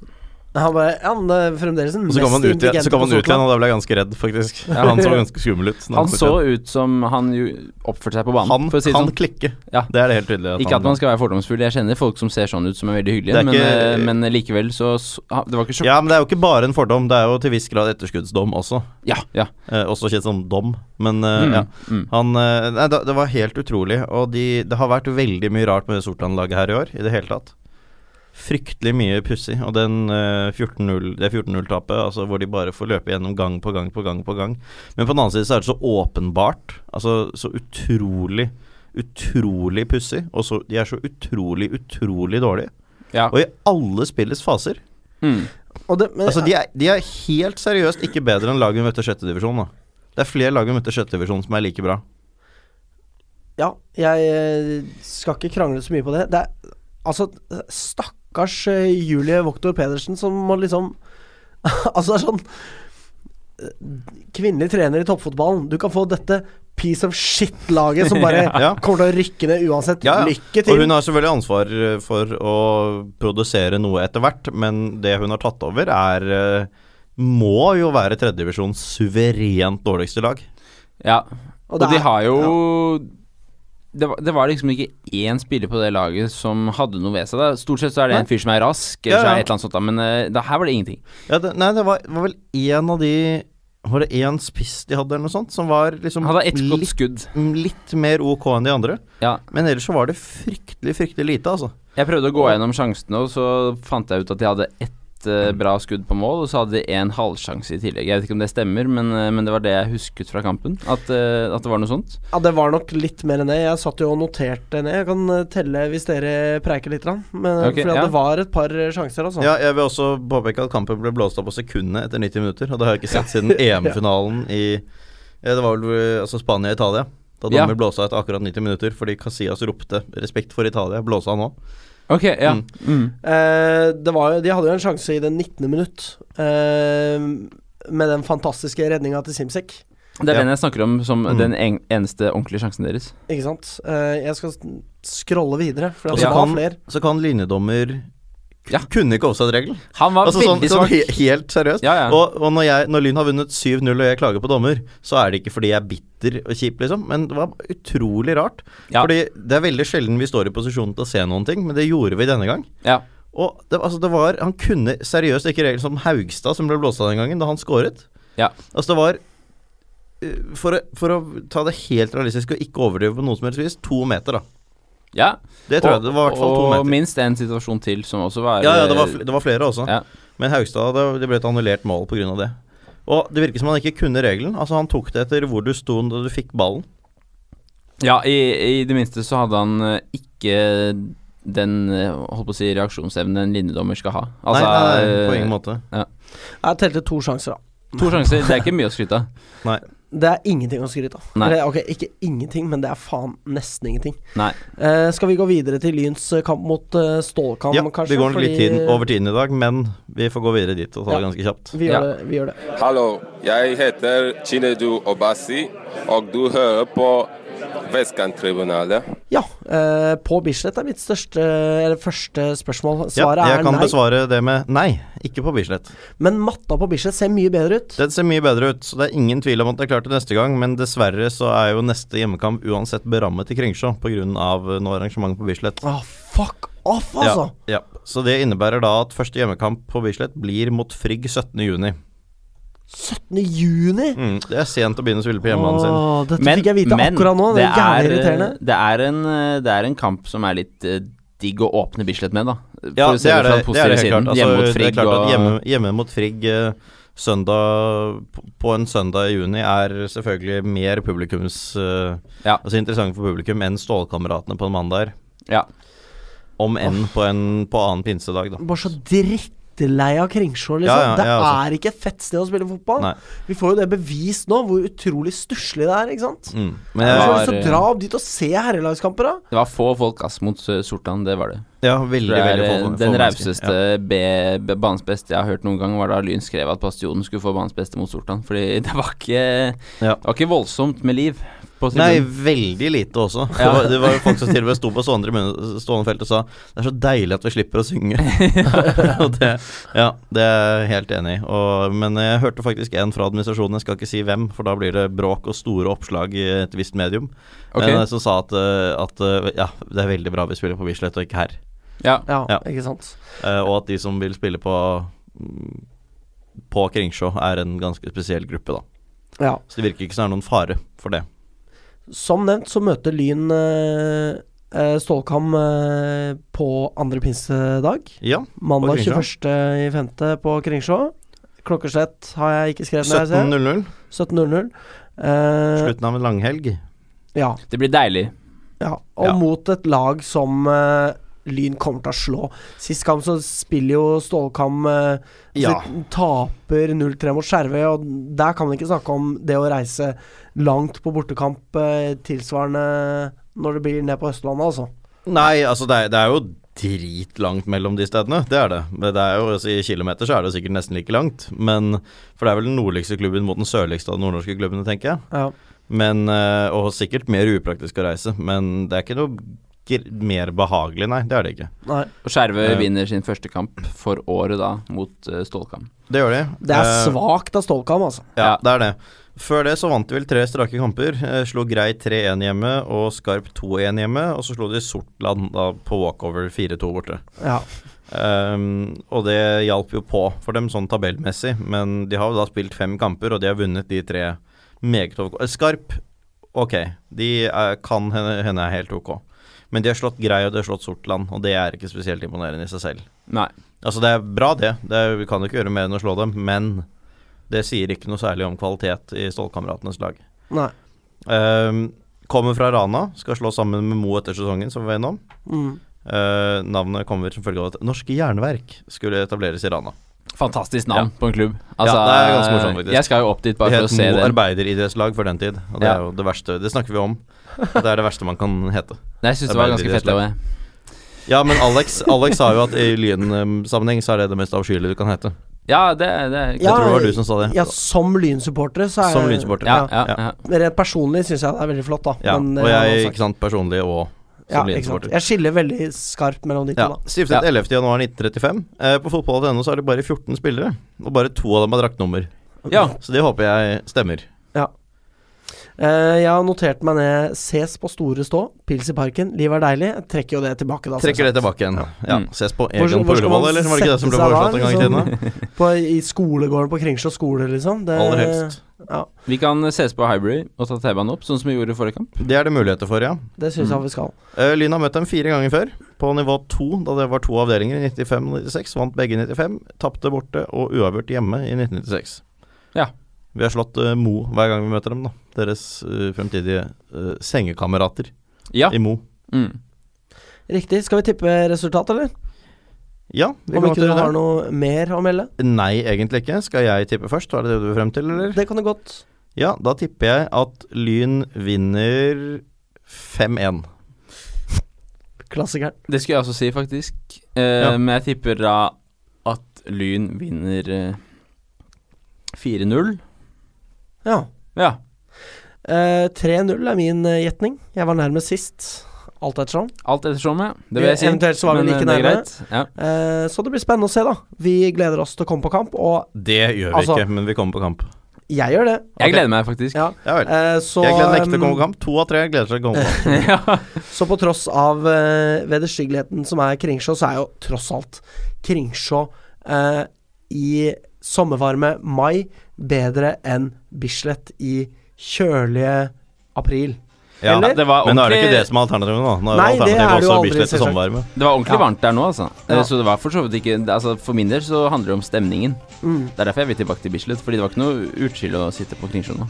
[SPEAKER 1] Han bare Ja, men det er fremdeles den
[SPEAKER 2] Og så kom han
[SPEAKER 1] mest
[SPEAKER 2] ut igjen,
[SPEAKER 1] intelligente
[SPEAKER 2] så kom
[SPEAKER 1] på
[SPEAKER 2] han ut igjen
[SPEAKER 1] Sortland.
[SPEAKER 2] og da ble jeg ganske redd, faktisk. Han så ganske skummel ut. når kom
[SPEAKER 3] Han
[SPEAKER 2] ut
[SPEAKER 3] så
[SPEAKER 2] igjen.
[SPEAKER 3] ut som han jo oppførte seg på banen,
[SPEAKER 2] han,
[SPEAKER 3] for å si det
[SPEAKER 2] han
[SPEAKER 3] sånn.
[SPEAKER 2] klikker.
[SPEAKER 3] Ja.
[SPEAKER 2] Det er det helt tydelig.
[SPEAKER 3] Ikke at man skal være fordomsfull, jeg kjenner folk som ser sånn ut, som er veldig
[SPEAKER 2] Det
[SPEAKER 3] hyggelige,
[SPEAKER 2] er
[SPEAKER 3] men,
[SPEAKER 2] ikke-
[SPEAKER 3] eh, men likevel så, så ha- Det var ikke sjokk.
[SPEAKER 2] Ja, men det er jo ikke bare en fordom. Det er jo til viss grad etterskuddsdom også.
[SPEAKER 3] Ja, ja.
[SPEAKER 2] Eh, også kjent som dom, men eh,
[SPEAKER 3] Mm,
[SPEAKER 2] ja.
[SPEAKER 3] mm.
[SPEAKER 2] Han eh, Nei, da- det var helt utrolig. Og de, det har vært veldig mye rart med det Sortland-laget her i år, i det hele tatt. Fryktelig mye pussig. Og den eh, 14-0 det 14-0-tapet, altså hvor de bare får løpe gjennom gang på gang på gang på gang. Men på den annen side så er det så åpenbart. Altså så utrolig, utrolig pussig. Og så De er så utrolig, utrolig dårlige.
[SPEAKER 3] ja.
[SPEAKER 2] Og i alle spillets faser.
[SPEAKER 3] Mm.
[SPEAKER 1] Og det, men,
[SPEAKER 2] Altså, de er, de er helt seriøst ikke bedre enn laget vi møtte i sjette divisjon, da. Det er flere lag vi møtte i sjette divisjon som er like bra.
[SPEAKER 1] Ja, jeg eh, skal ikke krangle så mye på det. Det er altså Stakkars eh, Julie Voktor Pedersen som må liksom Altså, det er sånn eh, Kvinnelig trener i toppfotballen. Du kan få dette piece of shit-laget som bare
[SPEAKER 2] Ja.
[SPEAKER 1] kommer til å rykke ned uansett.
[SPEAKER 2] Ja, ja.
[SPEAKER 1] Lykke
[SPEAKER 2] Og
[SPEAKER 1] til!
[SPEAKER 2] hun har selvfølgelig ansvar eh, for å produsere noe etter hvert, men det hun har tatt over, er eh, Må jo være tredjedivisjons suverent dårligste lag.
[SPEAKER 3] ja.
[SPEAKER 1] Og
[SPEAKER 3] Og,
[SPEAKER 1] det
[SPEAKER 3] de
[SPEAKER 1] er-
[SPEAKER 3] har jo det, var, det var liksom ikke én spiller på det laget som hadde noe ved seg. Da. Stort sett så er det
[SPEAKER 2] Nei.
[SPEAKER 3] en fyr som er rask,
[SPEAKER 2] Ja,
[SPEAKER 3] eller så er
[SPEAKER 2] ja.
[SPEAKER 3] det et eller annet sånt, da. men eh, da, her var det ingenting.
[SPEAKER 2] Ja, det, nei, det var, var vel én av de Var det én spiss de hadde, eller noe sånt, som var liksom
[SPEAKER 3] Han hadde ett godt
[SPEAKER 2] litt,
[SPEAKER 3] skudd.
[SPEAKER 2] litt mer ok enn de andre?
[SPEAKER 3] Ja.
[SPEAKER 2] Men ellers så var det fryktelig, fryktelig lite, altså.
[SPEAKER 3] Jeg prøvde å gå gjennom sjansene, og så fant jeg ut at de hadde ett eh, bra skudd på mål, og så hadde de en halvsjanse i tillegg. Jeg vet ikke om det stemmer, men, eh, men det var det jeg husket fra kampen. At, eh, at det var noe sånt.
[SPEAKER 1] Ja, det var nok litt mer enn det. Jeg satt jo og noterte ned. Jeg kan eh, telle hvis dere preiker litt. grann. Men,
[SPEAKER 3] Ok,
[SPEAKER 1] fordi at
[SPEAKER 3] ja.
[SPEAKER 1] det var et par eh, sjanser, altså.
[SPEAKER 2] Ja, jeg vil også påpeke at kampen ble blåst av på sekundet etter 90 minutter. Og det har jeg ikke sett siden EM-finalen i eh, Det var vel eh, altså Spania-Italia. Da
[SPEAKER 3] Ja.
[SPEAKER 2] dommer blåste av etter akkurat 90 minutter fordi Casillas ropte 'respekt for Italia', blåsa han òg.
[SPEAKER 3] Ok, ja.
[SPEAKER 2] Mm.
[SPEAKER 3] Mm.
[SPEAKER 1] Eh, det var, jo- de hadde jo en sjanse i det 19. minutt eh, med den fantastiske redninga til Simsek.
[SPEAKER 3] Det er
[SPEAKER 2] Ja.
[SPEAKER 3] den jeg snakker om som
[SPEAKER 2] Mm.
[SPEAKER 3] den en eneste ordentlige sjansen deres.
[SPEAKER 1] Ikke sant? Eh, jeg skal s- scrolle videre, for
[SPEAKER 2] Og
[SPEAKER 1] det
[SPEAKER 2] så
[SPEAKER 1] var
[SPEAKER 2] kan-
[SPEAKER 1] flere.
[SPEAKER 2] Så kan linjedommer
[SPEAKER 3] Ja.
[SPEAKER 2] Kunne ikke offside-regelen.
[SPEAKER 3] Han var
[SPEAKER 2] Altså sånn,
[SPEAKER 3] veldig
[SPEAKER 2] sånn
[SPEAKER 3] svak.
[SPEAKER 2] he helt seriøst.
[SPEAKER 3] Ja, ja.
[SPEAKER 2] Og, og når, jeg, når Lyn har vunnet 7-0 og jeg klager på dommer, så er det ikke fordi jeg er bitter og kjip, liksom. Men det var utrolig rart.
[SPEAKER 3] Ja.
[SPEAKER 2] Fordi det er veldig sjelden vi står i posisjon til å se noen ting, men det gjorde vi denne gang.
[SPEAKER 3] ja.
[SPEAKER 2] Og det, altså det var, Han kunne seriøst ikke regel som Haugstad, som ble blåst av den gangen, da han skåret.
[SPEAKER 3] Ja.
[SPEAKER 2] Altså, det var eh, for å, for å ta det helt realistisk og ikke overdrive på noe som helst vis, to meter, da.
[SPEAKER 3] ja.
[SPEAKER 2] Det tror jeg det var i hvert fall to
[SPEAKER 3] Og
[SPEAKER 2] meter.
[SPEAKER 3] minst en situasjon til som også var
[SPEAKER 2] Ja, ja det, var, fl- det var flere også.
[SPEAKER 3] Ja.
[SPEAKER 2] Men Haugstad det, det ble et annullert mål pga. det. Og det virker som han ikke kunne regelen. Altså Han tok det etter hvor du sto da du fikk ballen.
[SPEAKER 3] Ja, i, i det minste så hadde han eh, ikke den eh, holdt på å si reaksjonsevnen en linjedommer skal ha. Altså,
[SPEAKER 2] nei, nei, nei, på
[SPEAKER 3] eh,
[SPEAKER 2] ingen måte.
[SPEAKER 1] Jeg telte to sjanser, da.
[SPEAKER 3] To sjanser, det er ikke mye å skryte av.
[SPEAKER 1] Det er ingenting å skryte av.
[SPEAKER 3] Nei.
[SPEAKER 1] Eller, ok, ikke ingenting, men det er faen nesten ingenting.
[SPEAKER 3] Nei.
[SPEAKER 1] Eh, skal vi gå videre til Lyns eh, kamp mot eh, Stålkamp,
[SPEAKER 2] Ja,
[SPEAKER 1] kanskje?
[SPEAKER 2] det går nok litt
[SPEAKER 1] Fordi-
[SPEAKER 2] tiden, over tiden i dag, men vi får gå videre dit og ta det
[SPEAKER 1] Ja.
[SPEAKER 2] ganske kjapt.
[SPEAKER 1] Vi gjør,
[SPEAKER 3] Ja.
[SPEAKER 1] det, vi gjør det.
[SPEAKER 6] Hallo, jeg heter Chinedu Obasi, og du hører på Vestkanttribunalet.
[SPEAKER 1] Ja. Eh, på Bislett er mitt største, eller første spørsmål.
[SPEAKER 2] Ja,
[SPEAKER 1] Svaret
[SPEAKER 2] jeg
[SPEAKER 1] er
[SPEAKER 2] kan
[SPEAKER 1] nei.
[SPEAKER 2] besvare det med nei, ikke på Bislett.
[SPEAKER 1] Men matta på Bislett ser mye bedre ut.
[SPEAKER 2] Den ser mye bedre ut, så det er ingen tvil om at det er klart til neste gang, men dessverre så er jo neste hjemmekamp uansett berammet i Kringsjå pga. noe arrangement på Bislett.
[SPEAKER 1] Ah, fuck off, altså!
[SPEAKER 2] Ja, ja. Så det innebærer da at første hjemmekamp på Bislett blir mot Frigg 17.6.
[SPEAKER 1] 17. juni!
[SPEAKER 2] Mm, det er sent å begynne å spille på hjemmebanen sin.
[SPEAKER 1] Åh, dette fikk jeg vite akkurat nå. Det er
[SPEAKER 2] eh,
[SPEAKER 1] jævlig irriterende.
[SPEAKER 3] Det er, en, eh, det er en kamp som er litt eh, digg å åpne Bislett med, da. For
[SPEAKER 2] Ja,
[SPEAKER 3] å se
[SPEAKER 2] det er det, det,
[SPEAKER 3] fra den
[SPEAKER 2] er
[SPEAKER 3] positive
[SPEAKER 2] det helt
[SPEAKER 3] siden.
[SPEAKER 2] klart. Altså, det er klart
[SPEAKER 3] hjemme mot Frigg og
[SPEAKER 2] at hjemme, hjemme mot Frigg eh, søndag, på- på en søndag i juni er selvfølgelig mer publikums eh,
[SPEAKER 3] Ja.
[SPEAKER 2] Altså interessant for publikum enn Stålkameratene på en mandag. er.
[SPEAKER 3] Ja.
[SPEAKER 2] Om enn på, en, på annen pinsedag, da.
[SPEAKER 1] Bare så drittlei av Kringsjå, liksom.
[SPEAKER 2] Ja, ja,
[SPEAKER 1] det
[SPEAKER 2] jeg også.
[SPEAKER 1] er ikke et fett sted å spille fotball.
[SPEAKER 2] Nei.
[SPEAKER 1] Vi får jo det bevist nå, hvor utrolig stusslig det er, ikke sant?
[SPEAKER 2] Mm. Men
[SPEAKER 1] Jeg
[SPEAKER 2] jeg,
[SPEAKER 1] har
[SPEAKER 3] var-
[SPEAKER 1] lyst til å dra opp dit og se herrelagskamper, da.
[SPEAKER 3] Det var få folk ass mot eh, Sortland, det var det.
[SPEAKER 2] ja, veldig,
[SPEAKER 3] Det er,
[SPEAKER 2] veldig
[SPEAKER 3] eh,
[SPEAKER 2] få- få
[SPEAKER 3] den
[SPEAKER 2] mennesker.
[SPEAKER 3] rauseste B- B- banens beste jeg har hørt noen gang, var da Lyn skrev at Bastionen skulle få banens beste mot Sortland. Fordi det var ikke,
[SPEAKER 2] Ja.
[SPEAKER 3] det var ikke voldsomt med liv på
[SPEAKER 2] Nei,
[SPEAKER 3] tribunen.
[SPEAKER 2] veldig lite også. Det,
[SPEAKER 3] Ja.
[SPEAKER 2] var, det var jo folk som til og med sto på stående, tribune- stående felt og sa Det er så deilig at vi slipper å synge. og det, ja, det er jeg helt enig i. Og- Men jeg hørte faktisk en fra administrasjonen, jeg skal ikke si hvem, for da blir det bråk og store oppslag i et visst medium,
[SPEAKER 3] Ok.
[SPEAKER 2] men, eh, som sa at, eh, at eh, ja, det er veldig bra vi spiller på Bislett og ikke her.
[SPEAKER 3] Ja.
[SPEAKER 1] Ja,
[SPEAKER 2] Ja.
[SPEAKER 1] ikke sant.
[SPEAKER 2] Eh, Og at de som vil spille på mm, på Kringsjå er en ganske spesiell gruppe, da.
[SPEAKER 1] Ja.
[SPEAKER 2] Så det virker ikke som det er noen fare for det.
[SPEAKER 1] Som nevnt så møter Lyn eh, eh, Stålkam eh, på andre pinsedag.
[SPEAKER 2] Ja,
[SPEAKER 1] Mandag
[SPEAKER 2] Kringsjå.
[SPEAKER 1] 21.5. på Kringsjå. Klokkeslett har jeg ikke skrevet ned. jeg ser. 17.00.
[SPEAKER 2] 17.00.
[SPEAKER 1] Eh,
[SPEAKER 2] Slutten av en langhelg.
[SPEAKER 1] ja.
[SPEAKER 3] Det blir deilig.
[SPEAKER 1] Ja, og
[SPEAKER 2] Ja.
[SPEAKER 1] mot et lag som eh, Lyn kommer til å slå. Sist kamp så spiller jo Stålkam eh,
[SPEAKER 2] Ja.
[SPEAKER 1] så Taper 0-3 mot Skjervøy, og der kan man ikke snakke om det å reise langt på bortekamp eh, tilsvarende når det blir ned på Østlandet, altså.
[SPEAKER 2] Nei, altså det er, det er jo dritlangt mellom de stedene, det er det. Men det er jo, altså, I kilometer så er det jo sikkert nesten like langt, men For det er vel den nordligste klubben mot den sørligste av de nordnorske klubbene, tenker jeg.
[SPEAKER 1] Ja.
[SPEAKER 2] Men, eh, Og sikkert mer upraktisk å reise, men det er ikke noe gr- mer behagelig, nei. Det er det ikke.
[SPEAKER 1] Nei,
[SPEAKER 3] Og Skjervøy
[SPEAKER 2] Ja.
[SPEAKER 3] vinner sin første kamp for året da, mot eh, Stålkamp.
[SPEAKER 2] Det gjør de.
[SPEAKER 1] det er
[SPEAKER 2] Eh,
[SPEAKER 1] svakt av Stålkam, altså.
[SPEAKER 2] Ja,
[SPEAKER 3] Ja.
[SPEAKER 2] det er det. Før det så vant de vel tre strake kamper. Eh, slo Grei 3-1 hjemme og Skarp 2-1 hjemme, og så slo de Sortland da på walkover 4-2 borte.
[SPEAKER 1] Ja.
[SPEAKER 2] Ehm, og det hjalp jo på for dem sånn tabellmessig, men de har jo da spilt fem kamper, og de har vunnet de tre meget ok. Eh, Skarp, ok, de er, kan hende, hende er helt ok. Men de har slått Grei og de har slått Sortland, og det er ikke spesielt imponerende i seg selv.
[SPEAKER 3] Nei.
[SPEAKER 2] Altså, det er bra, det. det er, vi kan jo ikke gjøre mer enn å slå dem, men det sier ikke noe særlig om kvalitet i Stålkameratenes lag.
[SPEAKER 1] Nei.
[SPEAKER 2] Ehm, kommer fra Rana, skal slå sammen med Mo etter sesongen, som vi var innom.
[SPEAKER 1] Mm.
[SPEAKER 2] Eh, navnet kommer som følge av at Norske Jernverk skulle etableres i Rana.
[SPEAKER 3] Fantastisk navn på en klubb. Altså,
[SPEAKER 2] det er ganske morsomt, faktisk.
[SPEAKER 3] Jeg skal jo opp dit
[SPEAKER 2] Det
[SPEAKER 3] bare for å
[SPEAKER 2] het
[SPEAKER 3] se
[SPEAKER 2] Mo
[SPEAKER 3] det.
[SPEAKER 2] arbeideridrettslag før den tid, og det
[SPEAKER 3] Ja.
[SPEAKER 2] er jo det verste Det snakker vi om. at Det er det verste man kan hete.
[SPEAKER 3] Nei, Jeg syns det var ganske fett.
[SPEAKER 2] Arbeideridrettslag.
[SPEAKER 3] Det.
[SPEAKER 2] Ja, men Alex, Alex sa jo at i Lyn-sammenheng så er det det mest avskyelige du kan hete.
[SPEAKER 3] Ja, det, det er
[SPEAKER 1] Ja,
[SPEAKER 2] Jeg tror det var du som sa det.
[SPEAKER 1] Ja, som Lyn-supportere, så er
[SPEAKER 2] Som Lyn-supporter.
[SPEAKER 3] ja, ja, ja.
[SPEAKER 1] Rent personlig syns jeg det er veldig flott, da.
[SPEAKER 2] Ja,
[SPEAKER 1] Men, eh,
[SPEAKER 2] og
[SPEAKER 1] han har
[SPEAKER 2] jeg,
[SPEAKER 1] sagt-
[SPEAKER 2] ikke sant, personlig og som
[SPEAKER 1] ja, ikke sant.
[SPEAKER 2] Lyn-supporter.
[SPEAKER 1] Jeg skiller veldig skarpt mellom de to,
[SPEAKER 2] Ja,
[SPEAKER 1] da.
[SPEAKER 2] Stiftet 11.11.1935. Eh, på fotball.no så er det bare 14 spillere, og bare to av dem har draktnummer.
[SPEAKER 3] ja.
[SPEAKER 2] Så det håper jeg stemmer.
[SPEAKER 1] Eh, jeg har notert meg ned Ses på Store Stå, Pils i Parken, Liv er deilig. Jeg trekker jo det tilbake, da.
[SPEAKER 2] Trekker det tilbake igjen. Ja,
[SPEAKER 3] Mm.
[SPEAKER 2] Ses på
[SPEAKER 1] Hvor-
[SPEAKER 2] Egon
[SPEAKER 1] hvor
[SPEAKER 2] på
[SPEAKER 1] skal man
[SPEAKER 2] Ullevål, eller? Var det ikke det som ble
[SPEAKER 1] sette seg da,
[SPEAKER 2] foreslått en gang i
[SPEAKER 1] liksom?
[SPEAKER 2] tiden? da?
[SPEAKER 1] selvsagt. På, I skolegården på Kringsjå skole, liksom. Det,
[SPEAKER 2] Aller helst.
[SPEAKER 3] Vi kan ses på Hybrid og ta T-banen opp, sånn som vi gjorde i forrige kamp.
[SPEAKER 2] Det er det muligheter for, ja.
[SPEAKER 1] Det syns jeg vi skal.
[SPEAKER 2] Eh, Lyn har møtt dem fire ganger før, på nivå to, da det var to avdelinger i 95 og 96. Vant begge i 95, tapte borte og uavgjort hjemme i 1996.
[SPEAKER 3] Ja.
[SPEAKER 2] Vi har slått eh, Mo hver gang vi møter dem, da. Deres eh, fremtidige eh, sengekamerater
[SPEAKER 3] Ja.
[SPEAKER 2] i Mo.
[SPEAKER 3] Mm.
[SPEAKER 1] Riktig. Skal vi tippe resultat, eller?
[SPEAKER 2] Ja, vi
[SPEAKER 1] Om
[SPEAKER 2] kan
[SPEAKER 1] ikke
[SPEAKER 2] til
[SPEAKER 1] du
[SPEAKER 2] det.
[SPEAKER 1] har noe mer å melde?
[SPEAKER 2] Nei, egentlig ikke. Skal jeg tippe først? Er det det du vil frem til, eller?
[SPEAKER 1] Det kan du godt.
[SPEAKER 2] Ja, da tipper jeg at Lyn vinner 5-1.
[SPEAKER 1] Klassikeren.
[SPEAKER 3] Det skulle jeg også si, faktisk. Eh,
[SPEAKER 2] Ja.
[SPEAKER 3] Men jeg tipper da at Lyn vinner eh, 4-0.
[SPEAKER 1] Ja.
[SPEAKER 3] Ja.
[SPEAKER 1] Eh, 3-0 er min eh, gjetning. Jeg var nærmest sist, alt ettersom.
[SPEAKER 3] Alt ettersom, ja. Det vil jeg si.
[SPEAKER 1] Eventuelt så var vi
[SPEAKER 3] Men,
[SPEAKER 1] like
[SPEAKER 3] eh, det er
[SPEAKER 1] nærme.
[SPEAKER 3] greit. Ja.
[SPEAKER 1] Eh, så det blir spennende å se, da. Vi gleder oss til å komme på kamp, og
[SPEAKER 2] Det gjør vi
[SPEAKER 1] Altså-
[SPEAKER 2] ikke, men vi kommer på kamp.
[SPEAKER 1] jeg gjør det.
[SPEAKER 3] Jeg gleder meg faktisk.
[SPEAKER 1] Ja.
[SPEAKER 2] Ja vel.
[SPEAKER 1] Eh, så,
[SPEAKER 2] jeg gleder meg ikke til å komme
[SPEAKER 1] um,
[SPEAKER 2] på kamp. To av tre gleder seg til å komme på kamp.
[SPEAKER 3] Ja.
[SPEAKER 1] Så på tross av uh, vederstyggeligheten som er Kringsjå, så er jo tross alt Kringsjå eh, i sommervarme mai bedre enn Bislett i kjølige april.
[SPEAKER 2] Ja,
[SPEAKER 1] Eller?
[SPEAKER 3] Det var
[SPEAKER 2] Men nå er det ikke
[SPEAKER 3] ordentlig-
[SPEAKER 2] det som er alternativet nå. Nå er
[SPEAKER 1] Nei, det
[SPEAKER 2] alternativet
[SPEAKER 1] er det jo
[SPEAKER 2] også
[SPEAKER 1] aldri,
[SPEAKER 2] Bislett til
[SPEAKER 1] selvsagt.
[SPEAKER 2] sommervarme.
[SPEAKER 3] Det var ordentlig
[SPEAKER 1] Ja.
[SPEAKER 3] varmt der nå, altså.
[SPEAKER 1] Ja.
[SPEAKER 3] Eh, Så det var for så vidt ikke altså, For min del så handler det om stemningen.
[SPEAKER 1] Mm.
[SPEAKER 3] Det er derfor jeg vil tilbake til Bislett, fordi det var ikke noe utskill å sitte på Kringsjå nå.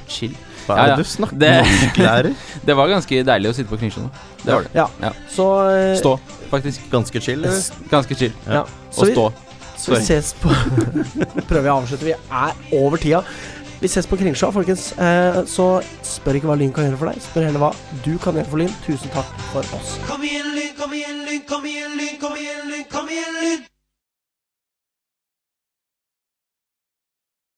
[SPEAKER 3] Utskill
[SPEAKER 2] Hva
[SPEAKER 3] Ja,
[SPEAKER 2] er det
[SPEAKER 3] ja.
[SPEAKER 2] du snakker
[SPEAKER 3] Det-
[SPEAKER 2] norsklærer?
[SPEAKER 3] Det var ganske deilig å sitte på Kringsjå nå. Det var det.
[SPEAKER 1] Ja.
[SPEAKER 3] Ja.
[SPEAKER 1] Så, eh,
[SPEAKER 3] Stå, faktisk.
[SPEAKER 2] Ganske chill, eller?
[SPEAKER 3] Ganske chill.
[SPEAKER 1] Ja.
[SPEAKER 3] Å
[SPEAKER 1] Så vi,
[SPEAKER 3] stå.
[SPEAKER 1] så vi
[SPEAKER 3] Sorry.
[SPEAKER 1] ses på Prøver jeg å avslutte. Vi er over tida. Vi ses på Kringsjå, folkens. Eh, så spør ikke hva Lyn kan gjøre for deg, spør heller hva du kan gjøre for Lyn. Tusen takk for oss.
[SPEAKER 7] Kom igjen, Lyn, kom igjen, Lyn, kom igjen, Lyn, kom igjen, Lyn, kom igjen, Lyn!